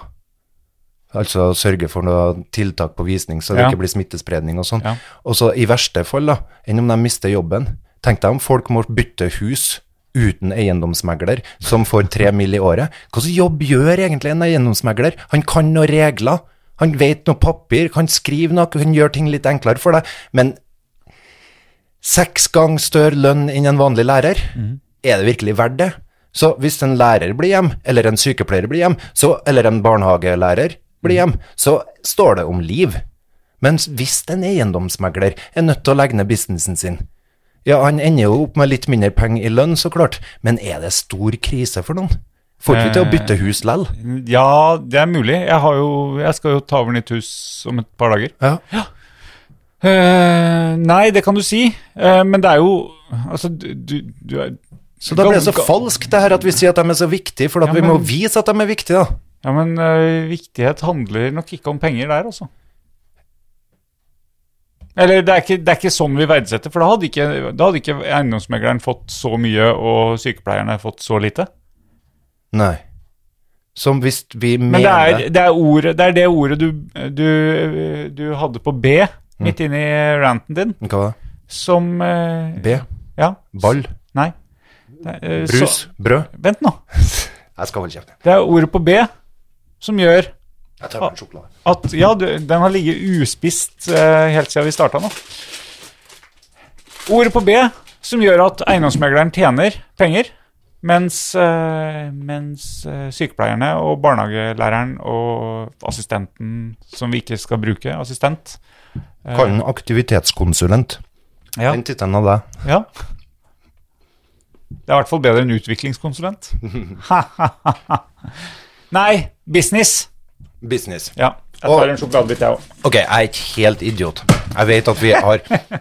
Altså sørge for noe tiltak på visning, så det
Ja.
ikke blir smittespredning og sånn.
Ja.
Og så i verste fall, da, enn om de mister jobben. Tenk deg om folk må bytte hus uten eiendomsmegler, som får tre mil i året. Hva slags jobb gjør egentlig en eiendomsmegler? Han kan noen regler, han vet noe papir, kan skrive noe, han gjør ting litt enklere for deg. Men seks ganger større lønn enn en vanlig lærer,
Mhm.
er det virkelig verdt det? Så hvis en lærer blir hjem, eller en sykepleier blir hjem, så, eller en barnehagelærer blir
Mhm.
hjem, så står det om liv. Men hvis en eiendomsmegler er nødt til å legge ned businessen sin, ja, han ender jo opp med litt mindre penger i lønn, så klart, men er det stor krise for noen? Får ikke vi til å bytte hus lell?
Ja, det er mulig. Jeg, har jo, jeg skal jo ta over nytt hus om et par dager.
Ja.
Eh, nei, det kan du si. Eh, men det er jo Altså, du, du, du er
Så da blir det så falskt det her at vi sier at de er så viktige, for at
Ja,
vi må
men-
vise at de er viktige, da.
Ja, men eh, viktighet handler nok ikke om penger der, altså. Eller det er, ikke, det er ikke sånn vi verdsetter, for da hadde ikke, da hadde ikke eiendomsmegleren fått så mye, og sykepleierne fått så lite.
Nei. Som hvis vi
Men det
mener
er det, er ordet, det, er det ordet du, du, du hadde på B,
Mm.
midt inni ranten din,
Hva da?
som eh,
B.
Ja.
Ball.
Nei. Det er, eh,
Brus.
Så,
Brød.
vent nå.
Jeg skal holde kjeft.
Det er ordet på B som gjør
Jeg
Ah.
tar meg en sjokolade.
at Ja, du, den har ligget uspist eh, helt siden vi starta nå. Ordet på B som gjør at eiendomsmegleren tjener penger, mens, eh, mens eh, sykepleierne og barnehagelæreren og assistenten, som vi ikke skal bruke, assistent
Kan aktivitetskonsulent.
Eh. Ja.
Den tittelen av deg.
ja. Det er i hvert fall bedre enn utviklingskonsulent. *laughs* Nei, business.
Business.
Ja. Jeg
Og-
tar en sjokoladebit, jeg òg.
Ok, jeg er ikke helt idiot. Jeg vet at vi har,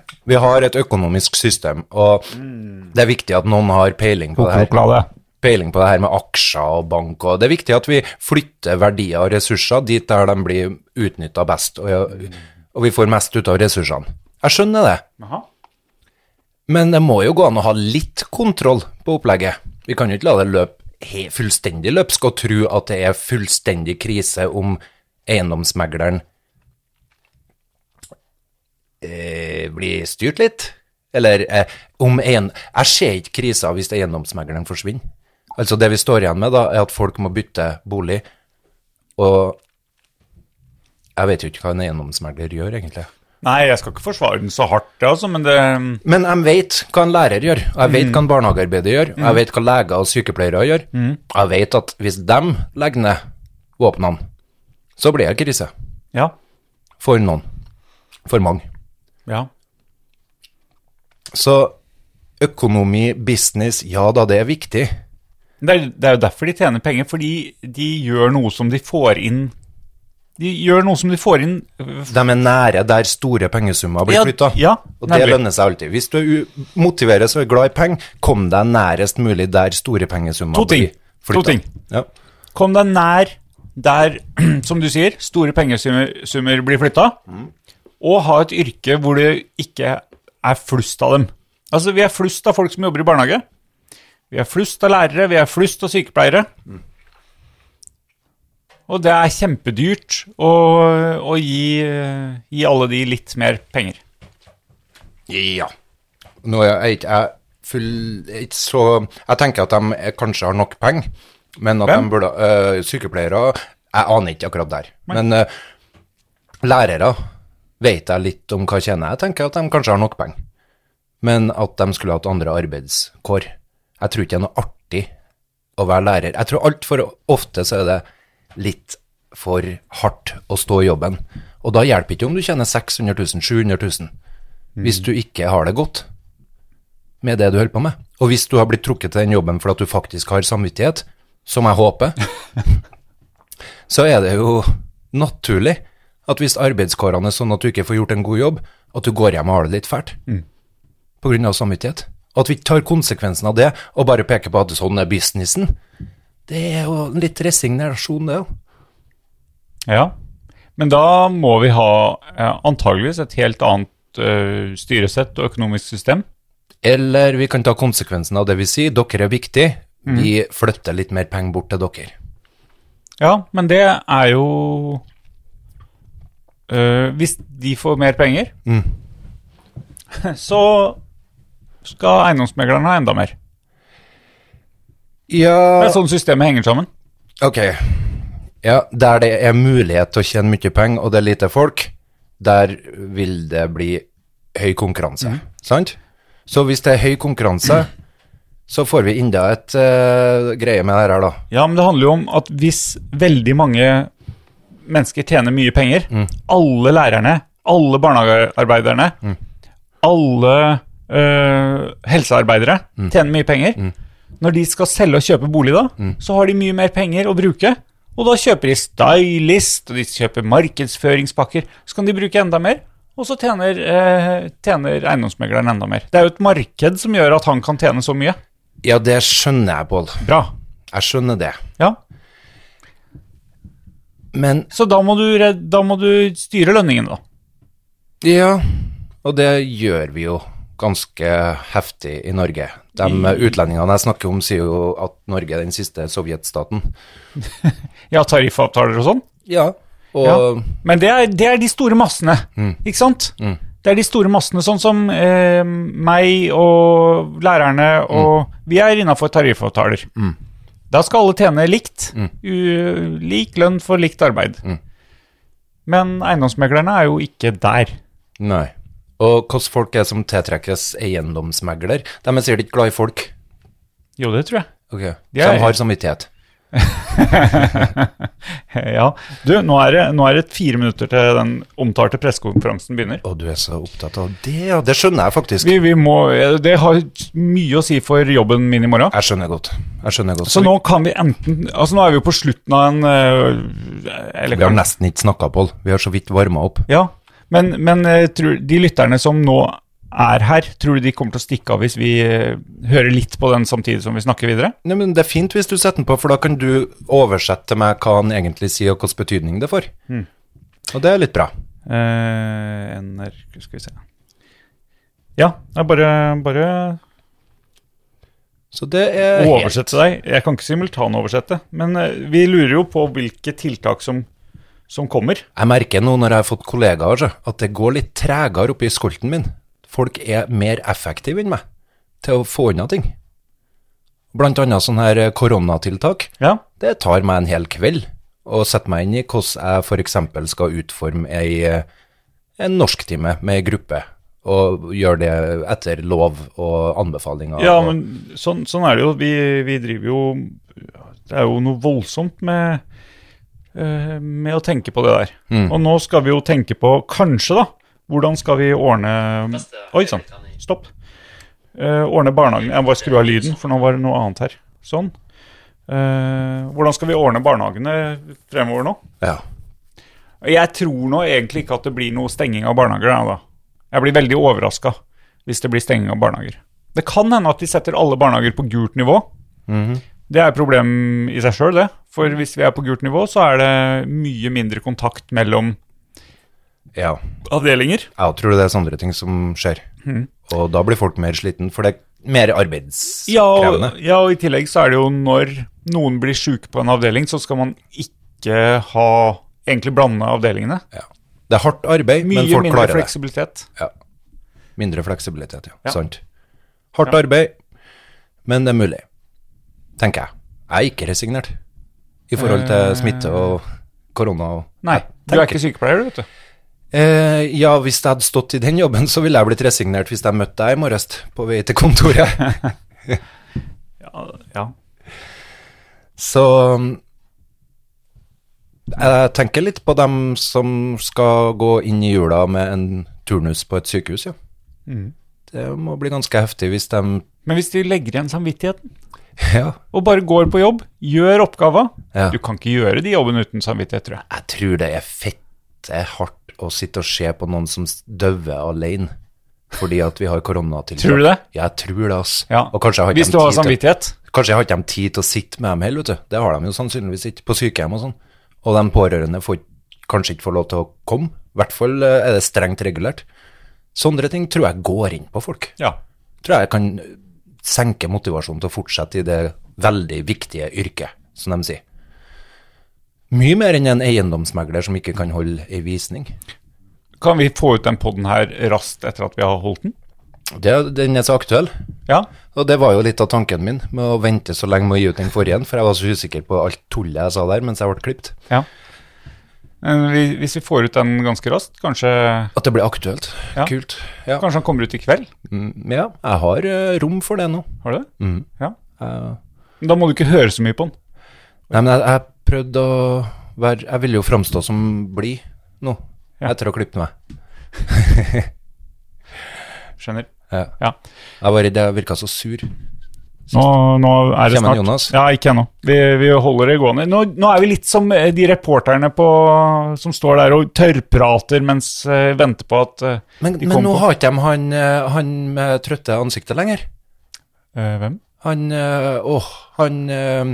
*laughs*
vi har et økonomisk system, og
Mm.
det er viktig at noen har peiling på det her.
Sjokolade.
Peiling på det her med aksjer og bank, og det er viktig at vi flytter verdier og ressurser dit der de blir utnytta best, og, og vi får mest ut av ressursene. Jeg skjønner det,
Aha.
men det må jo gå an å ha litt kontroll på opplegget. Vi kan jo ikke la det løpe he, fullstendig løpsk og tro at det er fullstendig krise om eiendomsmegleren eh, blir styrt litt. Eller eh, om en Jeg ser ikke krisa hvis eiendomsmegleren forsvinner. Altså Det vi står igjen med, da, er at folk må bytte bolig. Og jeg vet jo ikke hva en eiendomsmegler gjør, egentlig.
Nei, jeg skal ikke forsvare den så hardt, altså, men det
Men jeg vet hva en lærer gjør, og jeg vet hva en barnehagearbeider gjør, og jeg vet hva leger og sykepleiere gjør. Jeg vet at hvis de legger ned våpnene, så blir det krise.
Ja.
For noen. For mange.
ja.
Så økonomi, business, ja da, det er viktig.
Det, er, det er jo derfor de tjener penger, fordi de gjør noe som de får inn De gjør noe som de får inn øh,
De er nære der store pengesummer blir
Ja,
flytta.
ja,
og det
nemlig.
lønner seg alltid. Hvis du er u- motiveres og er glad i penger, kom deg nærest mulig der store pengesummer
To ting. To
flyttet.
ting.
Ja.
Kom deg nær der, *clears throat* som du sier, store pengesummer summer blir flytta, og ha et yrke hvor det ikke er flust av dem. Altså, vi er flust av folk som jobber i barnehage. Vi er flust av lærere, vi er flust av sykepleiere. Og det er kjempedyrt å, å gi, gi alle de litt mer penger.
Ja. Nå er jeg ikke jeg full ikke så Jeg tenker at de er- kanskje har nok penger, men at
Hvem?
de burde øh, Sykepleiere Jeg aner ikke akkurat der. Men øh, lærere vet jeg litt om hva tjener. Jeg tenker at de kanskje har nok penger, men at de skulle hatt andre arbeidskår. Jeg tror ikke det er noe artig å være lærer. Jeg tror altfor ofte så er det litt for hardt å stå i jobben. Og da hjelper ikke om du tjener 600 000, 700 000 hvis du ikke har det godt med det du holder på med. Og hvis du har blitt trukket til den jobben for at du faktisk har samvittighet, som jeg håper, så er det jo naturlig at hvis arbeidskårene er sånn at du ikke får gjort en god jobb, at du går hjem og har det litt fælt på grunn av samvittighet. Og at vi ikke tar konsekvensen av det og bare peker på at sånn er businessen. Det er jo litt resignasjon, det òg.
Ja. Men da må vi ha eh, antageligvis et helt annet eh, styresett og økonomisk system.
Eller vi kan ta konsekvensen av det vi sier. Dere er viktige. Vi flytter litt mer penger bort til dere.
Ja, men det er jo øh, Hvis de får mer penger,
Mm.
*laughs* så skal eiendomsmeglerne ha enda mer. Det
Ja
er sånn systemet henger sammen.
Ok. Ja, der det er mulighet til å tjene mye penger, og det er lite folk, der vil det bli høy konkurranse. Sant? Så hvis det er høy konkurranse, *clears throat* så får vi enda et eh, greie med det her, da.
Ja, men det handler jo om at hvis veldig mange mennesker tjener mye penger, alle lærerne, alle barnehagearbeiderne, alle øh, helsearbeidere tjener mye penger Når de skal selge og kjøpe bolig, da, så har de mye mer penger å bruke. Og da kjøper de stylist, og de kjøper markedsføringspakker. Så kan de bruke enda mer, og så tjener, øh, tjener eiendomsmegleren enda mer. Det er jo et marked som gjør at han kan tjene så mye.
Ja, det skjønner jeg, Pål.
Bra.
Jeg skjønner det.
Ja,
Men
Så da må du, red- da må du styre lønningene, da.
Ja, og det gjør vi jo ganske heftig i Norge. De utlendingene jeg snakker om, sier jo at Norge er den siste sovjetstaten.
Ja, tariffavtaler og sånn.
Ja, og
Ja. Men det er, det er de store massene, ikke sant? Det er de store massene, sånn som eh, meg og lærerne og Vi er innafor tariffavtaler. Da skal alle tjene likt. U lik lønn for likt arbeid. Men eiendomsmeglerne er jo ikke der.
Nei. Og hvordan folk er som tiltrekkes eiendomsmegler? De er sikkert ikke glad i folk.
Jo, det tror jeg. *laughs*
Ok,
De
Så
er-
de har samvittighet.
Ja. Du, nå er, det, nå er det fire minutter til den omtalte pressekonferansen begynner.
Og du er så opptatt av det, ja. Det skjønner jeg faktisk.
Vi, vi må, eh, det har mye å si for jobben min i morgen.
Jeg skjønner godt. Jeg skjønner godt.
Så nå kan vi enten Altså nå er vi jo på slutten av en øh, eller,
Vi har nesten ikke snakka, Pål. Vi har så vidt varma opp.
Ja, men, men øh, tror, de lytterne som nå er her, tror du de kommer til å stikke av hvis vi øh, hører litt på den samtidig som vi snakker videre?
Nei, men Det er fint hvis du setter den på, for da kan du oversette til meg hva han egentlig sier, og hvilken betydning det får.
Hmm.
Og det er litt bra.
Eh, NRK, skal vi se Ja, jeg bare, bare
Så det er
oversette deg. Jeg kan ikke simultanoversette, men øh, vi lurer jo på hvilke tiltak som, som kommer.
Jeg merker nå når jeg har fått kollegaer, så, at det går litt tregere oppi skolten min. Folk er mer effektive enn meg til å få unna ting. Blant annet sånne her eh, koronatiltak.
Ja.
Det tar meg en hel kveld å sette meg inn i hvordan jeg f.eks. skal utforme ei, eh, en norsktime med ei gruppe, og gjøre det etter lov og anbefalinger.
Ja,
og-
men sånn, sånn er det jo. Vi, vi driver jo Det er jo noe voldsomt med, eh, med å tenke på det der. Og nå skal vi jo tenke på, kanskje, da Hvordan skal vi ordne Oi sann, stopp. Eh, ordne barnehagen Jeg må bare skru av lyden, for nå var det noe annet her. Sånn. Eh, hvordan skal vi ordne barnehagene fremover nå?
ja.
Jeg tror nå egentlig ikke at det blir noe stenging av barnehager. da, da. Jeg blir veldig overraska hvis det blir stenging av barnehager. Det kan hende at vi setter alle barnehager på gult nivå.
Mhm.
Det er et problem i seg sjøl, det. For hvis vi er på gult nivå, så er det mye mindre kontakt mellom
ja.
avdelinger.
Jeg tror det er sånne ting som skjer.
Mm.
Og da blir folk mer sliten, for det er mer arbeidskrevende.
Ja og, ja, og i tillegg så er det jo når noen blir sjuke på en avdeling, så skal man ikke ha Egentlig blande avdelingene.
Ja. Det er hardt arbeid,
Mye
men folk
mindre
klarer det.
fleksibilitet.
Mindre fleksibilitet, ja.
Ja.
Sant. Hardt arbeid, men det er mulig. Tenker jeg. Jeg er ikke resignert i forhold til smitte og korona og
Eh, Nei, du er ikke sykepleier, du, vet du.
eh, Ja, hvis jeg hadde stått i den jobben, så ville jeg blitt resignert hvis jeg møtte deg i morges på vei til kontoret.
*laughs* Ja.
Så mm, jeg tenker litt på dem som skal gå inn i jula med en turnus på et sykehus, ja.
Mm.
Det må bli ganske heftig hvis de
Men hvis de legger igjen samvittigheten
Ja.
og bare går på jobb, gjør oppgava.
Ja.
Du kan ikke gjøre de jobbene uten samvittighet, tror jeg.
Jeg tror det er fette hardt å sitte og se på noen som døver alene fordi at vi har koronatiltak.
Tror du det?
Ja, jeg tror det, ass.
Ja.
Og kanskje jeg har ikke
Hvis
dem
du har
tid til-
samvittighet.
Kanskje jeg har ikke dem tid til å sitte med dem heller, vet du. Det har de jo sannsynligvis ikke på sykehjem og sånn. Og de pårørende får ikke kanskje ikke får lov til å komme. I hvert fall eh, er det strengt regulert. Sånne ting tror jeg går inn på folk.
Ja.
Tror jeg kan senke motivasjonen til å fortsette i det veldig viktige yrket, som de sier. Mye mer enn en eiendomsmegler som ikke kan holde ei visning.
Kan vi få ut den poden her raskt etter at vi har holdt den?
Det, den er så aktuell.
Ja.
Og det var jo litt av tanken min med å vente så lenge med å gi ut den forrige, for jeg var så usikker på alt tullet jeg sa der mens jeg ble klippet.
ja. Eh, vi- Hvis vi får ut den ganske raskt, kanskje,
At det ble aktuelt.
Ja.
Kult. Ja.
kanskje han kommer ut i kveld?
Mm, ja, jeg har eh, rom for det nå.
Har du det?
Mm.
Ja.
Jeg-
Men Da må du ikke høre så mye på den.
Nei, men jeg, jeg prøvde å være Jeg ville jo framstå som blid nå,
Ja.
etter å ha klippet meg.
Skjønner.
Ja.
Ja.
Jeg var redd jeg virka så sur.
Nå, nå er
Kommer
det snart.
Jonas?
Ja, ikke ennå. Vi, vi holder det gående. Nå, nå er vi litt som eh, de reporterne på, som står der og tørrprater mens eh, venter på at eh,
Men,
de
men nå
kommer på.
har ikke de han, eh, han med trøtte ansiktet lenger.
Eh, hvem?
Han eh, Åh, han eh,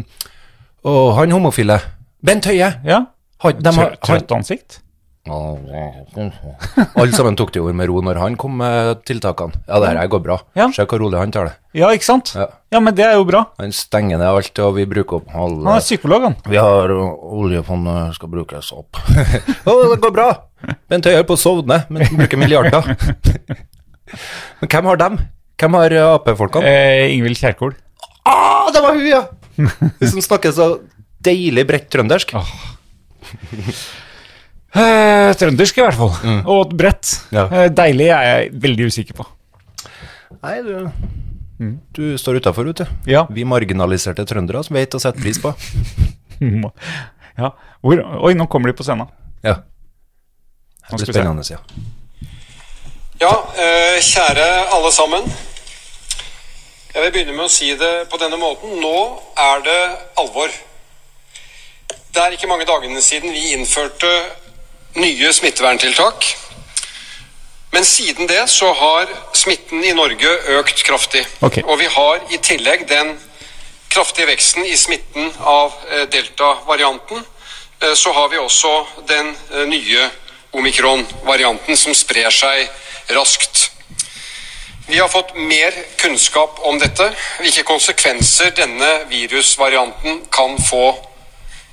Åh, han homofile. Bent Høie.
Ja.
Har- de har-
Trø- Trøtt ansikt?
Alle sammen tok det jo med ro når han kom med tiltakene. Ja, det her går bra.
Ja.
Se hvor rolig han tar det.
Ja, ikke sant?
Ja.
Ja, men det er jo bra.
Han stenger ned alt, og vi bruker opp
Han
halve
er psykolog, han.
Vi har oljefondet skal brukes opp. *laughs* Å, det går bra! Bent Høie er på å sovne, men han bruker
*laughs*
milliarder. men hvem har dem? Hvem har eh, Ap-folkene?
Eh, Ingvild Kjerkol.
Ah, det var hun, ja! Hun som snakker så deilig bredt trøndersk.
Eh, trøndersk, i hvert fall. Og bredt.
Ja.
Eh, deilig er jeg veldig usikker på. *laughs*
Nei, du Du står utafor, vet du.
Mm. Ja.
Vi marginaliserte trøndere som vet å sette pris på.
Mm. ja. Hvor, oi, nå kommer de på scenen.
Ja. Det blir
skal vi se.
spennende, ja.
Ja, eh, kjære alle sammen. Jeg vil begynne med å si det på denne måten. Nå er det alvor. Det er ikke mange dagene siden vi innførte nye smitteverntiltak. Men siden det så har smitten i Norge økt kraftig.
Ok.
Og vi har i tillegg den kraftige veksten i smitten av eh, delta-varianten. eh, Så har vi også den eh, nye omikron-varianten som sprer seg raskt. Vi har fått mer kunnskap om dette, hvilke konsekvenser denne virusvarianten kan få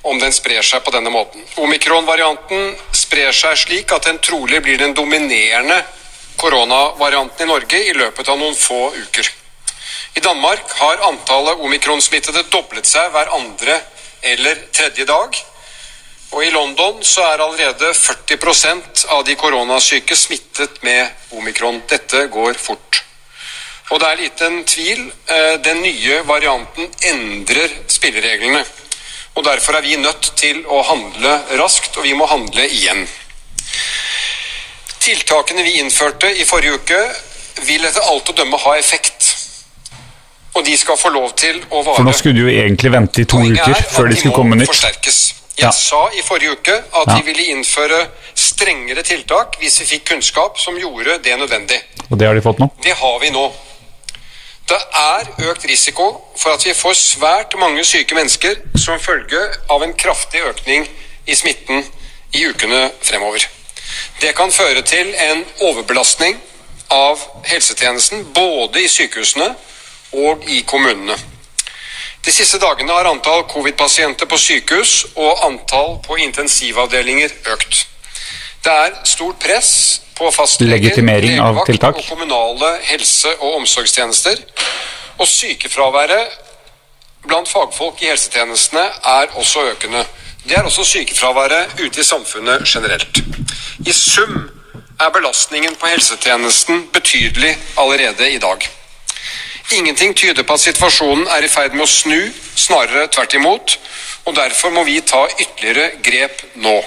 om den sprer seg på denne måten. Omikron-varianten sprer seg slik at den trolig blir den dominerende koronavarianten i Norge i løpet av noen få uker. I Danmark har antallet omikron-smittede doblet seg hver andre eller tredje dag. Og i London så er allerede 40 av de koronasyke smittet med omikron. Dette går fort. Og det er liten tvil. eh, Den nye varianten endrer spillereglene. Og derfor er vi nødt til å handle raskt, og vi må handle igjen. Tiltakene vi innførte i forrige uke, vil etter alt å dømme ha effekt. Og de skal få lov til å vare
For nå skulle de jo egentlig vente i to
Poenget er
uker
at
før de skulle
må
komme nytt.
Forsterkes. Jeg
Ja.
sa i forrige uke at
Ja.
vi ville innføre strengere tiltak hvis vi fikk kunnskap som gjorde det nødvendig.
Og det har de fått nå.
Det har vi nå. Det er økt risiko for at vi får svært mange syke mennesker som følge av en kraftig økning i smitten i ukene fremover. Det kan føre til en overbelastning av helsetjenesten både i sykehusene og i kommunene. De siste dagene har antall covid-pasienter på sykehus og antall på intensivavdelinger økt. Det er stort press på fastleger,
Legitimering av
legevakt
tiltak.
og kommunale helse- og omsorgstjenester. Og sykefraværet blant fagfolk i helsetjenestene er også økende. Det er også sykefraværet ute i samfunnet generelt. I sum er belastningen på helsetjenesten betydelig allerede i dag. Ingenting tyder på at situasjonen er i ferd med å snu, snarere tvert imot. Og derfor må vi ta ytterligere grep nå.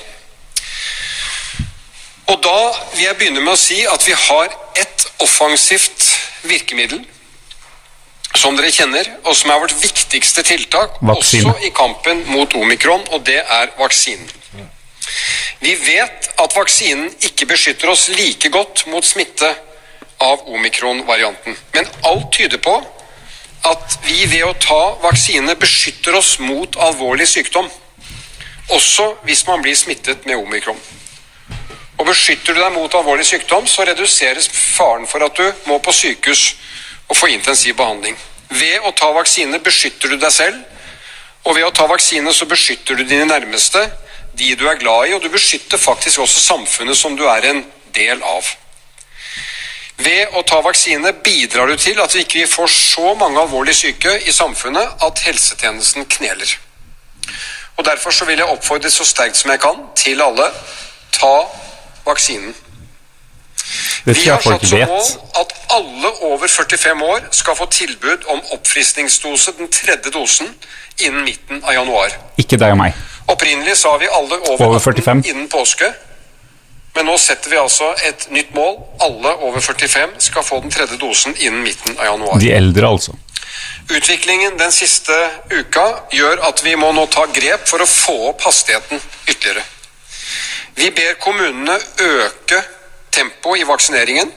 Og da vil jeg begynne med å si at vi har ett offensivt virkemiddel som dere kjenner, og som er vårt viktigste tiltak
Vaksine.
også i kampen mot omikron, og det er vaksinen. Vi vet at vaksinen ikke beskytter oss like godt mot smitte av omikron-varianten. Men alt tyder på at vi ved å ta vaksine beskytter oss mot alvorlig sykdom. også hvis man blir smittet med omikron. Og beskytter du deg mot alvorlig sykdom, så reduseres faren for at du må på sykehus og få intensiv behandling. Ved å ta vaksine beskytter du deg selv, og ved å ta vaksine så beskytter du dine nærmeste, de du er glad i, og du beskytter faktisk også samfunnet som du er en del av. Ved å ta vaksine bidrar du til at vi ikke får så mange alvorlig syke i samfunnet at helsetjenesten kneler. Og Derfor så vil jeg oppfordre så sterkt som jeg kan til alle ta vaksinen.
Det
Vi
tror
har
jeg folk
satt som mål
vet.
at alle over 45 år skal få tilbud om oppfriskningsdose, den tredje dosen, innen midten av januar.
Ikke deg og meg.
Opprinnelig sa vi alle over,
Over 45.
45 innen påske. Men nå setter vi altså et nytt mål. Alle over 45 skal få den tredje dosen innen midten av januar.
De eldre, altså.
Utviklingen den siste uka gjør at vi må nå ta grep for å få opp hastigheten ytterligere. Vi ber kommunene øke tempoet i vaksineringen.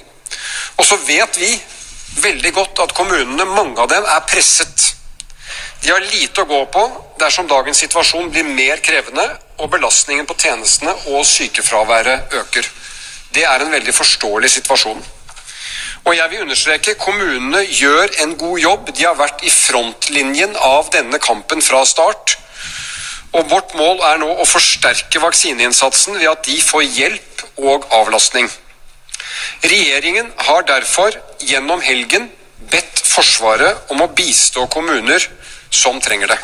Og så vet vi veldig godt at kommunene, mange av dem, er presset. De har lite å gå på dersom dagens situasjon blir mer krevende og belastningen på tjenestene og sykefraværet øker. Det er en veldig forståelig situasjon. Og jeg vil understreke, kommunene gjør en god jobb. De har vært i frontlinjen av denne kampen fra start. Og vårt mål er nå å forsterke vaksineinnsatsen ved at de får hjelp og avlastning. Regjeringen har derfor gjennom helgen bedt Forsvaret om å bistå kommuner som trenger det.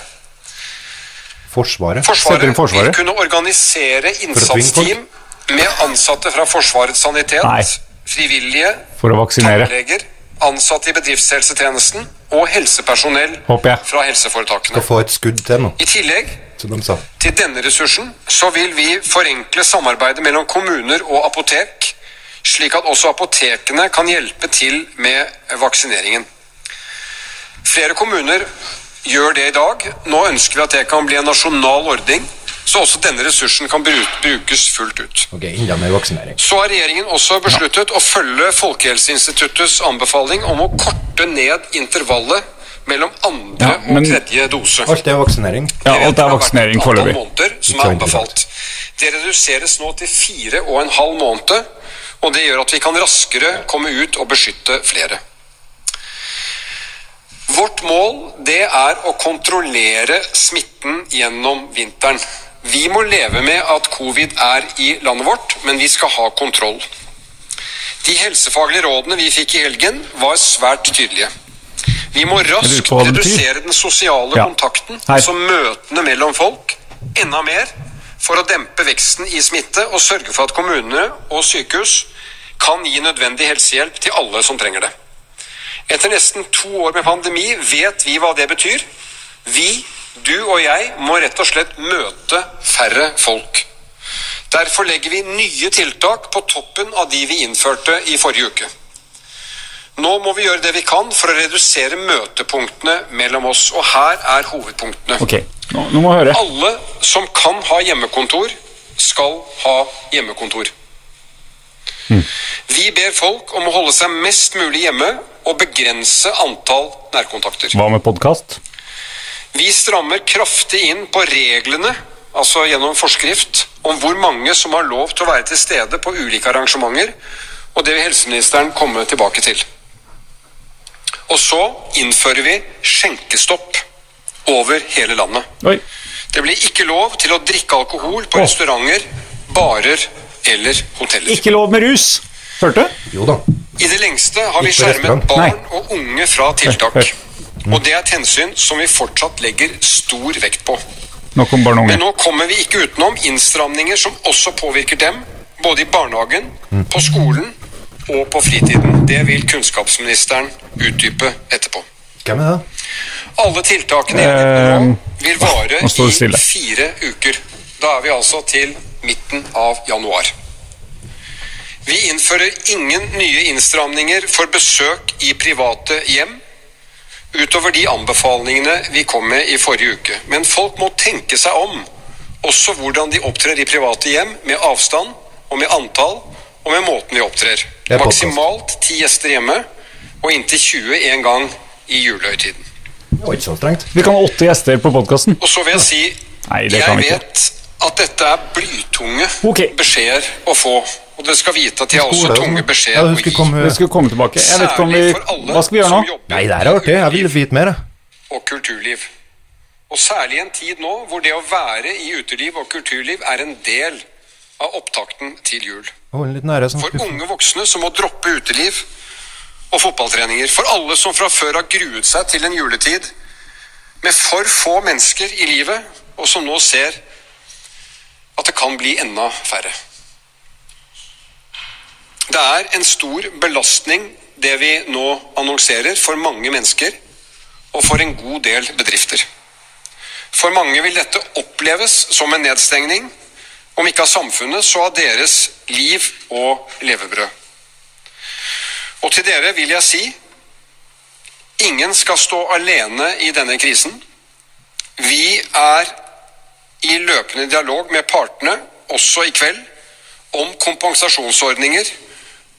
Forsvaret. Setter
Forsvaret,
inn Forsvaret.
vil kunne organisere
folk?
innsatsteam med ansatte fra Forsvarets sanitet,
Nei.
frivillige,
For å vaksinere.
tannleger, ansatte i bedriftshelsetjenesten og helsepersonell
Håper jeg.
fra helseforetakene.
Skal få et skudd til nå,
I tillegg
som de sa.
til denne ressursen så vil vi forenkle samarbeidet mellom kommuner og apotek, slik at også apotekene kan hjelpe til med vaksineringen. Flere kommuner gjør det i dag. Nå ønsker vi at det kan bli en nasjonal ordning, så også denne ressursen kan bru- brukes fullt ut.
Ok, enda mer vaksinering.
Så har regjeringen også besluttet å følge Folkehelseinstituttets anbefaling om å korte ned intervallet mellom andre
Ja, men-
og tredje dose.
Alt er vaksinering.
Ja, alt er vaksinering
Det har vært et antall
foreløpig.
måneder som
Ikke
er
sant,
anbefalt. Det reduseres nå til fire og en halv måned, og det gjør at vi kan raskere komme ut og beskytte flere. Vårt mål det er å kontrollere smitten gjennom vinteren. Vi må leve med at covid er i landet vårt, men vi skal ha kontroll. De helsefaglige rådene vi fikk i helgen, var svært tydelige. Vi må
lurer
raskt
på hva det betyr.
redusere den sosiale
Ja.
kontakten,
Hei.
altså møtene mellom folk, enda mer for å dempe veksten i smitte og sørge for at kommunene og sykehus kan gi nødvendig helsehjelp til alle som trenger det. Etter nesten to år med pandemi vet vi hva det betyr. Vi, du og jeg, må rett og slett møte færre folk. Derfor legger vi nye tiltak på toppen av de vi innførte i forrige uke. Nå må vi gjøre det vi kan for å redusere møtepunktene mellom oss, og her er hovedpunktene.
Ok, nå, nå må jeg høre.
Alle som kan ha hjemmekontor, skal ha hjemmekontor. Vi ber folk om å holde seg mest mulig hjemme og begrense antall nærkontakter.
Hva med podkast?
Vi strammer kraftig inn på reglene, altså gjennom forskrift, om hvor mange som har lov til å være til stede på ulike arrangementer, og det vil helseministeren komme tilbake til. Og så innfører vi skjenkestopp over hele landet.
Oi.
Det blir ikke lov til å drikke alkohol på
Åh.
restauranter, barer eller hoteller.
Ikke lov med rus! Hørte du?
Jo da.
I det lengste har vi
Ikke
skjermet
restaurant.
barn
Nei.
og unge fra tiltak.
Hør,
Og det er et hensyn som vi fortsatt legger stor vekt på.
Nå kom barn og
Men
unge.
nå kommer vi ikke utenom innstramninger som også påvirker dem, både i barnehagen, på skolen og på fritiden. Det vil kunnskapsministeren utdype etterpå.
Hvem er det?
Alle tiltakene jeg nevner nå, vil vare
Eh, nå står det
i
stille.
fire uker. Da er vi altså til midten av januar. Vi innfører ingen nye innstramninger for besøk i private hjem, utover de anbefalingene vi kom med i forrige uke. Men folk må tenke seg om, også hvordan de opptrer i private hjem, med avstand og med antall og med måten vi opptrer.
er podcast.
Maksimalt ti gjester hjemme, og inntil 20 en gang i julehøytiden.
Det var ikke så strengt.
Vi kan ha åtte gjester på podkasten.
Og så vil jeg si
Nei, det
Jeg
kan vi ikke.
vet at dette er blytunge
Ok.
beskjeder å få. Og dere skal vite at de er også
altså.
tunge
Ja,
beskjeder
hun
å gi.
skulle komme
Vi skal komme tilbake. Jeg vet ikke om
Særlig for
vi
alle
Hva skal vi gjøre
som
nå?
jobber
Nei, det her er artig. Jeg vil vite mer, jeg.
og kulturliv. Og særlig i en tid nå hvor det å være i uteliv og kulturliv er en del av opptakten til jul.
Hold den litt nære. Sånn.
For unge voksne som må droppe uteliv og fotballtreninger. For alle som fra før har gruet seg til en juletid med for få mennesker i livet, og som nå ser at det kan bli enda færre. Det er en stor belastning det vi nå annonserer for mange mennesker og for en god del bedrifter. For mange vil dette oppleves som en nedstengning, om ikke av samfunnet, så av deres liv og levebrød. Og til dere vil jeg si ingen skal stå alene i denne krisen. Vi er i løpende dialog med partene, også i kveld, om kompensasjonsordninger,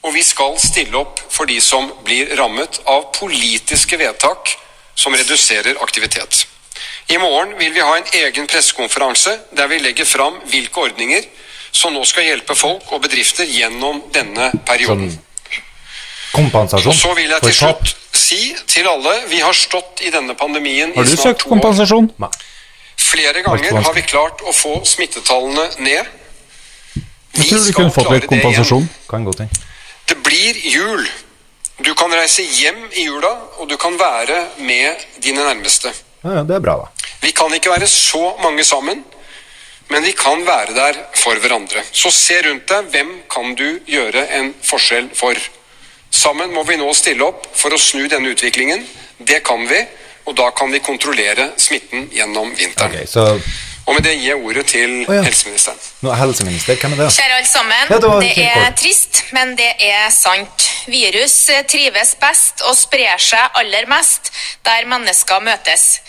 og vi skal stille opp for de som blir rammet av politiske vedtak som reduserer aktivitet. I morgen vil vi ha en egen pressekonferanse der vi legger fram hvilke ordninger som nå skal hjelpe folk og bedrifter gjennom denne perioden.
Sånn Kompensasjon
Og så vil jeg
for
til
tap.
slutt si til alle vi har stått i denne pandemien
Har
i
du
snart
søkt
to år.
kompensasjon?
Flere ganger har vi klart å få smittetallene ned.
Jeg
Vi
tror du kunne fått litt kompensasjon.
Kan godt hende.
Det blir jul. Du kan reise hjem i jula, og du kan være med dine nærmeste.
Ja, ja, det er bra, da.
Vi kan ikke være så mange sammen, men vi kan være der for hverandre. Så se rundt deg. Hvem kan du gjøre en forskjell for? Sammen må vi nå stille opp for å snu denne utviklingen. Det kan vi, og da kan vi kontrollere smitten gjennom
Ok,
vinteren.
så
Og med det gir jeg ordet til
ja.
helseministeren.
nå er helseminister, hvem er det? da?
Kjære alle sammen.
Ja, det var
det
fint
er
kort.
trist, men det er sant. Virus eh, trives best og sprer seg aller mest der mennesker møtes.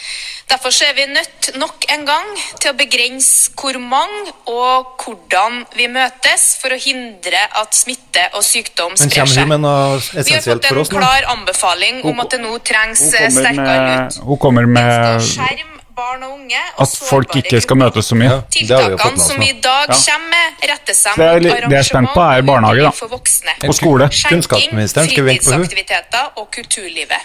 Derfor så er vi nødt nok en gang til å begrense hvor mange og hvordan vi møtes for å hindre at svitte og sykdom
Men
sprer
kommer hun
seg.
med noe
Vi har
essensielt
fått
for
en
oss nå?
klar anbefaling om at det nå trengs
Hun
eh,
kommer
sterkere
med,
ut.
hun kommer
Det
med
står skjerm, barn og unge og
at folk
sårbare
ikke skal
grupper.
møtes så mye.
det har vi jo fått med
Tiltakene
oss
som
nå.
vi i dag
Ja.
kommer med, retter seg
Det
mot
er litt- det jeg er spent på, er barnehage, da.
og uteliv for voksne.
Og skole.
Skjenking,
Kunnskapsministeren, skal vi vente på hun?
fritidsaktiviteter og kulturlivet.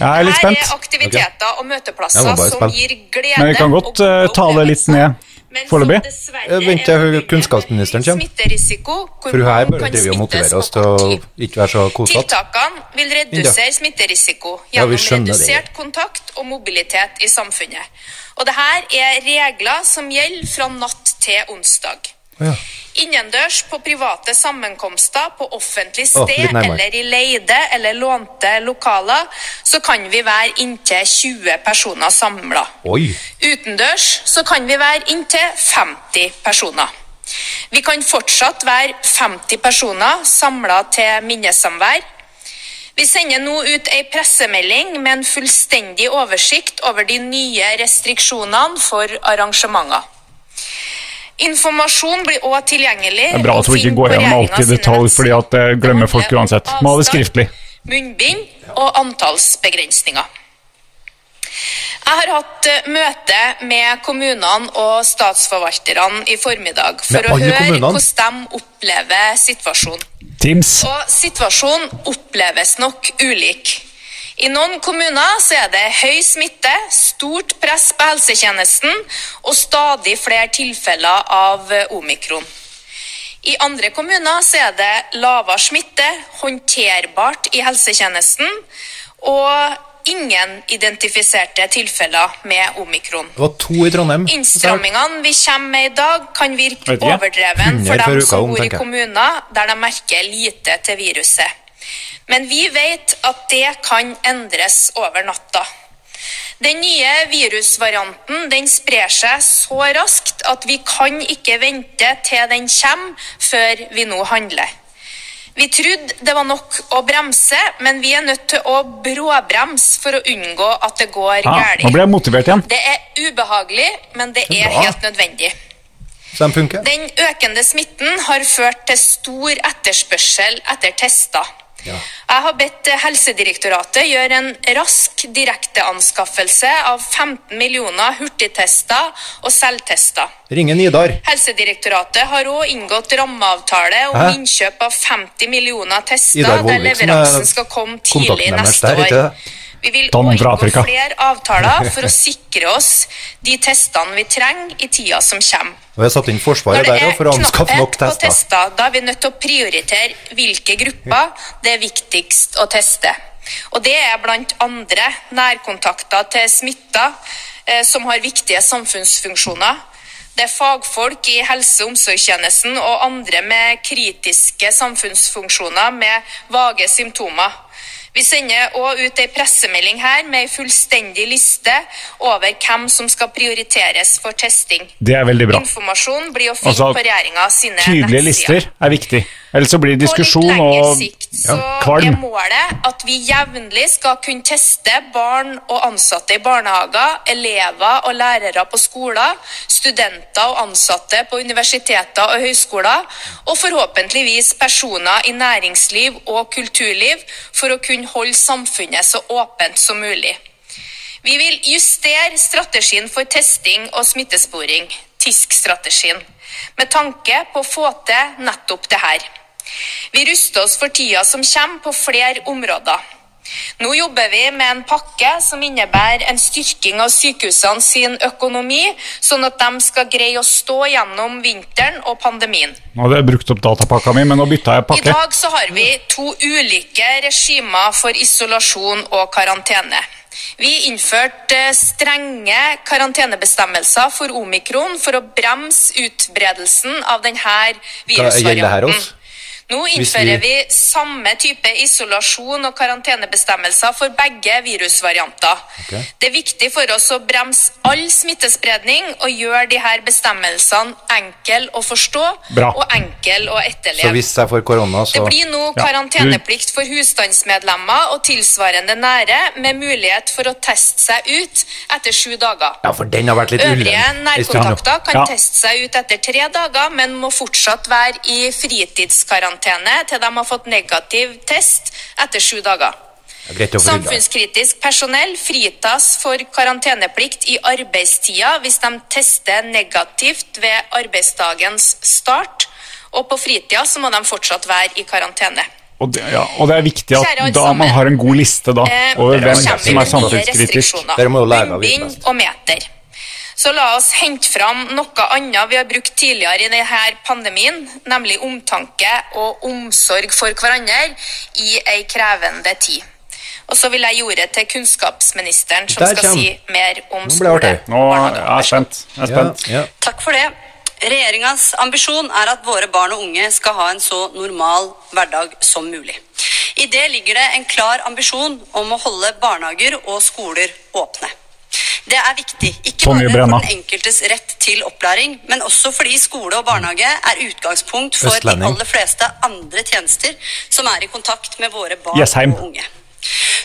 Jeg er litt
Her er
spent.
aktiviteter og
Jeg
møteplasser
må bare
som
spent.
gir glede
Men vi kan godt,
og gode
eh, ta det litt
opplevelser,
ned
men som
foreløpig.
dessverre
Jeg venter
er
til
forbundet
kunnskapsministeren
med høy
kommer.
smitterisiko, hvor
For hun her
mange
bare
kan
driver og
smittes
motiverer oss
og
til å
avkrive.
ikke være så kosete.
Tiltakene vil redusere smitterisiko
Ja, vi
gjennom
skjønner det.
redusert kontakt og mobilitet i samfunnet. Og det her er regler som gjelder fra natt til onsdag.
Ja.
Innendørs på private sammenkomster, på offentlig
Å,
sted
litt nærmere.
eller i leide eller lånte lokaler, så kan vi være inntil 20 personer samla.
Oi!
Utendørs så kan vi være inntil 50 personer. Vi kan fortsatt være 50 personer samla til minnesamvær. Vi sender nå ut ei pressemelding med en fullstendig oversikt over de nye restriksjonene for arrangementer. Informasjon blir òg tilgjengelig.
Det er bra at hun ikke går gjennom alt i detalj, fordi at det glemmer folk uansett. Må ha det skriftlig.
Munnbind og antallsbegrensninger. Jeg har hatt eh, møte med kommunene og statsforvalterne i formiddag for
Med
å
alle
høre
kommunene?
hvordan de opplever situasjonen.
Teams.
Og situasjonen oppleves nok ulik. I noen kommuner så er det høy smitte, stort press på helsetjenesten og stadig flere tilfeller av eh, omikron. I andre kommuner så er det lavere smitte, håndterbart i helsetjenesten og ingen identifiserte tilfeller med omikron.
Det var to i Trondheim.
Innstrammingene vi kommer med i dag, kan virke
Vet ikke.
overdreven
Hundre
for
før
dem
uka
som
om,
bor i
tenker jeg.
kommuner der de merker lite til viruset. Men vi vet at det kan endres over natta. Den nye virusvarianten den sprer seg så raskt at vi kan ikke vente til den kommer, før vi nå handler. Vi trodde det var nok å bremse, men vi er nødt til å bråbremse for å unngå at det går
Ja,
galt.
Ah, nå ble jeg motivert igjen.
Det er ubehagelig, men det er
Bra.
helt nødvendig.
Så de funker?
Den økende smitten har ført til stor etterspørsel etter tester. Jeg har bedt eh, Helsedirektoratet gjøre en rask direkteanskaffelse av 15 millioner hurtigtester og selvtester.
Ringe Nidar.
Helsedirektoratet har òg inngått rammeavtale om
Hæ?
innkjøp av 50 millioner tester,
Idar
der
Vollvik som liksom er
leveransen skal komme tidlig
kontakten deres
neste
der,
år.
ikke det?
Vi vil
Don
òg
fra
inngå
Afrika.
flere avtaler
*laughs*
for å sikre oss de testene vi trenger i tida som kommer.
Og jeg satt inn Forsvaret
Når det
der også
er
for å anskaffe nok
knapphet på
tester.
tester, da er vi nødt til å prioritere hvilke grupper det er viktigst å teste. Og det er blant andre nærkontakter til smitta eh, som har viktige samfunnsfunksjoner. Det er fagfolk i helse- og omsorgstjenesten og andre med kritiske samfunnsfunksjoner med vage symptomer. Vi sender òg ut ei pressemelding her med ei fullstendig liste over hvem som skal prioriteres for testing.
Det er veldig bra.
Informasjon blir å finne
Altså,
på regjeringa sine
Tydelige lister er viktig. Ellers så blir det diskusjon
På litt lengre
og
sikt så
ja, kvalm.
er målet at vi jevnlig skal kunne teste barn og ansatte i barnehager, elever og lærere på skoler, studenter og ansatte på universiteter og høyskoler, og forhåpentligvis personer i næringsliv og kulturliv for å kunne holde samfunnet så åpent som mulig. Vi vil justere strategien for testing og smittesporing, TISK-strategien, med tanke på å få til nettopp det her. Vi ruster oss for tida som kommer på flere områder. Nå jobber vi med en pakke som innebærer en styrking av sykehusene sin økonomi, sånn at de skal greie å stå gjennom vinteren og pandemien.
Nå hadde jeg brukt opp datapakka mi, men nå bytta jeg
I
pakke.
dag så har vi to ulike regimer for isolasjon og karantene. Vi innførte eh, strenge karantenebestemmelser for omikron for å bremse utbredelsen av denne
gjelder det her
virusvarianten.
også?
Nå innfører vi samme type isolasjon og karantenebestemmelser for begge virusvarianter. Det er viktig for oss å bremse all smittespredning og gjøre de her bestemmelsene enkel å forstå
Bra.
og enkel å etterleve.
Så hvis jeg får korona, så
Det blir nå
Ja.
karanteneplikt for husstandsmedlemmer og tilsvarende nære, med mulighet for å teste seg ut etter sju dager.
Ja, for den har vært litt
Øvrige
ullen. i stedet.
nærkontakter kan
Ja.
teste seg ut etter tre dager, men må fortsatt være i fritidskarantene til de har fått negativ test etter sju dager.
Det er Greit å få rydda.
Samfunnskritisk personell fritas for karanteneplikt i arbeidstida hvis de tester negativt ved arbeidsdagens start, og på fritida så må de fortsatt være i karantene.
Og det, ja, og det er viktig
Kjære
at
alle
da
sammen.
man har en god liste da,
Eh,
over
nå
hvem
kommer
som
vi
er
med nye
samfunnskritisk.
restriksjoner.
Dere må jo lære av
Munnbind
Hvitbest.
og meter. Så la oss hente fram noe annet vi har brukt tidligere i denne pandemien, nemlig omtanke og omsorg for hverandre i ei krevende tid. Og så vil jeg gi ordet til kunnskapsministeren, som
Der
skal
kommer-
si mer om
Nå ble det
skole.
artig.
Nå er jeg spent. Jeg er
Ja,
spent.
ja.
Takk for det. Regjeringas ambisjon er at våre barn og unge skal ha en så normal hverdag som mulig. I det ligger det en klar ambisjon om å holde barnehager og skoler åpne. Det er viktig, ikke
Tonje
bare
Brenna.
for den enkeltes rett til opplæring, men også fordi skole og barnehage er utgangspunkt for
Østlending.
de aller fleste andre tjenester som er i kontakt med våre barn
Jessheim.
og unge.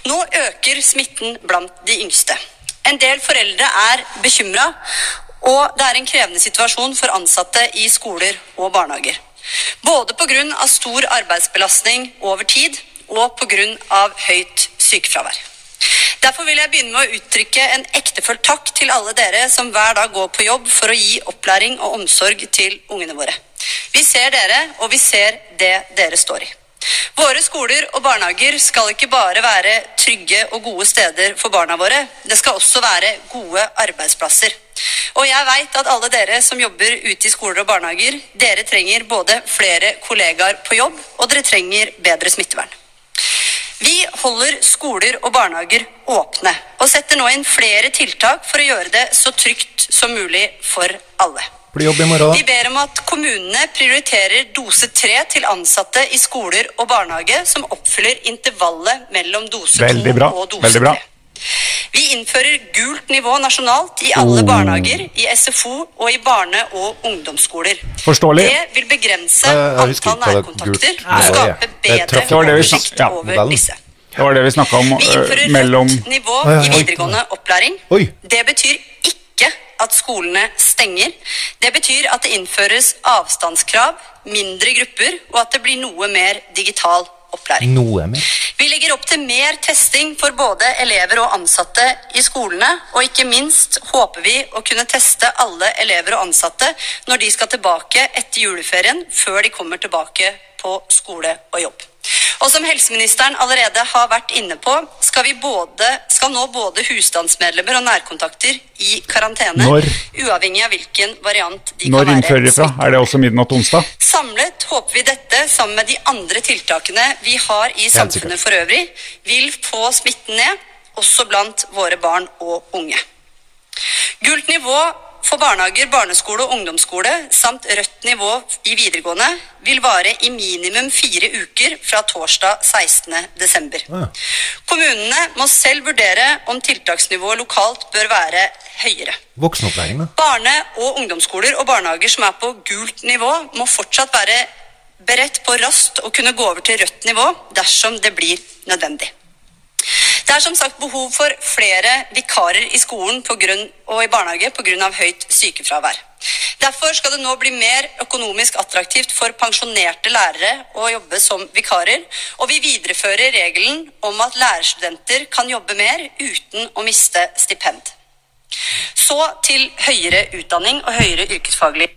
Nå øker smitten blant de yngste. En del foreldre er bekymra, og det er en krevende situasjon for ansatte i skoler og barnehager. Både pga. stor arbeidsbelastning over tid og pga. høyt sykefravær. Derfor vil jeg begynne med å uttrykke en ektefølt takk til alle dere som hver dag går på jobb for å gi opplæring og omsorg til ungene våre. Vi ser dere, og vi ser det dere står i. Våre skoler og barnehager skal ikke bare være trygge og gode steder for barna våre, det skal også være gode arbeidsplasser. Og jeg veit at alle dere som jobber ute i skoler og barnehager, dere trenger både flere kollegaer på jobb, og dere trenger bedre smittevern. Vi holder skoler og barnehager åpne og setter nå inn flere tiltak for å gjøre det så trygt som mulig for alle.
Blir jobb i morgen,
Vi
da.
ber om at kommunene prioriterer dose 3 til ansatte i skoler og barnehage som oppfyller intervallet mellom dose 2
Veldig bra,
og dose
veldig bra.
3. Vi innfører gult nivå nasjonalt i alle
Oh.
barnehager, i SFO og i barne- og ungdomsskoler.
Forståelig.
Det vil begrense
Eh, Jeg- jeg husker ikke
antall
hva det
nærkontakter
gult
og
nivå er.
skape
Det er
bedre
trafikk-
Det var det vi
oversikt
snakket- ja,
over
modellen.
disse.
Det var det vi snakka om
Vi
øh,
innfører
mellom
rødt nivå
Oi, oi,
i
oi.
videregående opplæring.
Oi.
Det betyr ikke at skolene stenger. Det betyr at det innføres avstandskrav, mindre grupper, og at det blir noe mer digital opplæring.
Noe mer.
Vi legger opp til mer testing for både elever og ansatte i skolene, og ikke minst håper vi å kunne teste alle elever og ansatte når de skal tilbake etter juleferien, før de kommer tilbake på skole og jobb. Og som helseministeren allerede har vært inne på, skal vi både, skal nå både husstandsmedlemmer og nærkontakter i karantene,
Når?
uavhengig av hvilken variant de
Når
kan
innfører
være
de fra? Er det også midnatt onsdag?
Samlet håper vi dette, sammen med de andre tiltakene vi har i samfunnet for øvrig, vil få smitten ned, også blant våre barn og unge. Gult nivå for barnehager, barneskole og ungdomsskole samt rødt nivå i videregående vil vare i minimum fire uker fra torsdag 16. desember. Kommunene må selv vurdere om tiltaksnivået lokalt bør være høyere.
Voksenopplæring, da.
Barne- og ungdomsskoler og barnehager som er på gult nivå, må fortsatt være beredt på raskt å kunne gå over til rødt nivå dersom det blir nødvendig. Det er som sagt behov for flere vikarer i skolen på grunn, og i barnehage pga. høyt sykefravær. Derfor skal det nå bli mer økonomisk attraktivt for pensjonerte lærere å jobbe som vikarer, og vi viderefører regelen om at lærerstudenter kan jobbe mer uten å miste stipend. Så til høyere utdanning og høyere yrkesfaglig.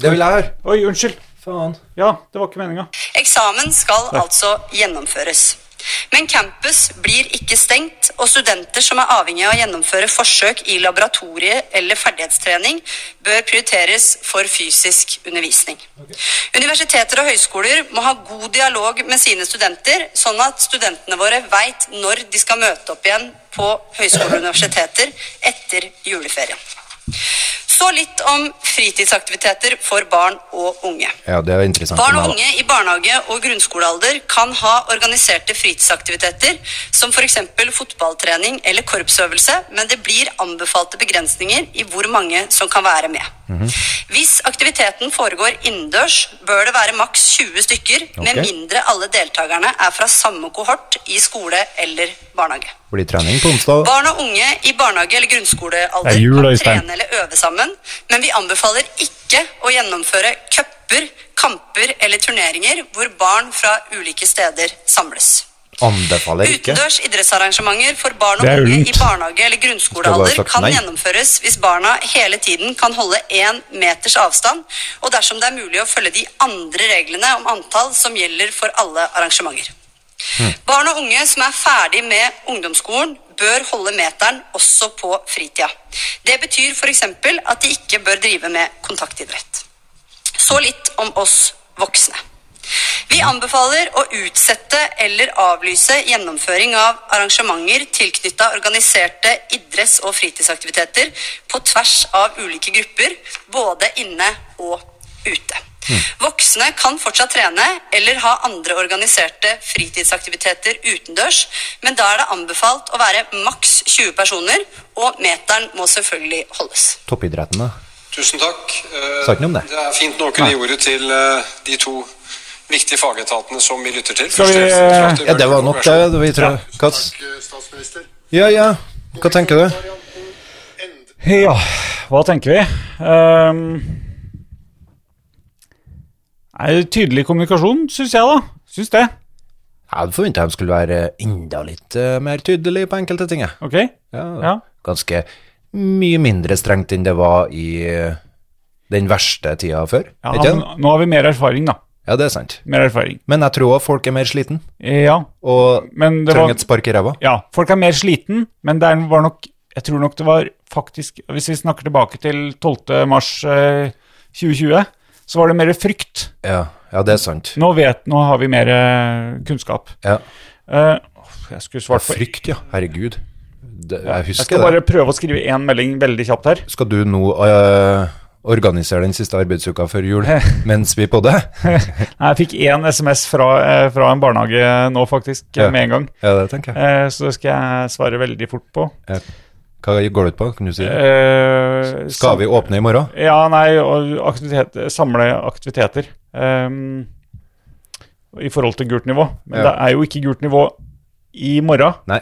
Det vil jeg høre.
Oi, unnskyld.
Faen.
Ja, det var ikke meninga.
Eksamen skal altså gjennomføres. Men campus blir ikke stengt, og studenter som er avhengig av å gjennomføre forsøk i laboratorie eller ferdighetstrening, bør prioriteres for fysisk undervisning. Universiteter og høyskoler må ha god dialog med sine studenter, sånn at studentene våre veit når de skal møte opp igjen på høyskoler og universiteter etter juleferien. Så litt om fritidsaktiviteter for barn og unge.
Ja, det er interessant.
Barn og
for meg,
unge i barnehage og grunnskolealder kan ha organiserte fritidsaktiviteter, som f.eks. fotballtrening eller korpsøvelse, men det blir anbefalte begrensninger i hvor mange som kan være med. Hvis aktiviteten foregår innendørs, bør det være maks 20 stykker,
Ok.
med mindre alle deltakerne er fra samme kohort i skole eller barnehage.
da. Blir trening på onsdag.
Barn og unge i barnehage eller grunnskolealder
Det er jul,
kan
Øystein.
trene eller øve sammen, men vi anbefaler ikke å gjennomføre cuper, kamper eller turneringer hvor barn fra ulike steder samles.
Anbefaler ikke.
Utendørs idrettsarrangementer for barn og
Det er
unge
ullent.
i barnehage eller
Skal
grunnskolealder
bare sagt
kan
nei.
gjennomføres hvis barna hele tiden kan holde én meters avstand, og dersom det er mulig å følge de andre reglene om antall som gjelder for alle arrangementer.
Hmm.
Barn og unge som er ferdig med ungdomsskolen, bør holde meteren også på fritida. Det betyr f.eks. at de ikke bør drive med kontaktidrett. Så litt om oss voksne. Vi anbefaler å utsette eller avlyse gjennomføring av arrangementer tilknytta organiserte idretts- og fritidsaktiviteter på tvers av ulike grupper, både inne og ute. Voksne kan fortsatt trene eller ha andre organiserte fritidsaktiviteter utendørs, men da er det anbefalt å være maks 20 personer, og meteren må selvfølgelig holdes.
Toppidretten, da.
Tusen takk. Eh,
Sa ikke noe om det.
Det er fint nå å kunne gi ordet til eh, de to viktige fagetatene som vi lytter til.
Skal vi-
Først-
eh, Ja, det var nok det. Vi tror. Hva, s- ja, ja. Hva tenker du?
Ja, hva tenker vi? Ehm, nei, tydelig kommunikasjon, syns jeg, da. Syns det.
Jeg hadde forventa de skulle være enda litt eh, mer tydelige på enkelte ting. jeg.
Ok?
Ja,
Ja.
Ganske mye mindre strengt enn det var i eh, den verste tida før.
Ja,
ikke
men
det?
nå har vi mer erfaring, da.
ja, det er sant.
Mer erfaring.
Men jeg tror òg folk er mer sliten
Eh, Ja,
og
men det var
trenger et spark i ræva.
Ja, folk er mer sliten, men det er- var nok Jeg tror nok det var faktisk Hvis vi snakker tilbake til 12. mars eh, 2020, så var det mer frykt.
Ja, ja, det er sant.
Nå vet Nå har vi mer eh, kunnskap.
Ja.
Eh, jeg skulle svart på
Frykt, ja. Herregud. Det, jeg
Jeg
husker
skal
det.
bare prøve å skrive én melding veldig kjapt her.
Skal du nå eh, organisere den siste arbeidsuka før *laughs* jul mens vi på *laughs* det?
Nei, jeg fikk én SMS fra, eh, fra en barnehage nå, faktisk,
Ja.
med en gang.
Ja, det tenker jeg.
Eh, så det skal jeg svare veldig fort på.
Hva går det ut på? Kan du si det?
Eh,
Skal vi åpne i morgen?
Ja, nei, og aktivitet, samle aktiviteter ehm, i forhold til gult nivå. Men
Ja.
det er jo ikke gult nivå i morgen.
Nei.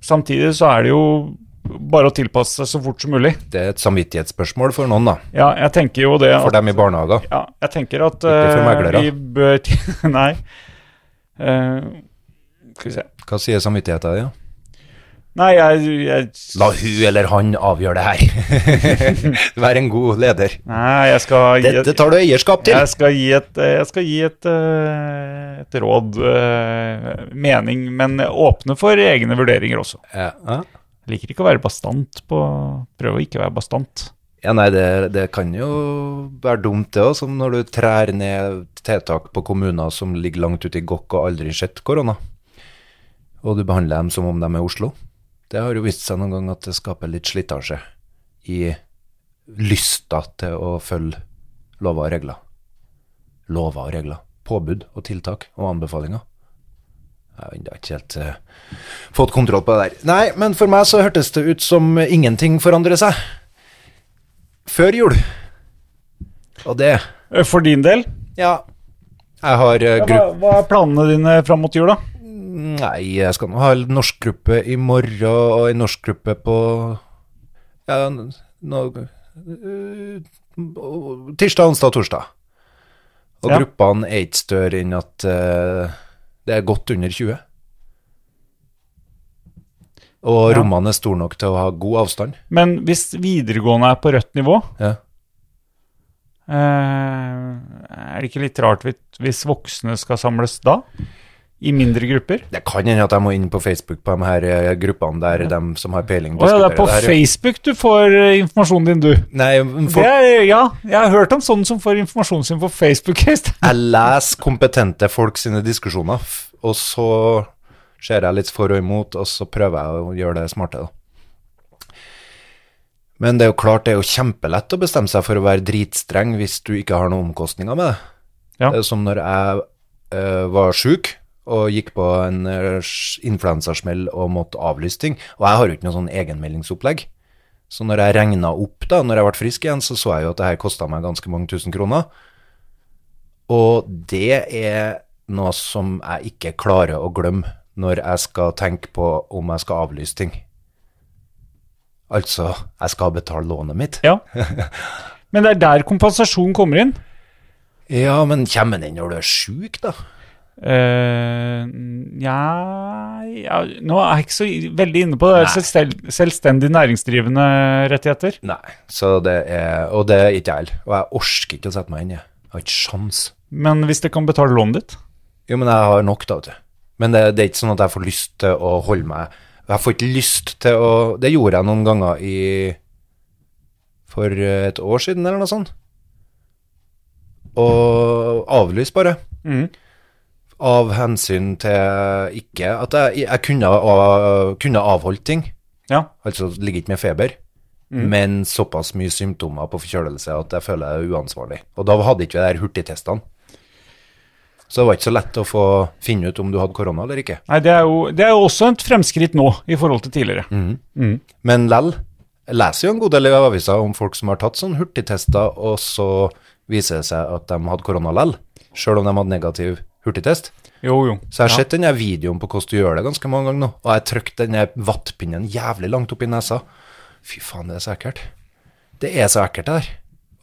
Samtidig så er det jo bare å tilpasse seg så fort som mulig.
Det er et samvittighetsspørsmål for noen, da.
Ja, jeg tenker jo det
For
at,
dem i barnehager.
ja, jeg tenker at
for
eh, *laughs*
meglere.
vi bør Nei. Eh, skal vi se
Hva sier samvittigheten din? Ja?
Nei, jeg, jeg
La hun eller han avgjøre det her. *laughs* Vær en god leder.
Nei, jeg skal gi
Dette tar du eierskap til.
Jeg skal gi et, jeg skal gi et, eh, et råd, eh, mening, men åpne for egne vurderinger også.
Ja, ja.
Jeg liker ikke å være bastant på Prøv å ikke være bastant.
Ja, nei, det, det kan jo være dumt det òg, som når du trær ned tiltak på kommuner som ligger langt ute i gokk og aldri sett korona, og du behandler dem som om de er Oslo. Det har jo vist seg noen gang at det skaper litt slitasje i lysta til å følge lover og regler. Lover og regler. Påbud og tiltak og anbefalinger. Jeg har ennå ikke helt eh, fått kontroll på det der. Nei, men for meg så hørtes det ut som ingenting forandrer seg før jul. Og det
Eh, For din del,
Ja. Jeg har eh,
ja, hva,
gruppe
hva er planene dine fram mot jul, da?
Nei, jeg skal nå ha en norskgruppe i morgen, og en norskgruppe på Ja, n- nå øh, Tirsdag, onsdag, torsdag. Og
Ja.
gruppene er ikke større enn at eh, det er godt under 20. Og rommene er store nok til å ha god avstand.
Men hvis videregående er på rødt nivå,
Ja.
eh, er det ikke litt rart hvis- hvis voksne skal samles da? I mindre grupper?
Det kan hende at jeg må inn på Facebook på de her eh, gruppene der de som har peiling,
Å ja, det er på
diskuterer her, ja.
Facebook du får eh, informasjonen din, du.
Nei, men
Det
folk,
er, ja, jeg har hørt om sånne som får informasjonen sin på Facebook. Øystein.
jeg leser kompetente folk sine diskusjoner, f- og så ser jeg litt for og imot, og så prøver jeg å gjøre det smarte, da. Men det er jo klart, det er jo kjempelett å bestemme seg for å være dritstreng hvis du ikke har noen omkostninger med det.
Ja.
Det er som når jeg eh, var syk og gikk på en eh, s- influensasmell og måtte avlyse ting, og jeg har jo ikke noe sånn egenmeldingsopplegg. Så når jeg regna opp, da, når jeg ble frisk igjen, så så jeg jo at det her kosta meg ganske mange tusen kroner. Og det er noe som jeg ikke klarer å glemme når jeg skal tenke på om jeg skal avlyse ting. Altså, jeg skal betale lånet mitt.
Ja. Men det er der kompensasjon kommer inn.
Ja, men kommer den inn når du er sjuk, da?
Eh, ja, ja Nå er jeg ikke så veldig inne på det. Det er selvstel- selvstendig næringsdrivende rettigheter.
Nei. Så det er, og det er ikke jeg heller. Og jeg orker ikke å sette meg inn i det. Jeg har ikke sjans.
Men hvis det kan betale lånet ditt
Jo, men jeg har nok, da, vet du. Men det, det er ikke sånn at jeg får lyst til å holde meg Jeg får ikke lyst til å Det gjorde jeg noen ganger i For et år siden, eller noe sånt. Og avlyse, bare. Av hensyn til ikke At jeg, jeg kunne, ha- kunne avholdt ting.
Ja.
Altså ligger ikke med feber, men såpass mye symptomer på forkjølelse at jeg føler jeg er uansvarlig. Og da hadde ikke vi der hurtigtestene. Så det var ikke så lett å få finne ut om du hadde korona eller ikke.
Nei, det er, jo, det er jo også et fremskritt nå i forhold til tidligere.
Men lell, jeg leser jo en god del i aviser om folk som har tatt sånn hurtigtester, og så viser det seg at de hadde korona lell, sjøl om de hadde negativ hurtigtest.
Jo, jo.
Så jeg har sett den her videoen på hvordan du gjør det ganske mange ganger nå, og jeg trykte den her vattpinnen jævlig langt opp i nesa. Fy faen, det er så ekkelt. Det er så ekkelt det der.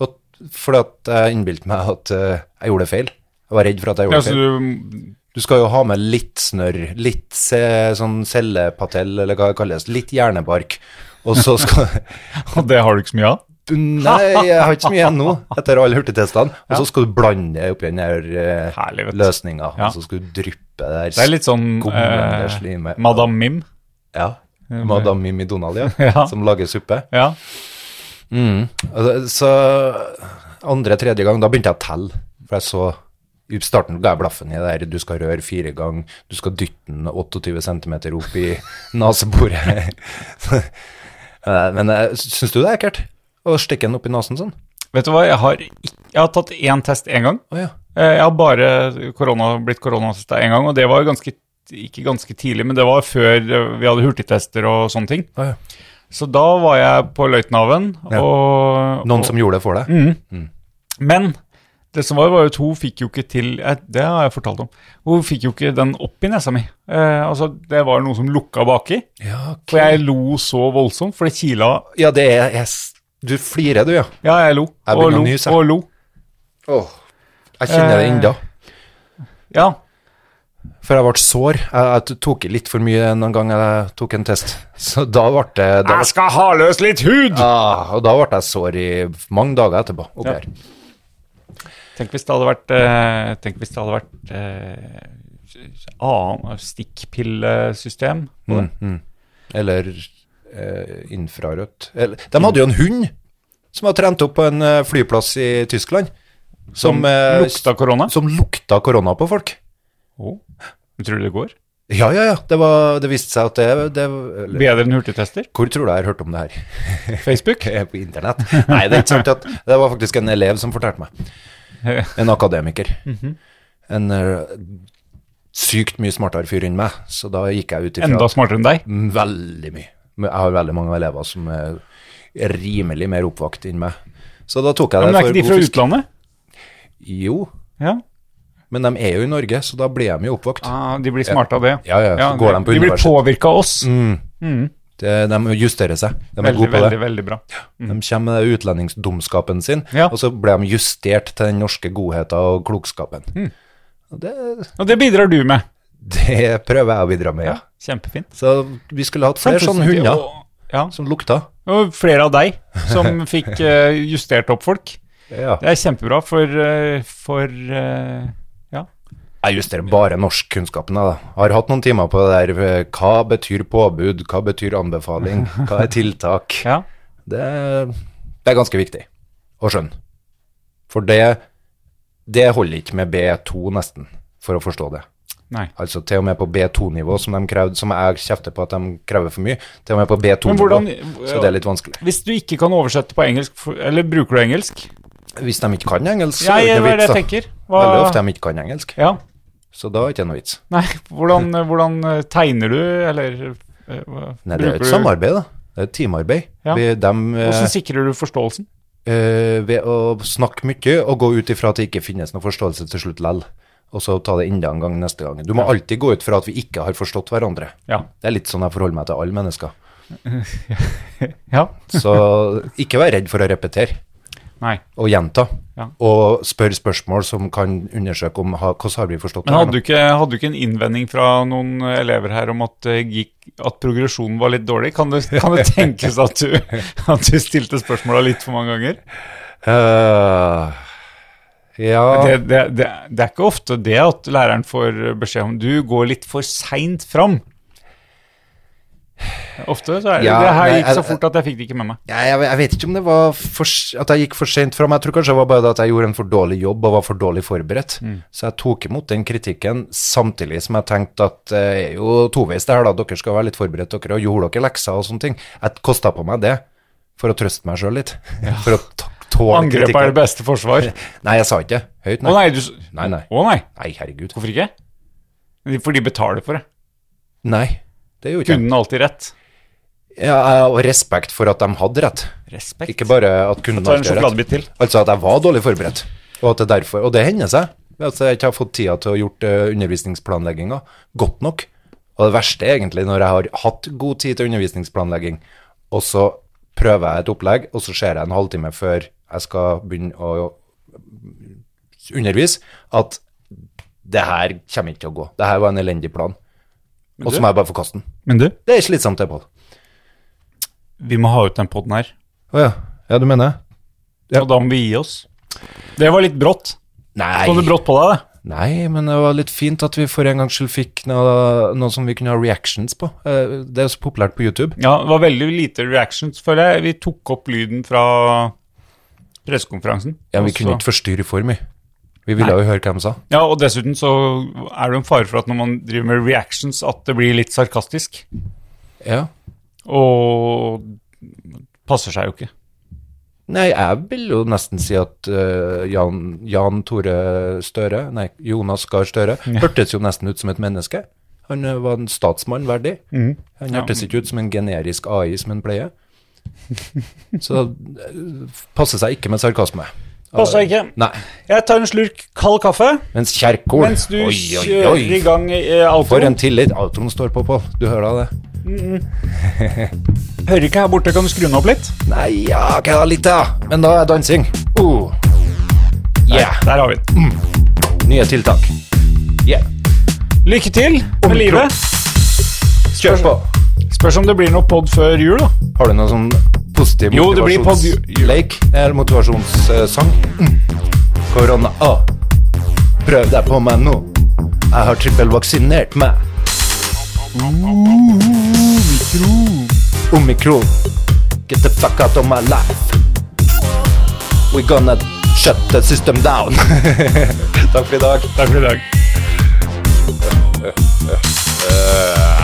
Og fordi at jeg innbilte meg at eh, jeg gjorde feil. Jeg var redd for at jeg
Ja,
gjorde
så
feil.
du, *laughs*
Du skal jo ha med litt snørr, litt eh, sånn cellepatell, eller hva det kalles, litt hjernebark. Og så skal
*laughs* og det har du ikke så mye av?
Nei, jeg har ikke så mye igjen nå, etter alle hurtigtestene. Og så skal du blande det oppi den her eh,
Herlig, vet du.
løsninga,
Ja.
og så skal du dryppe det der
Det er litt sånn
skumlende
eh,
slimet.
Madame Mim.
Ja. Madame Mimmi Donald, ja.
Ja.
Som lager suppe.
Ja.
Altså, Så andre-tredje gang, da begynte jeg å telle. For jeg så I starten ga jeg blaffen i det der du skal røre fire ganger, du skal dytte den 28 cm opp i neseboret. Men *laughs* eh, syns du det er ekkelt? Å stikke den opp i nesen sånn?
Vet du hva, jeg har, ikk- jeg har tatt én test én gang.
Å ja.
Eh, Jeg har bare korona, blitt koronatesta én gang, og det var ganske, ikke ganske tidlig, men det var før eh, vi hadde hurtigtester og sånne ting.
Å ja.
Så da var jeg på Løitenhaven,
Ja.
og,
Noen som gjorde det for deg?
Men det som var, var jo at hun fikk jo ikke til eh, Det har jeg fortalt om. Hun fikk jo ikke den opp i nesa mi. Eh, altså, det var noe som lukka baki.
Ja,
For jeg lo så voldsomt, for det kila
ja, det er jeg, s- Du flirer, du, ja.
Ja, jeg lo.
Jeg
og
begynner
lo,
å nyse, jeg.
og lo.
Jeg kjenner det ennå.
Ja.
For jeg ble sår. Jeg, jeg tok litt for mye en gang jeg tok en test. Så da ble det da ble,
Jeg skal ha løs litt hud!
ah, Og da ble jeg sår i mange dager etterpå. oppi
Ja.
her.
Tenk hvis det hadde vært, eh, tenk hvis det hadde vært eh, annen stikkpillesystem. på
Mm.
det.
Eller eh, infrarødt. Eller, de hadde jo en hund som var trent opp på en eh, flyplass i Tyskland. Som, eh,
Lukta korona.
Som lukta korona på folk.
Oh. Tror du det går?
Ja, ja, ja. Det, var, det viste seg at det, det eller,
Bedre enn hurtigtester?
Hvor tror du jeg har hørt om det her?
*laughs*
*laughs*
Facebook?
Eh, På internett? Nei, det er ikke sant. At, det var faktisk en elev som fortalte
*laughs*
meg. En akademiker.
Mhm.
En eh, sykt mye smartere fyr enn meg. Så da gikk jeg ut ifra Mm,
Enda smartere enn deg?
Veldig mye. Men Jeg har veldig mange elever som er rimelig mer oppvakt enn meg. Så da tok jeg det
Men er ikke de
god
fra
fisk.
utlandet?
Jo,
Ja.
men de er jo i Norge, så da blir de jo oppvakt.
Ah, de blir smarte av det.
Ja, ja, så går de på
blir
universitet.
påvirka av oss.
De, de justerer seg. De er
veldig,
gode på
veldig,
det.
veldig bra.
Mm. De kommer med den utlendingsdumskapen sin,
Ja.
og så blir de justert til den norske godheten og klokskapen. Og det,
Og det bidrar du med.
det prøver jeg å bidra med, ja.
Kjempefint.
Så vi skulle hatt flere sånne sånn hunder
Og- Ja.
som lukta.
Og flere av deg
*laughs*
som fikk eh, justert opp folk.
Ja.
Det er kjempebra for, eh, for eh, Ja.
Jeg justerer bare norskkunnskapene, da. Har hatt noen timer på det der eh, Hva betyr påbud? Hva betyr anbefaling? Hva er tiltak?
ja.
Det, det er ganske viktig å skjønne. For det, det holder ikke med B2 nesten, for å forstå det.
Nei.
Altså til og med på B2-nivå, som, de krevde, som jeg kjefter på at de krever for mye, til og med på
Men
B2-nivå,
hvordan-
så det er litt vanskelig.
Hvis du ikke kan oversette på engelsk, for- eller bruker du engelsk?
Hvis de ikke kan engelsk, så
Ja,
er det
det
ikke noe
er det
vits,
jeg
da.
tenker.
Veldig ofte
Hva,
de ikke kan engelsk,
ja.
så da er det ikke noe vits.
Nei, hvordan, hvordan eh, tegner du, eller eh, hva-
Nei, det er jo
bruker
et
du-
samarbeid, da. Det er et teamarbeid.
Ja.
Vi- dem, eh,
Hvordan sikrer du forståelsen?
eh, ved å snakke mye og gå ut ifra at det ikke finnes noen forståelse til slutt lell, og så ta det enda en gang neste gang. Du må alltid gå ut fra at vi ikke har forstått hverandre.
Ja.
Det er litt sånn jeg forholder meg til alle mennesker.
ja.
Så *laughs* ikke vær redd for å repetere.
Nei.
og gjenta,
Ja.
og spør spørsmål som kan undersøke om ha, hvordan har vi forstått det.
Men
her nå?
hadde du, ikke, hadde du ikke en innvending fra noen eh, elever her om at, eh, gikk, at progresjonen var litt dårlig? Kan det, kan *laughs* det tenkes at du, at du stilte spørsmåla litt for mange ganger?
Eh,
Det,
ja,
det, det, det er ikke ofte det at læreren får beskjed om du går litt for seint fram. Ofte så er det
Ja,
det her
nei, altså,
gikk så
jeg-
fort at jeg fikk det ikke med meg.
jeg, jeg vet ikke om det var for, s- at jeg gikk for sent fram. Jeg tror kanskje det var bare det at jeg gjorde en for dårlig jobb og var for dårlig forberedt.
Mm.
Så jeg tok imot den kritikken samtidig som jeg tenkte at det er jo toveis det her, da. Dere skal være litt forberedt, dere, og gjorde dere lekser og sånne ting. Jeg kosta på meg det for å trøste meg sjøl litt. *laughs* For å ta- tåle
Angrep er det
kritikken.
beste
*laughs*
forsvar.
Nei, jeg sa ikke det høyt,
Å
nei.
nei, du s-
Nei, nei.
Å nei.
Nei, herregud.
Hvorfor ikke? For de betaler for det.
Nei, det gjorde jeg ikke.
Kunden har alltid rett.
Ja, og respekt for at de hadde rett.
Respekt.
Ikke bare at kunden
Ta en
alltid har rett.
sjokoladebit til.
Altså at jeg var dårlig forberedt, og at det derfor Og det hender seg. Altså, jeg ikke har fått tida til å gjort eh, undervisningsplanlegginga godt nok. Og det verste er egentlig når jeg har hatt god tid til undervisningsplanlegging, og så prøver jeg et opplegg, og så ser jeg en halvtime før jeg skal begynne å undervise, at det her kommer ikke til å gå. Det her var en elendig plan. Og så må jeg bare forkaste den.
Men du,
Det er slitsomt, det, Pål.
vi må ha ut den poden her.
Å ja. Ja, du mener det?
Og da må vi gi oss. Det var litt brått.
Nei.
Kom det brått på deg, det?
Nei, men det var litt fint at vi for en gangs skyld fikk noe, noe som vi kunne ha reactions på. Eh, Det er jo så populært på YouTube.
Ja, det var veldig lite reactions, føler jeg. Vi tok opp lyden fra pressekonferansen.
Ja, Vi
Og så-
kunne ikke forstyrre for mye. Vi ville jo høre hva de sa.
Ja, og dessuten så er det en fare for at når man driver med reactions, at det blir litt sarkastisk.
Ja.
Og passer seg jo ikke.
Nei, jeg vil jo nesten si at eh, Jan, Jan Tore Støre, nei, Jonas Gahr Støre, hørtes jo nesten ut som et menneske. Han eh, var en statsmann verdig.
Mm.
Han hørtes ikke ut som en generisk AI som han
*laughs*
pleier. Så eh, passe seg ikke med sarkasme.
Passer ikke.
Nei.
Jeg tar en slurk kald kaffe
Mens Kjerkol
mens du kjører i gang eh,
For en
autoen.
tillit autoen står på, Pål. Du hører det?
Hører ikke her borte, kan du skru den opp litt?
Nei, ja, kan jeg ha litt, da? Men da er dansing. Uh. Yeah.
Der har vi den.
Nye tiltak. Yeah.
Lykke til med livet.
Kjør på.
Spørs om det blir noe pod før jul, da.
Har du noen sånn positiv
Jo, det blir pod-
motivasjonsleik? Eller motivasjonssang? Mm. Korona, ah. Prøv deg på meg nå. Jeg har trippelvaksinert meg. Omikron. Get the fuck out of my life. We're gonna shut the system down. *laughs* Takk for i dag.
Takk for i dag.
Eh.